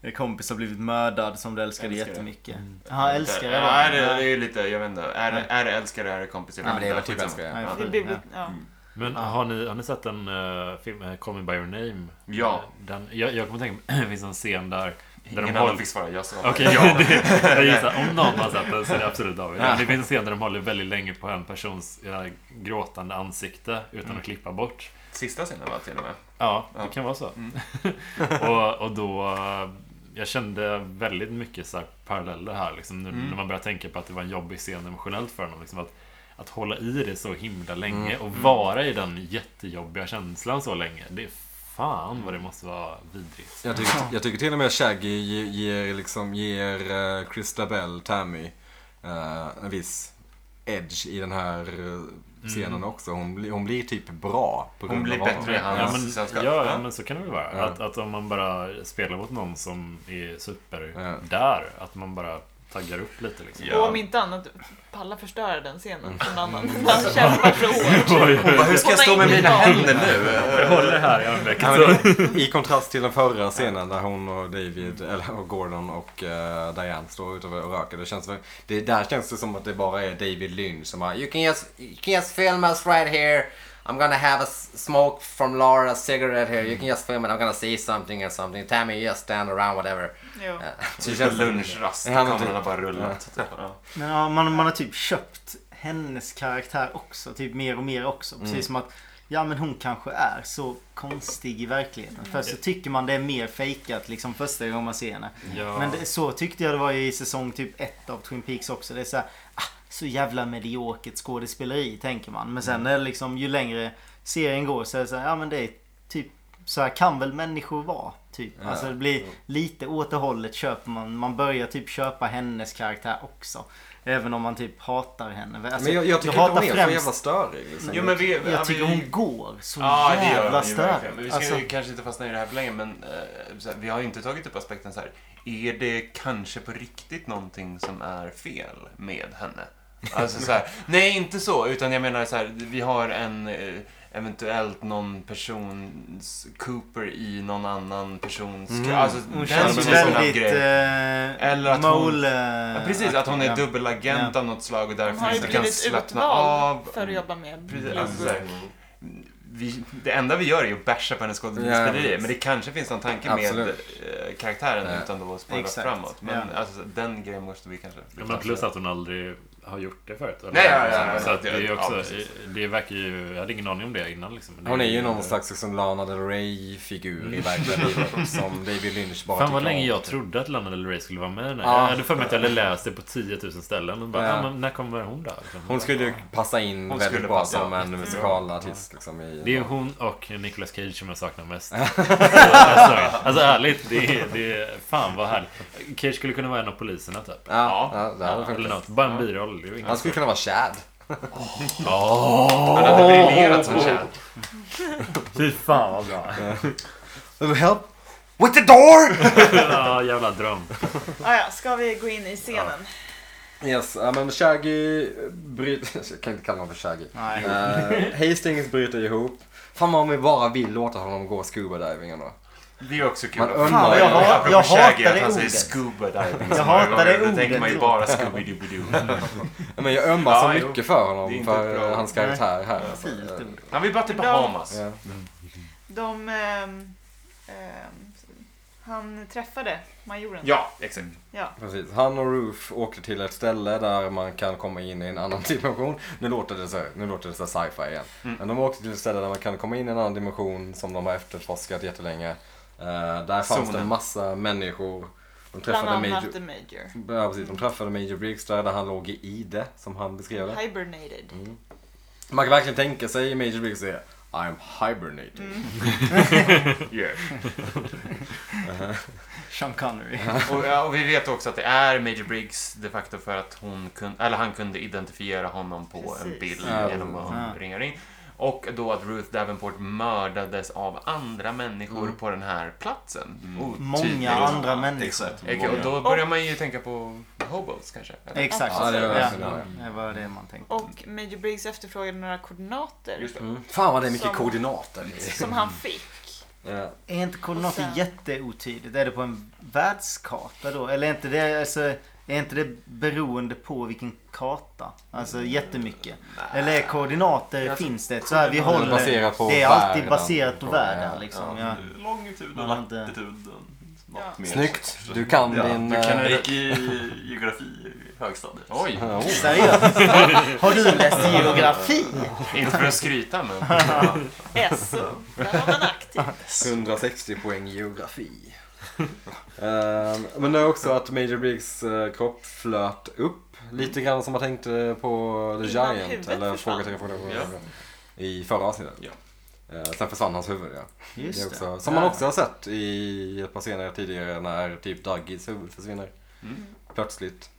E: eh, kompis har blivit mördad som du älskade
F: Älskar det.
E: jättemycket.
D: Mm.
E: Ja, älskar det.
F: Ja, är det, det är ju lite, jag vet inte. Är, det- är det älskare, är det kompis? Jag
B: Nej, men det är väl
F: vet
B: typ
F: inte.
B: älskare.
E: Nej,
C: Det
E: fan,
C: blir,
E: ja.
C: ja.
D: men har ni, har ni sett en uh, film, eh, Call Me By Your Name?
F: Ja.
D: Den, jag, jag kommer tänka mig, det finns en scen där, där de
F: Ingen
D: håller...
F: annan fick svara. Jag sa bara,
D: Okej,
F: ja.
D: det- jag gissar om någon har sett den så är det absolut David. Men Det finns en scen där de håller väldigt länge på en persons eh, gråtande ansikte utan att klippa bort.
F: Sista scenen var till och med.
D: Ja,
F: Ja.
D: det kan vara så. och, och då... eh, Jag kände väldigt mycket så här paralleller här. Liksom, nu, När man börjar tänka på att det var en jobbig scen emotionellt för honom. Liksom, att, att hålla i det så himla länge och vara i den jättejobbiga känslan så länge. Det är fan vad det måste vara vidrigt.
B: Jag tycker, jag tycker till och med Shaggy ge- ger, liksom, ger eh, Christabel, Tammy, eh, en viss edge i den här eh, scenen också. Hon, blir- hon blir typ bra på grund
F: Mm. Hon blir
B: av honom.
F: bättre i
D: Ja
F: hans
D: men,
F: sällskap.
D: ja, ja, men så kan det väl vara.
B: Ja.
D: Att, att om man bara spelar mot någon som är super
B: Ja.
D: där, att man bara taggar upp lite liksom.
F: Ja.
C: Och om inte annat, palla förstöra den scenen för någon
B: Mm.
C: annan. Han kämpar så hårt.
F: Hur ska jag stå med mina händer nu?
D: Jag håller här i armvecket.
B: Ja, men I kontrast till den förra scenen där hon och David, eller och Gordon och eh, Diane står ute och röker. Det känns, väl- det, där känns det som att det bara är David Lynch som bara You can just, you can just film us right here. I'm gonna have a s- smoke from Laura's cigarette here. You can just film it. I'm gonna say something or something. Tammy just stand around whatever.
C: Jo.
F: Typ en lunchrast.
B: Ja, men
F: Kameran har
B: typ.
F: bara rullat. Ja.
E: Men ja, man, man har typ köpt hennes karaktär också. Typ mer och mer också. Precis
D: Mm.
E: som att Ja men hon kanske är så konstig i verkligheten. Först så tycker man det är mer fejkat liksom första gången man ser henne.
D: Ja.
E: Men det, så tyckte jag det var i säsong typ ett av Twin Peaks också. Det är så här, ah, så jävla mediokert skådespeleri tänker man. Men sen
F: Mm.
E: när det liksom, ju längre serien går så är det så här, ja men det är typ så här kan väl människor vara. Typ. Alltså det blir lite åt det hållet köper man. Man börjar typ köpa hennes karaktär också. Även om man typ hatar henne. Alltså,
B: störig. liksom.
F: Jo, men vi, ja,
E: Jag tycker
F: vi-
E: hon går så
F: Ja, det gör
E: jävla
F: den ju verkligen.
E: störigt.
F: Men vi ska
E: Alltså,
F: ju kanske inte fastna i det här för länge, men eh, så här, vi har ju inte tagit upp aspekten så här. Är det kanske på riktigt någonting som är fel med henne? Alltså så här, nej inte så, utan jag menar så här, vi har en eh, eventuellt någon persons Cooper i någon annan persons... Alltså,
E: Mm. hon
F: den
E: känns
F: typen av
E: väldigt...
F: grej.
E: Eh,
F: Eller att hon-
E: mole-
F: Ja, precis, att hon är
E: ja.
F: dubbelagent av något slag och
C: Han
F: därför
C: har ju
F: inte kan
C: blivit
F: slappna
C: utvald
F: av.
C: för att jobba med
F: Precis,
C: Blue
F: alltså, så här, vi, det enda vi gör är ju att basha på hennes skådespeleri.
B: Ja,
F: men det kanske finns någon tanke
B: Absolut.
F: med eh, karaktären
B: Ja.
F: utan då att spoila
E: Exakt.
F: framåt. Men
E: Ja.
F: alltså, den grejen måste vi kanske...
D: Ja, men plus att hon aldrig har gjort det förut. eller?
F: Nej, ja, ja, ja.
D: så att det är ju
F: Ja,
D: också,
F: precis.
D: det verkar ju, jag hade ingen aning om det innan liksom. Men det
B: Hon är ju någon slags liksom Lana Del Rey-figur i verkliga livet som David Lynch bara
D: Fan vad
B: tycker
D: länge
B: om.
D: jag trodde att Lana Del Rey skulle vara med i den här.
B: Ja.
D: Jag hade för mig att jag hade läst det på 10 000 ställen. Och bara,
B: Ja.
D: ja. men när kommer hon då? Liksom.
B: Hon skulle ju passa in
F: Hon
B: väldigt
F: skulle
B: bra
F: passa,
B: som
F: ja.
B: en musikalartist. Liksom, i,
D: Det är hon och Nicolas Cage som jag saknar mest. alltså, alltså ärligt, det är, det är, fan vad härligt. Cage skulle kunna vara en av poliserna typ.
B: Ja, ja, det hade
D: Eller
B: faktiskt. Alltså-
D: något, bara en biroll. Det är ju inget.
B: Han skulle kunna vara Chad.
F: Han hade briljerat som Chad.
D: Fy fan vad bra.
B: Help! With the door!
D: ja, jävla dröm.
C: Ah, ja, ska vi gå in i scenen?
B: Yes, ja, men Shaggy bryter... Jag kan inte kalla honom för Shaggy.
E: Nej.
B: Uh, Hastings bryter ihop. Fan vad om vi bara vill låta honom gå scuba diving ändå.
F: Det är också kul.
B: Man
F: att-
B: undrar-
F: Fan,
E: jag hat-
F: apropå
E: jag
F: Shaggy,
E: hatar
F: att
E: det
F: han säger
E: ordet.
F: scuba diving.
E: Jag
F: så många
E: hatar det
F: gånger. Då tänker man ju
E: ordet.
F: bara Scooby-Doo.
B: Ja, Men jag ömmar så
F: Ja, jo.
B: mycket för
F: Det är
B: honom,
F: inte
B: för
F: ett bra
B: eh,
F: ord.
B: hans karaktär här. alltså.
E: Fint ord.
F: Han vill bara till Bahamas.
B: Ja.
C: De... ehm, ehm, han träffade majoren.
F: Ja, exakt.
C: Ja.
B: Precis. Han och Roof åkte till ett ställe där man kan komma in i en annan dimension. Nu låter det så, nu låter det så sci-fi igen.
A: Mm.
B: Men de åkte till ett ställe där man kan komma in i en annan dimension som de har efterforskat jättelänge. Eh, där fanns det
F: Zonen.
B: en massa människor. De
C: Bland
B: träffade,
C: annat The
B: Major,
C: Major.
B: ja, precis, de träffade Major Briggs där, där han låg i ide, som han beskrev det. Mm.
C: Hibernated.
B: Man kan verkligen tänka sig Major Briggs är I'm hibernating.
F: Yeah.
E: Sean Connery.
F: Och, ja, och vi vet också att det är Major Briggs de facto för att hon kun, eller han kunde identifiera honom på en
C: Precis.
F: bild
B: Ja.
F: genom att
E: Ja.
F: ringa in. Och då att Ruth Davenport mördades av andra människor på den här platsen. Oh,
E: Många
F: Otydligt.
E: andra människor.
A: Exakt.
F: Okej, och då börjar man ju tänka på hobos kanske. eller?
E: Exakt.
B: Ja, det var
E: ja.
B: verkligen det.
E: det var det man tänkte.
C: Och Major Briggs efterfrågade några koordinater
F: Just det.
B: Mm. Fan vad det är mycket
C: Som-
B: koordinater. Eh,
C: som han fick.
B: Ja.
E: Är inte koordinater
C: Och sen-
E: jätteotydligt? Är det på en världskarta då? Eller är inte det, alltså, är inte det beroende på vilken karta? Alltså
B: Mm.
E: jättemycket. Eller är koordinater
F: Jag tror-
E: finns det? Så här, vi håller...
B: Baserat på
E: det är alltid
B: världen.
E: baserat på
B: Ja,
E: världen
B: ja.
E: liksom. Ja.
A: Longituden,
E: Man har inte-
A: latituden. något mer.
B: Snyggt. Du kan
A: Ja,
B: din...
A: Du kan
B: eh,
A: jag gick i geografi i högstadiet.
F: Oj,
B: oh.
E: Seriöst? Har du läst geografi?
F: inte för att skryta men.
C: SO, där var man aktiv.
B: 160 poäng geografi. Ehm, men det är också att Major Briggs eh, kropp flöt upp. Lite grann som man tänkte på The
C: Innan
B: Giant.
C: huvudet
B: Eller
C: försvann.
B: fråga till fråga, fråga,
F: Ja.
B: fråga. I förra avsnittet.
A: Ja.
B: Eh, sen försvann hans huvud ja. Det är
E: Just det.
B: också, som man också har sett i ett par scener tidigare när typ Duggies huvud försvinner. Plötsligt.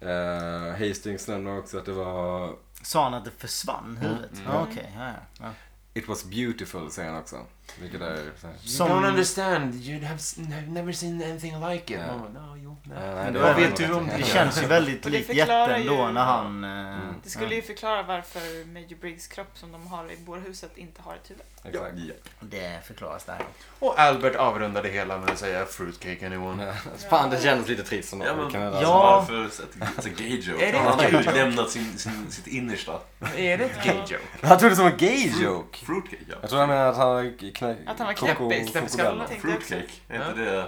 B: Eh, Hastings nämner också att det var
E: Sa han att det försvann huvudet?
F: Mm.
E: Ja, Okej, ja, ja.
B: It was beautiful säger han också. Vilket är så här.
F: You don't
E: Som,
F: understand, you have s- no- never seen anything like it.
B: Ja.
F: Man bara, no, jo, nej.
B: Eh, nej,
E: Men
B: det
E: då
B: var
E: vet
B: något
F: du om
B: annat.
E: det känns ju väldigt
C: Och det
E: likt
C: förklarar
E: jätten då
C: ju-
E: när han... eh,
C: Det skulle ju förklara varför Major Briggs kropp som de har i bårhuset inte har ett huvud.
B: Exakt.
A: Ja.
E: Det förklaras där.
F: Och Albert avrundade hela med att säga fruitcake anyone.
B: Fan det kändes lite trist som
A: Ja, men-
B: kan
A: Alltså,
B: jag-
E: Ja.
A: Varför sätter alltså, gay joke?
F: Är det
A: Han har
F: ett gay joke?
A: utlämnat sin, sin, sitt innersta.
F: Är det ett gay joke?
B: Han trodde det var en gay joke.
A: Fruitcake, ja.
B: Jag tror han menade att han knä...
C: Att han var
B: koko-
C: knäppis.
B: kokobella.
C: tänkte
A: Fruitcake, är inte det...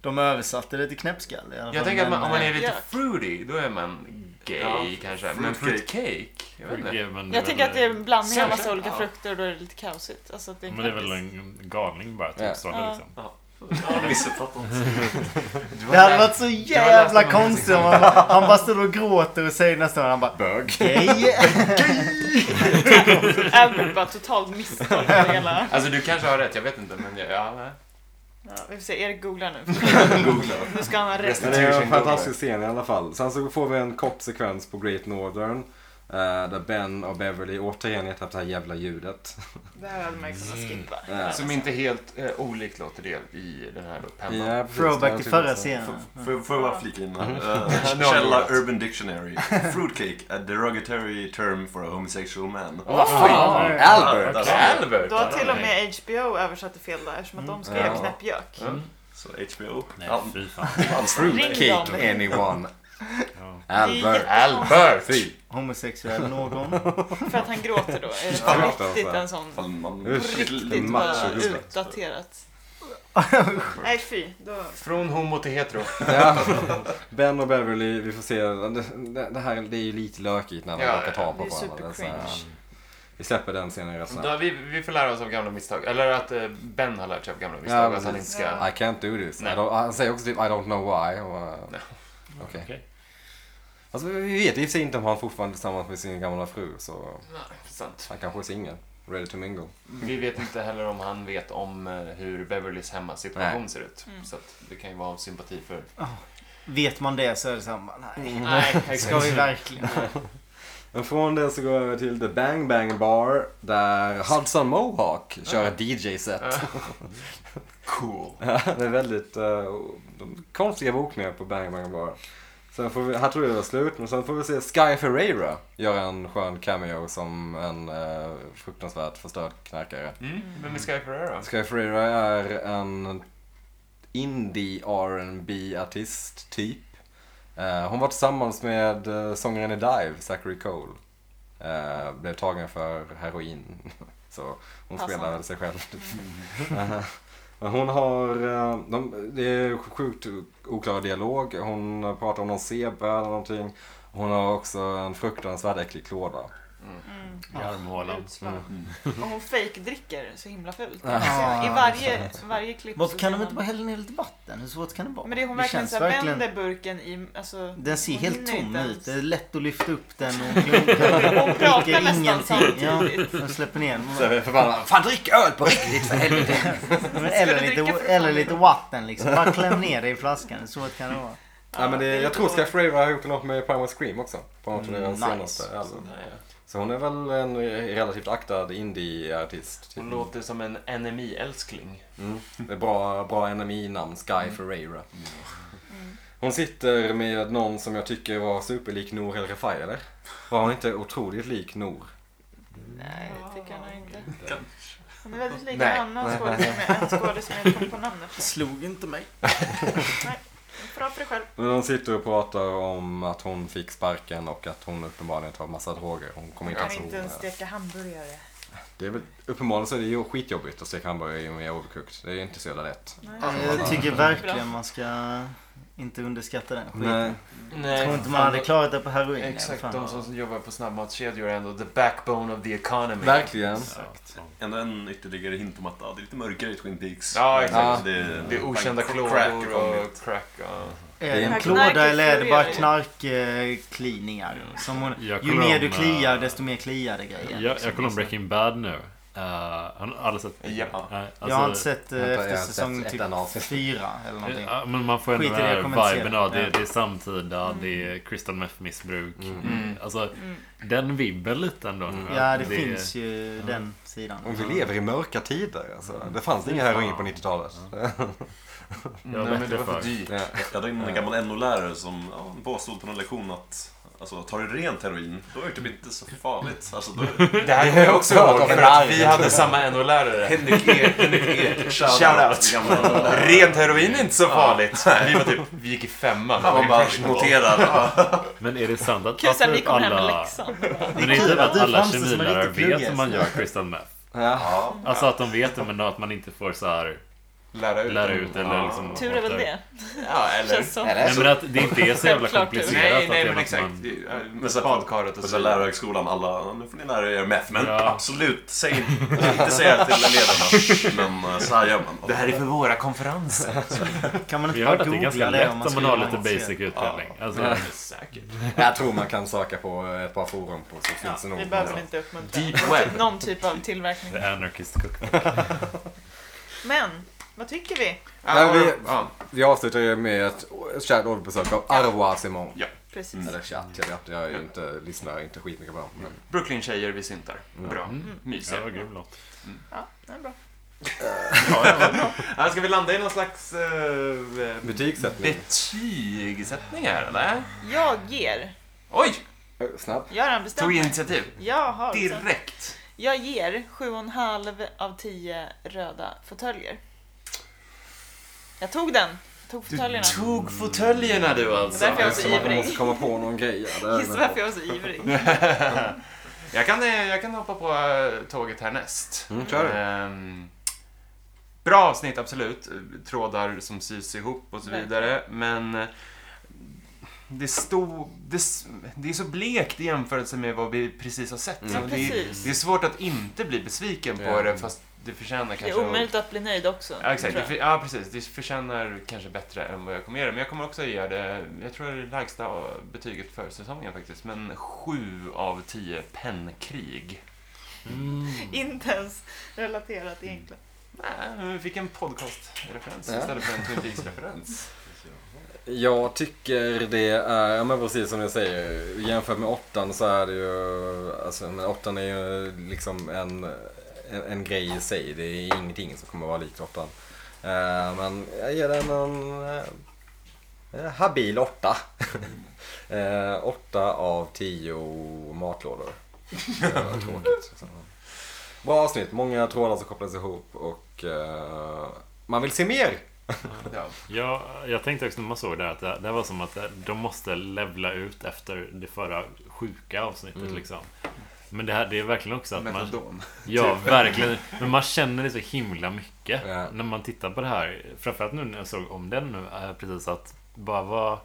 E: De översatte det till knäppskalle i alla fall. eh,
F: Jag tänker att man, om man är lite
C: Gök.
F: fruity, då är man gay
A: Ja,
F: kanske.
A: fruitcake.
F: Men fruitcake? Jag vet inte.
D: men
C: Jag tänker att det är en blandning av massa
F: Kanske,
C: olika
F: ja.
C: frukter och då är det lite kaosigt. Alltså att det är
D: Men det är väl
C: knäppis.
D: en galning bara, typ.
B: Ja.
D: Så,
C: Ja.
D: liksom.
A: Ja, missuppfattat.
F: Du har
E: Det hade
F: läst-
E: varit så
F: du har läst
E: jävla
F: om någonting
E: konstigt om
F: som-
E: han, han bara stod och gråter och säger nästan han bara Bög. Gay.
C: Albert bara totalt misstolkar hela...
F: Alltså du kanske har rätt, jag vet inte. Men jag, ja, nej.
C: Ja, vi får se, Erik googlar nu.
A: Googla.
C: Nu ska han ha rätt.
B: Men det är en
F: Tusen
B: fantastisk scen i alla fall. Sen så får vi en kort sekvens på Great Northern. eh, där Ben och Beverly återigen letar efter det här jävla ljudet.
C: Det här hade man ju kunnat
B: Mm.
C: skippa.
B: Ja.
F: Som inte helt eh, olikt låter det i den här då, pennan.
B: Ja, precis.
E: Throwback
B: Jag
E: till
B: tycker
E: förra
B: så.
E: scenen.
A: Får jag får jag bara flika in här?
F: Ja,
A: Eh,
F: nu har vi
A: Källa
F: rätt.
A: Urban Dictionary. Fruitcake, a derogatory term for a homosexual man.
F: Vad fan!
B: Albert!
A: Där- där-
F: Albert!
C: Då har till och med HBO översatt det fel där eftersom att de skrev
B: Mm. Ja.
C: knäppjök.
A: Så HBO.
D: Nej,
A: Ja,
D: fy fan.
C: Ring dem.
B: Fruitcake anyone. Albert.
F: Albert!
B: Fy.
E: Homosexuell någon.
C: För att han gråter då. Är det
B: Ja.
C: på riktigt en sån
A: Fan, man...
B: Usch.
C: riktigt
B: Macho
C: bara
B: respekt.
C: utdaterat? Nej fy, då...
F: Från homo till hetero.
B: Ja. Ben och Beverly, vi får se. Det- Det, det här det är ju lite lökigt när man
F: Ja,
B: råkar ta
C: Det
B: på
C: är
B: varandra. Det är så här-
C: supercringe.
B: Vi släpper den scenen rätt
F: Då,
B: snabbt.
F: vi, vi får lära oss av gamla misstag. Eller att eh, Ben har lärt sig av gamla misstag.
B: Ja,
F: att han inte
B: precis.
F: ska...
B: I can't do this. I
F: Nej.
B: don't, han säger också typ I don't know why. Och, uh,
F: Nej.
B: Okej.
D: Okej.
B: Alltså vi vet i och för sig inte om han fortfarande är tillsammans med sin gamla fru så
F: Nej, sant.
B: han kanske är singel. Ready to mingle.
F: Vi vet inte heller om han vet om eh, hur Beverlys hemmasituation
B: Nej.
F: ser ut. Så att det kan ju vara av sympati för...
E: Vet man det så är det samma. Nej.
F: Mm. Nej,
E: Ska vi verkligen?
B: Men från det så går jag över till The Bang Bang Bar där Hudson Mohawk kör ett DJ-set.
F: Cool.
B: Ja, det är väldigt eh, de konstiga bokningar på Bang Bang Bar. Sen får vi, här tror jag det var slut, men sen får vi se Sky Ferreira göra en skön cameo som en eh, fruktansvärt förstörd knarkare.
F: Mm. Vem är Sky Ferreira?
B: Sky Ferreira är en indie R&B artist typ. Eh, hon var tillsammans med eh, sångaren i Dive, Zachary Cole. Eh, blev tagen för heroin. Så hon
C: Passande.
B: spelar väl sig själv. Eh, Men hon har, eh, de, det är sjukt oklar dialog. Hon pratar om någon zebra eller någonting. Hon har också en fruktansvärt äcklig klåda.
C: Mm.
D: i armhålan.
C: Utslag. Och hon fake-dricker så himla fult.
E: Ja.
C: Så I varje, varje klipp så
E: Varför kan
C: ser
E: de
C: man-
E: inte bara hälla ner lite vatten? Hur svårt kan det vara?
C: Men det är hon
E: Det
C: verkligen
E: känns
C: såhär,
E: verkligen-
C: vänder burken i... Alltså,
E: Den ser
C: hon
E: helt
C: hinner inte
E: tom
C: ens.
E: ut. Det är lätt att lyfta upp den och klunka.
C: Hon pratar
E: dricker
C: nästan
E: ingenting. Ja,
C: samtidigt.
E: de släpper ner den.
B: Så jag är förbannad. Fan drick öl på riktigt för helvete.
E: Eller
C: du
E: lite,
C: dricka för fan?
E: eller lite vatten liksom. Bara kläm ner det i flaskan. Så svårt kan det vara.
B: Ja, men det, jag tror Sky Flavor har gjort något med Primal Scream också. På något av
E: Mm,
B: deras
E: nice.
B: senaste album. Så hon är väl en relativt aktad indie-artist. Typ.
F: Hon låter som en NMI-älskling.
B: Mm. Det är bra, bra NMI-namn, Sky Ferreira.
C: Mm.
B: Hon sitter med någon som jag tycker var superlik Nour El Refai, eller? Var hon inte otroligt lik Nour?
C: Nej, det tycker jag nog inte. Hon är väldigt lik
F: Nej.
C: en annan skådespelare med en skådespelare som jag inte kom på namnet på.
E: Slog inte mig.
C: Bra för dig själv.
B: Men de sitter och pratar om att hon fick sparken och att hon uppenbarligen tar massa droger. Hon kommer inte
C: Kan
B: ens
C: inte ens
B: ihåg.
C: steka hamburgare.
B: Det är väl, uppenbarligen så är det ju skitjobbigt att steka hamburgare med overcooked. Det är inte så jävla lätt.
C: Nej.
E: Jag tycker verkligen man ska inte underskatta den skiten.
B: Nej.
F: Nej,
E: Jag tror inte
F: fan,
E: man hade
F: de-
E: klarat det på heroin.
F: Exakt,
E: fan.
F: de som jobbar på snabbmatskedjor är ändå the backbone of the economy.
B: Verkligen.
D: Ja,
A: Ändå en ytterligare hint om att ja, det är lite mörkare i Twin Peaks.
F: Ja, exakt.
A: Det, är-
F: Det är okända
A: crack
F: klådor
A: och-
F: och crack. Ja.
E: Är
B: Det
E: det
B: är en
E: en klåda
C: knarket
E: eller är det bara
C: florerar ju.
E: knarkkliningar? Som hon,
D: Ja,
E: ju mer du
D: Colombo.
E: kliar liksom. desto mer kliade grejer.
D: Jag, jag kollar om Breaking Bad nu. Uh, har ni alla sett?
F: Ja.
D: Nej, alltså, eh,
E: jag har inte sett eh,
B: Vänta, jag har
E: efter
B: sett
E: säsong
B: ett
E: typ
B: enda avsnitt.
E: fyra eller någonting.
D: Ja, men man får ändå
E: Skit i
D: den
E: det,
D: här
E: jag kommer inte se
D: viben. Ja,
E: det.
D: det,
E: Ja.
D: det är samtida, det är crystal meth missbruk.
F: Mm.
D: Alltså,
C: Mm.
D: den vibben lite ändå. nu.
E: Ja, det, finns ju den
B: Och
E: sidan.
B: vi lever i mörka tider alltså. Det fanns inga heroin på 90-talet.
D: Jag
F: Nej,
D: vet
F: men det
D: det
F: var
D: för.
F: för dyrt.
B: Ja.
A: Jag hade en gammal NO-lärare som ja, påstod på någon lektion att Alltså, tar du rent heroin, då är det typ inte så fardigt. Alltså, då...
F: Det här kommer jag också
B: Klart
F: ihåg,
B: av en
F: för att
B: arg.
F: vi hade samma NO-lärare.
A: Henrik Ek, Henrik Ek,
F: Shoutout.
A: Gamla NO-lärare.
F: Rent heroin är inte så farligt. Vi var typ, vi gick i femman.
A: Han var bara noterad. Ja.
D: Men är det sant att
C: Kul såhär,
D: att
C: vi
D: typ
C: kommer hem med
D: alla-
C: läxan.
D: Men det är
E: kul
D: typ
E: att
D: att
E: du
D: alla
E: framstår som en
D: kemilärare
E: riktig
D: vet hur man
E: plugghäst.
D: gör crystal meth.
B: Ja.
D: Alltså att de vet det men att man inte får så här
F: Lära ut.
D: lära ut eller liksom...
C: Tur är väl det.
F: Ja, eller?
C: Känns som.
D: Nej men att det inte är så jävla
C: Självklart tur.
D: komplicerat.
F: Nej,
D: att
F: nej
D: det är
F: men
D: något
F: exakt.
D: man-
F: Det är-
A: Men så att-
F: Badkaret och
A: Och
F: så
A: så
F: vidare.
A: lärarhögskolan, alla, nu får ni lära er meth, men
D: Ja.
A: absolut, säg inte säga till eleverna. Men eh, så här gör man.
F: Det här är för våra konferenser.
E: Kan man
D: Vi
E: inte
D: har hört att
E: bara
D: det är
E: googla
D: ganska
E: det
D: lätt om man
E: skulle
D: har
E: vilja
D: lite
E: se?
D: basic utbildning. Alltså,
B: Ja.
F: Säkert.
B: Jag tror man kan söka på ett par forum på så
C: Ja,
B: finns det nog.
C: vi behöver inte uppmuntra
F: Deep web.
C: någon typ av tillverkning.
D: The Anarchist Cookbook.
C: Men, vad tycker vi?
B: Nej, vi-
F: ja.
B: Vi avslutar ju med ett ett kärt återbesök av Arvois Simon.
C: Precis.
F: Mm.
B: Eller kärt, jag vet jag är ju inte, lyssnar inte skitmycket på dem. Men...
F: Brooklyn-tjejer, vi syntar. Bra.
D: Ja,
F: Mysiga.
D: vad grym låt.
C: Ja, det är bra.
F: Ja, ska vi landa i någon slags uh,
B: Betygssättning.
F: betygsättning här eller?
C: Jag ger.
F: Oj!
B: Eh, Snabbt.
C: Göran, bestäm
F: Tog
C: dig.
F: initiativ.
C: Jag har bestämt.
F: Direkt.
C: Jag ger 7,5 av 10 röda fåtöljer. Jag tog den. Jag tog
F: Du
C: fåtöljerna.
F: tog fåtöljerna du alltså.
C: Därför är jag så
B: Eftersom att man
C: ivrig.
B: måste komma på någon grej. ja, det är
C: Gissa
B: väl-
C: varför jag var så ivrig.
F: Mm. Jag kan, eh, jag kan hoppa på eh, tåget härnäst.
B: Mm, kör du.
F: Ehm, bra avsnitt, absolut. Trådar som sys ihop och så vidare. Men eh, det, stod, det, s- det är så blekt i jämförelse med vad vi precis har sett.
C: Ja,
F: Och det,
C: precis.
F: det är svårt att inte bli besviken på
B: Ja.
F: det, fast det förtjänar
C: Det
F: kanske
C: är omöjligt att bli nöjd också.
F: Ja, exakt.
C: tror
F: Det,
C: jag.
F: för- ja, precis. Det förtjänar kanske bättre än vad jag kommer göra. Men jag kommer också ge det, jag tror det är det lägsta betyget för säsongen faktiskt, men 7 av 10 pennkrig.
C: Inte ens relaterat egentligen.
F: Nej, Eh, men vi fick en podcastreferens
B: Ja.
F: istället för en Twin Peaks-referens.
B: Jag tycker det är, ja men precis som jag säger, jämfört med åttan så är det ju, alltså men åttan är ju liksom en, en, en grej i sig. Det är ingenting som kommer vara likt åttan. Eh, men jag ger den en eh, habil åtta. Eh, åtta av tio matlådor. Det var tråkigt. Så. Bra avsnitt, många trådar som kopplas ihop och eh, man vill se mer.
F: Ja.
D: Ja, jag tänkte också när man såg det här att det, det var som att de måste levla ut efter det förra sjuka avsnittet liksom. Men det här, det är verkligen också att man...
F: Metadon.
D: Ja, verkligen. Men man känner det så himla mycket
B: Typ. Ja.
D: när man tittar på det här. Framförallt nu när jag såg om den nu eh, precis att bara vad...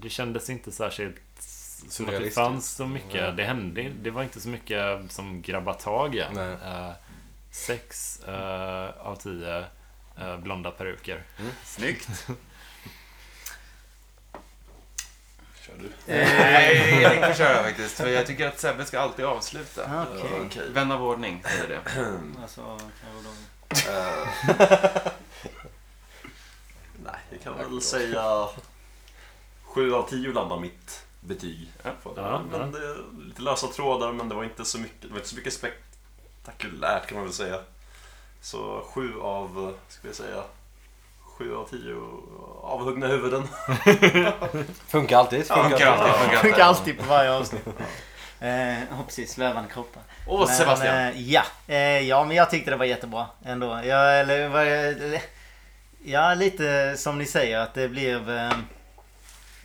D: Det kändes inte särskilt som att det
B: Surrealistiskt. Mm.
D: fanns så mycket. Det hände Det var inte så mycket som grabbar tag i.
B: Nej.
D: Eh, Sex eh, av tio eh, blonda peruker.
A: Snyggt! Kör du.
E: Eh.
F: Nej, jag tänker köra faktiskt. För jag tycker att Sebbe ska alltid avsluta.
E: Ah, Okej.
F: Okej. Vän av ordning säger det.
E: Alltså, kan jag då-
A: Nej, jag kan väl säga... Sju av tio landar mitt betyg. på det.
D: Ja,
A: men
D: ja.
A: det är lite lösa trådar, men det var inte så mycket, det var inte så mycket spektakulärt kan man väl säga. Så sju av, ska vi säga, sju av tio avhuggna huvuden.
B: Funkar alltid.
F: Funkar alltid,
E: Det
F: funkar
E: Funkar
F: alltid.
E: alltid på varje avsnitt. Eh, ja, precis. Svävande kroppar.
F: Åh, Sebastian.
E: Eh, ja. Eh, ja, men jag tyckte det var jättebra ändå. Jag, eller, var, jag- eller, ja, lite som ni säger att det blev... Eh,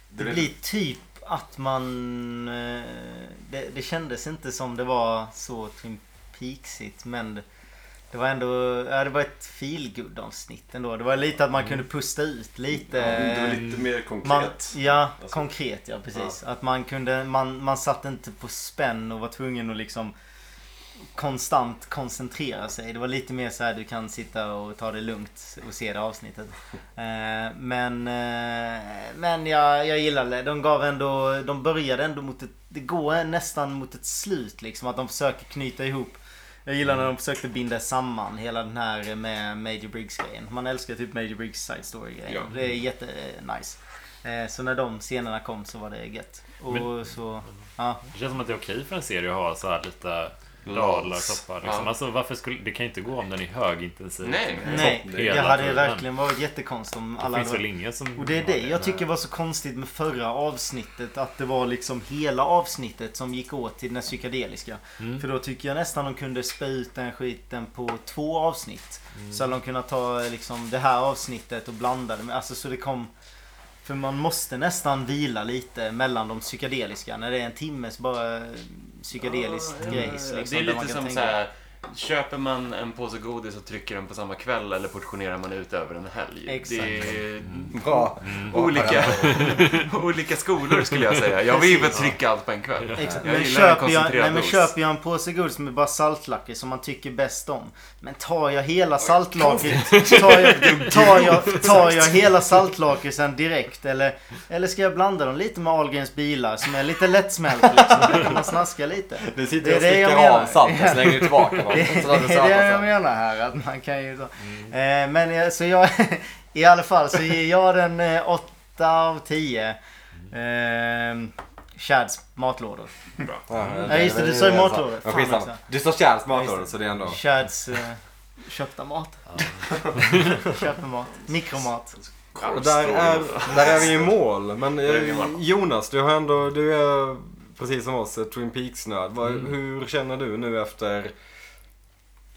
E: det blir typ att man... Eh, det, det kändes inte som det var så Twin Peaksigt men det var ändå... Ja, det var ett feelgood avsnitt ändå. Det var lite att man kunde pusta ut lite.
A: Det var lite mer konkret.
E: Eh, Man, ja,
A: Alltså.
E: konkret ja precis. Att man kunde, man, man satt inte på spänn och var tvungen att liksom konstant koncentrera sig. Det var lite mer så här du kan sitta och ta det lugnt och se det avsnittet. Eh, men eh, men jag, jag gillade det. De gav ändå, de började ändå mot ett, det går nästan mot ett slut liksom. Att de försöker knyta ihop. Jag gillar när de försökte binda samman hela den här med Major Briggs grejen. Man älskar typ Major Briggs side story grejen.
F: Ja.
E: Det är jätte eh, nice. Eh, Så när de scenerna kom så var det gött. Och
D: Men-
E: så, ja.
D: Det känns som att det är okej för en serie att ha så här lite dalar och toppar. Liksom.
F: Ja.
D: Alltså, varför skulle, det kan ju inte gå om den är högintensiv.
F: Nej.
E: Nej,
D: Topp
E: det
D: hela
E: hade
D: tiden.
E: verkligen varit jättekonstigt om
D: Det
E: alla
D: finns
E: hade
D: väl ingen som...
E: Och det är
D: har
E: det jag tycker
D: Nej.
E: var så konstigt med förra avsnittet. Att det var liksom hela avsnittet som gick åt till den här psykedeliska.
F: Mm.
E: För då tycker jag nästan de kunde spä ut den skiten på två avsnitt.
F: Mm.
E: Så hade de kunnat ta liksom det här avsnittet och blanda det med. Alltså så det kom... För man måste nästan vila lite mellan de psykedeliska. När det är en timmes bara psykedelisk grej. så liksom,
F: Det är
E: där man
F: lite
E: kan
F: som
E: tänka-
F: så här. Köper man en påse godis och trycker den på samma kväll eller portionerar man ut över en helg?
E: Exakt.
F: Det är
B: Bra.
F: olika, olika skolor skulle jag säga. Jag vill väl
E: Precis.
F: trycka allt på en kväll.
E: Exakt.
F: Jag
E: Men,
F: gillar en
E: köper jag, nej,
F: koncentrerad
E: men
F: dos.
E: köper jag en påse godis med bara saltlakrits som man tycker bäst om. Men tar jag hela saltlakritsen tar jag, tar jag, tar jag hela saltlakritsen direkt? Eller, eller ska jag blanda dem lite med Ahlgrens bilar som är lite lättsmält liksom? Då kan man snaska lite.
B: Nu sitter
E: Det
B: jag och
E: är det jag
B: slickar av
E: menar.
B: saltet slänger du tillbaka dem.
E: Det,
B: Så tar du
E: det är det jag
B: saltet
E: menar här. Att man kan ju då. Eh, men jag, så jag, i alla fall så ger jag den eh, 8 av 10. Eh, Chads matlådor.
B: sen.
E: Ja, just det, du sa ju matlådor.
B: Ja,
E: Fan
B: skitsamma.
E: också.
B: Du sa Charles matlådor så det är ändå...
E: Chads eh, köpta mat. Köpta mat. Mikromat.
B: Och där är, där är vi i mål. Men eh,
A: Där är vi i mål.
B: Jonas, du, har ändå, du är precis som oss ett Twin Peaks-nörd. Vad-
A: Mm.
B: Hur känner du nu efter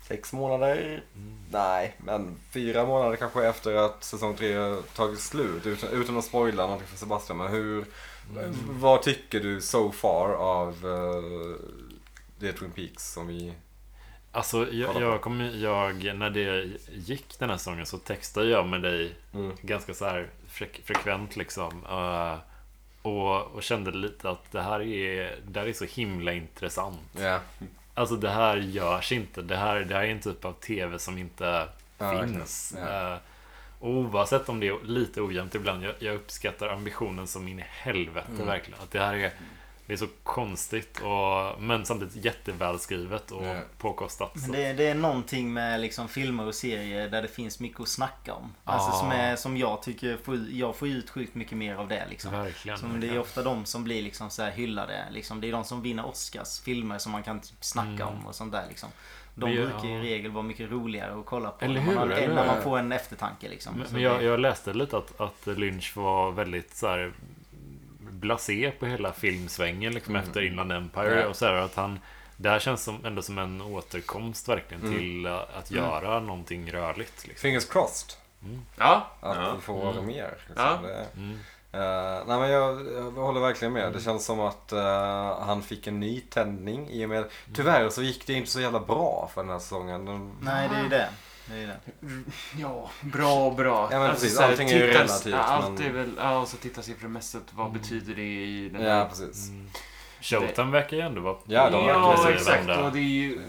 B: sex månader?
A: Mm.
B: Nej, men fyra månader kanske efter att säsong tre har tagit slut. Utan, utan att spoila någonting för Sebastian. Men hur,
A: Mm.
B: vad tycker du so far av eh, det Twin Peaks som vi...
D: Alltså,
B: Kolla
D: jag,
B: på.
D: jag kommer jag, när det gick den här säsongen så textade jag med dig
B: Mm.
D: ganska så här frek, frekvent liksom. Eh, och, och kände lite att det här är, det här är så himla intressant.
B: Ja,
D: Alltså det här görs inte. Det här, det här är en typ av tv som inte
B: Ja,
D: finns.
B: verkligen. Ja.
D: Eh, och oavsett om det är lite ojämnt ibland, jag, jag uppskattar ambitionen som in i helvete
B: Mm.
D: verkligen. Att det här är, det är så konstigt och, men samtidigt jättevälskrivet och
B: Ja.
D: påkostat. Så.
E: Men det, det är någonting med liksom filmer och serier där det finns mycket att snacka om. Alltså
D: Ah.
E: som, är, som jag tycker, får, jag får ut sjukt mycket mer av det liksom.
D: Verkligen.
E: Som det är ofta de som blir liksom så här hyllade. Liksom. Det är de som vinner Oscars. Filmer som man kan typ snacka om och sånt där. Liksom. De
D: Mm. Men jag-
E: brukar i regel vara mycket roligare att kolla på.
D: Eller
E: när man,
D: hur, eller
E: när man
B: hur?
E: får en eftertanke liksom.
D: Men,
E: Så
D: men jag, jag läste lite att, att Lynch var väldigt så här mm, blasé på hela filmsvängen liksom efter Inland Empire
B: Ja.
D: och så här att han det här känns som, ändå som en återkomst verkligen till ä, att göra någonting rörligt. Liksom.
B: fingers crossed.
F: Ja,
B: Att
A: Ja. Mm.
B: vi får mer. Liksom.
F: Ja.
B: Det,
D: Mm.
B: Eh, nej men jag, jag håller verkligen med. Det känns som att eh, han fick en ny tändning i och med... Tyvärr så gick det inte så jävla bra för den här säsongen. Den,
E: Nej, det är ju det. Det är det.
F: Ja, bra, bra. Alltså,
B: Ja, men precis.
F: så här,
B: Allting är ju
F: tittar-
B: relativt,
F: ja, Allt
B: men- Mm.
F: är väl, ja, och så tittarsiffromässigt, vad betyder det i den
B: Ja, precis.
D: Mm. Showtime verkar ju ändå vara...
B: Ja, de verkar
F: ja,
B: ju
F: exakt.
D: vända.
F: Och det är ju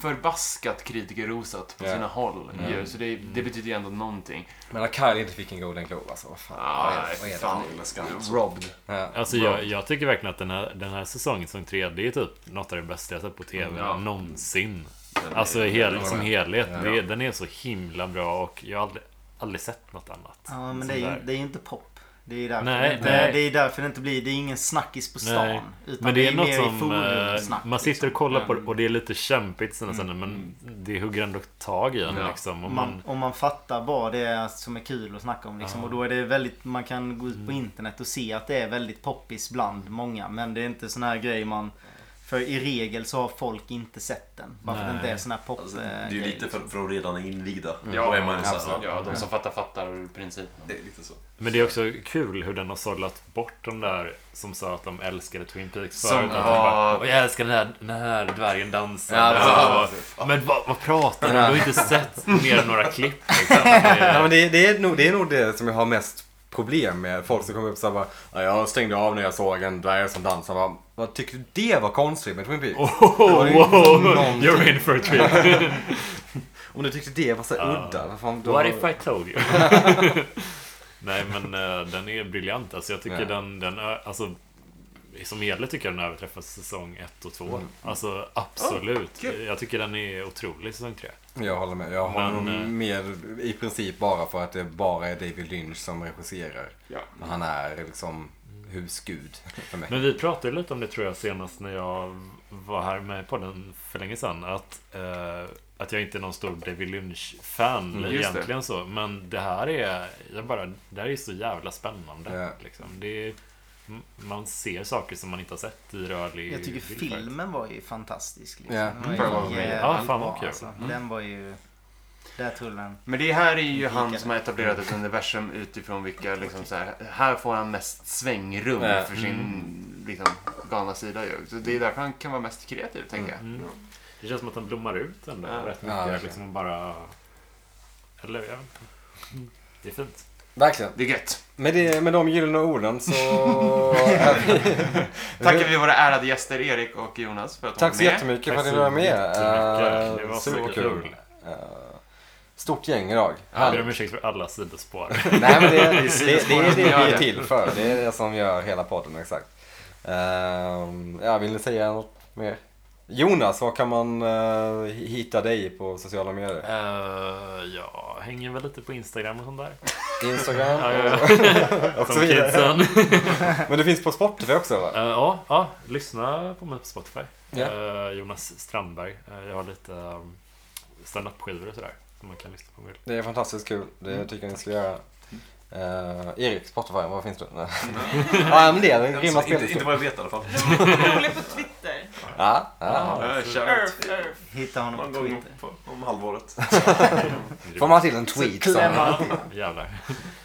F: förbaskat kritikerrosat på
B: Ja.
F: sina håll.
A: Mm.
B: Ja.
F: Ju, så det, det betyder ju ändå någonting. Ah,
B: Men att Kyle inte fick en Golden Globe alltså. Vad fan. vad är det- vad är det?
F: fan. Robbed.
B: Ja.
D: Alltså jag, jag tycker verkligen att den här, den här säsongen, säsong 3, det är typ något av det bästa jag sett på TV
F: Ja.
D: någonsin. Alltså hel, som helhet.
B: Ja.
D: Det, den är så himla bra och jag har aldrig, aldrig sett något annat.
E: Ja, men
D: Sån
E: det är, ju,
D: där.
E: det är ju inte pop. Det är ju därför,
D: Nej,
E: det, inte,
D: nej.
E: det är därför det inte blir... Det är ingen snackis på stan.
D: Nej.
E: Utan
D: Men det är,
E: ju
D: något
E: mer i
D: som...
E: forum
D: eh,
E: snack,
D: man sitter och
E: liksom.
D: kollar på det och det är lite kämpigt sina stunder men det hugger ändå tag i en
F: Mm. Ja.
D: liksom. Och
E: man,
D: man,
E: om man fattar vad det är som är kul att snacka om liksom.
D: Ja. Mm.
E: Och då är det väldigt, man kan gå ut på internet och se att det är väldigt poppis bland många. Men det är inte sån här grej man... För i regel så har folk inte sett den. Bara för att det inte är
D: Nej.
E: sån här pop
A: Alltså, det
E: eh,
A: är ju
E: grej,
A: lite
E: liksom.
A: för, för de redan är invigda.
F: Ja,
A: Då Mm. är man ju så här,
B: absolut.
F: Ja, de som fattar fattar principen.
A: Det är lite så.
D: men det är också kul hur den har sållat bort de där som sa att de älskade Twin Peaks
F: Som-
D: förut. Att de
F: ja.
D: bara, "Åh, jag älskar den här, den här dvärgen dansar.
B: Ja,
D: Ja, men vad, vad pratar du om? Du har ju inte sett mer än några klipp. Liksom. Det
B: Ja,
D: är-
B: men det, det, är nog, det är nog det som jag har mest problem med. Folk som kommer upp och bara "Ja, jag stängde av när jag såg en dvärg som dansade. Vad, vad tyckte du det var konstigt med Twin Peaks?
D: Oh,
B: Det var ju inte så
D: wow,
B: någonting.
D: you're in for a treat.
B: Om du tyckte det var så
D: Ja.
B: udda. Vad fan, då...
D: What if I told you? Nej men eh, den är briljant. Alltså jag tycker
B: Ja.
D: den, den är, alltså som helhet tycker jag den överträffar säsong 1 och 2.
B: Mm.
D: Alltså absolut.
F: kul.
D: Jag tycker den är otrolig säsong 3.
B: Jag håller med. Jag håller
D: Men,
B: nog
D: eh,
B: med i princip bara för att det bara är David Lynch som regisserar.
F: Ja.
B: Men Han är liksom husgud för mig.
D: Men vi pratade lite om det tror jag senast när jag var här med podden för länge sedan. Att, eh, att jag inte är någon stor David Lynch-fan
F: Mm, just det.
D: egentligen så. Men det här är, jag bara, det här är så jävla spännande.
B: Ja.
D: Liksom. Det är, m- man ser saker som man inte har sett i rörlig
E: Jag tycker
D: bild förut.
E: filmen var ju fantastisk. Liksom.
B: Ja.
E: Den
F: Mm.
E: var ju
F: Ja,
E: jävligt
D: fan vad
E: bra,
D: kul.
E: alltså. Den var ju... Där tog den.
F: Men det här är ju han som har etablerat ett universum utifrån vilka, liksom så här, här får han mest svängrum
B: Ja. Mm.
F: för sin liksom, galna sida ju. Så det är därför han kan vara mest kreativ, tänker jag.
D: Mm. Det känns som att den blommar ut ändå
F: Ja.
D: rätt
B: Ja,
D: mycket.
B: verkligen.
D: liksom bara... Eller jag vet inte. Det är fint.
B: Verkligen.
F: Det är gött.
B: Med, det, med de gyllene orden så... är vi-
F: Tackar vi våra ärade gäster Erik och Jonas för att de
B: Eh. Tack
F: var
B: så
F: med.
B: jättemycket för
D: Tack
B: att ni
D: så
B: var med.
D: jättemycket.
B: Eh,
D: Det var så
B: superkul.
D: kul.
B: Eh, Stort gäng idag.
D: Jag ber om ursäkt för alla sidospår.
B: Nej men det, det, det, det
F: sidospåren
B: är
F: som gör
B: det vi är
F: det.
B: till för. Det är det som gör hela podden exakt. Ehm, ja, vill ni säga något mer? Jonas, var kan man eh, hitta dig på sociala medier?
D: Eh, ja, hänger väl lite på Instagram och sånt där.
B: Instagram
D: Ja, ja,
B: och, och så
D: Som
B: vidare.
D: kidsen.
B: Men det finns på Spotify också va?
D: Eh, Ja, ja, lyssna på mig på Spotify.
B: Ja.
D: Eh, Jonas Strandberg. Eh, jag har lite um, standup-skivor och sådär. Som man kan lyssna på. om man vill.
B: Det är fantastiskt kul. Det tycker jag ni ska göra. Eh, Erik, Spotify, vad finns du? Nej. ja men det är en rimma
A: Alltså, inte,
B: spel.
A: inte vad jag vet i alla fall.
C: Rolig på Twitter.
B: Ja, Ah, ja.
F: Ja, shout
C: Earth, earth.
E: Hitta honom
A: Någon
E: på
A: gång
E: Twitter.
A: på, om halvåret.
B: Får man till en tweet
E: Så
B: som...
E: klämmer
D: Jävlar.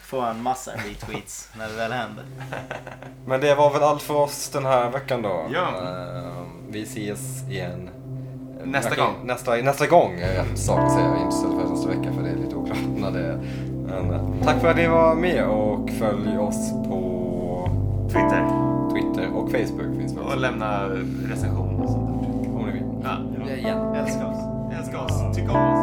E: Får en massa retweets när det väl händer.
B: Men det var väl allt för oss den här veckan då.
F: Ja.
B: Eh, vi ses igen.
F: Nästa
B: Verkligen-
F: gång.
B: Nästa, nästa gång är rätt sak att säga. Inte istället för nästa vecka för det är lite oklart när det är. Men, eh, tack för att ni var med och följ oss på
F: Twitter.
B: Twitter och Facebook finns vi
F: Och
B: också.
F: lämna recension och sånt där.
B: Om ni vill.
F: Ja.
E: Älskar oss.
F: Älska oss. Tyck om oss.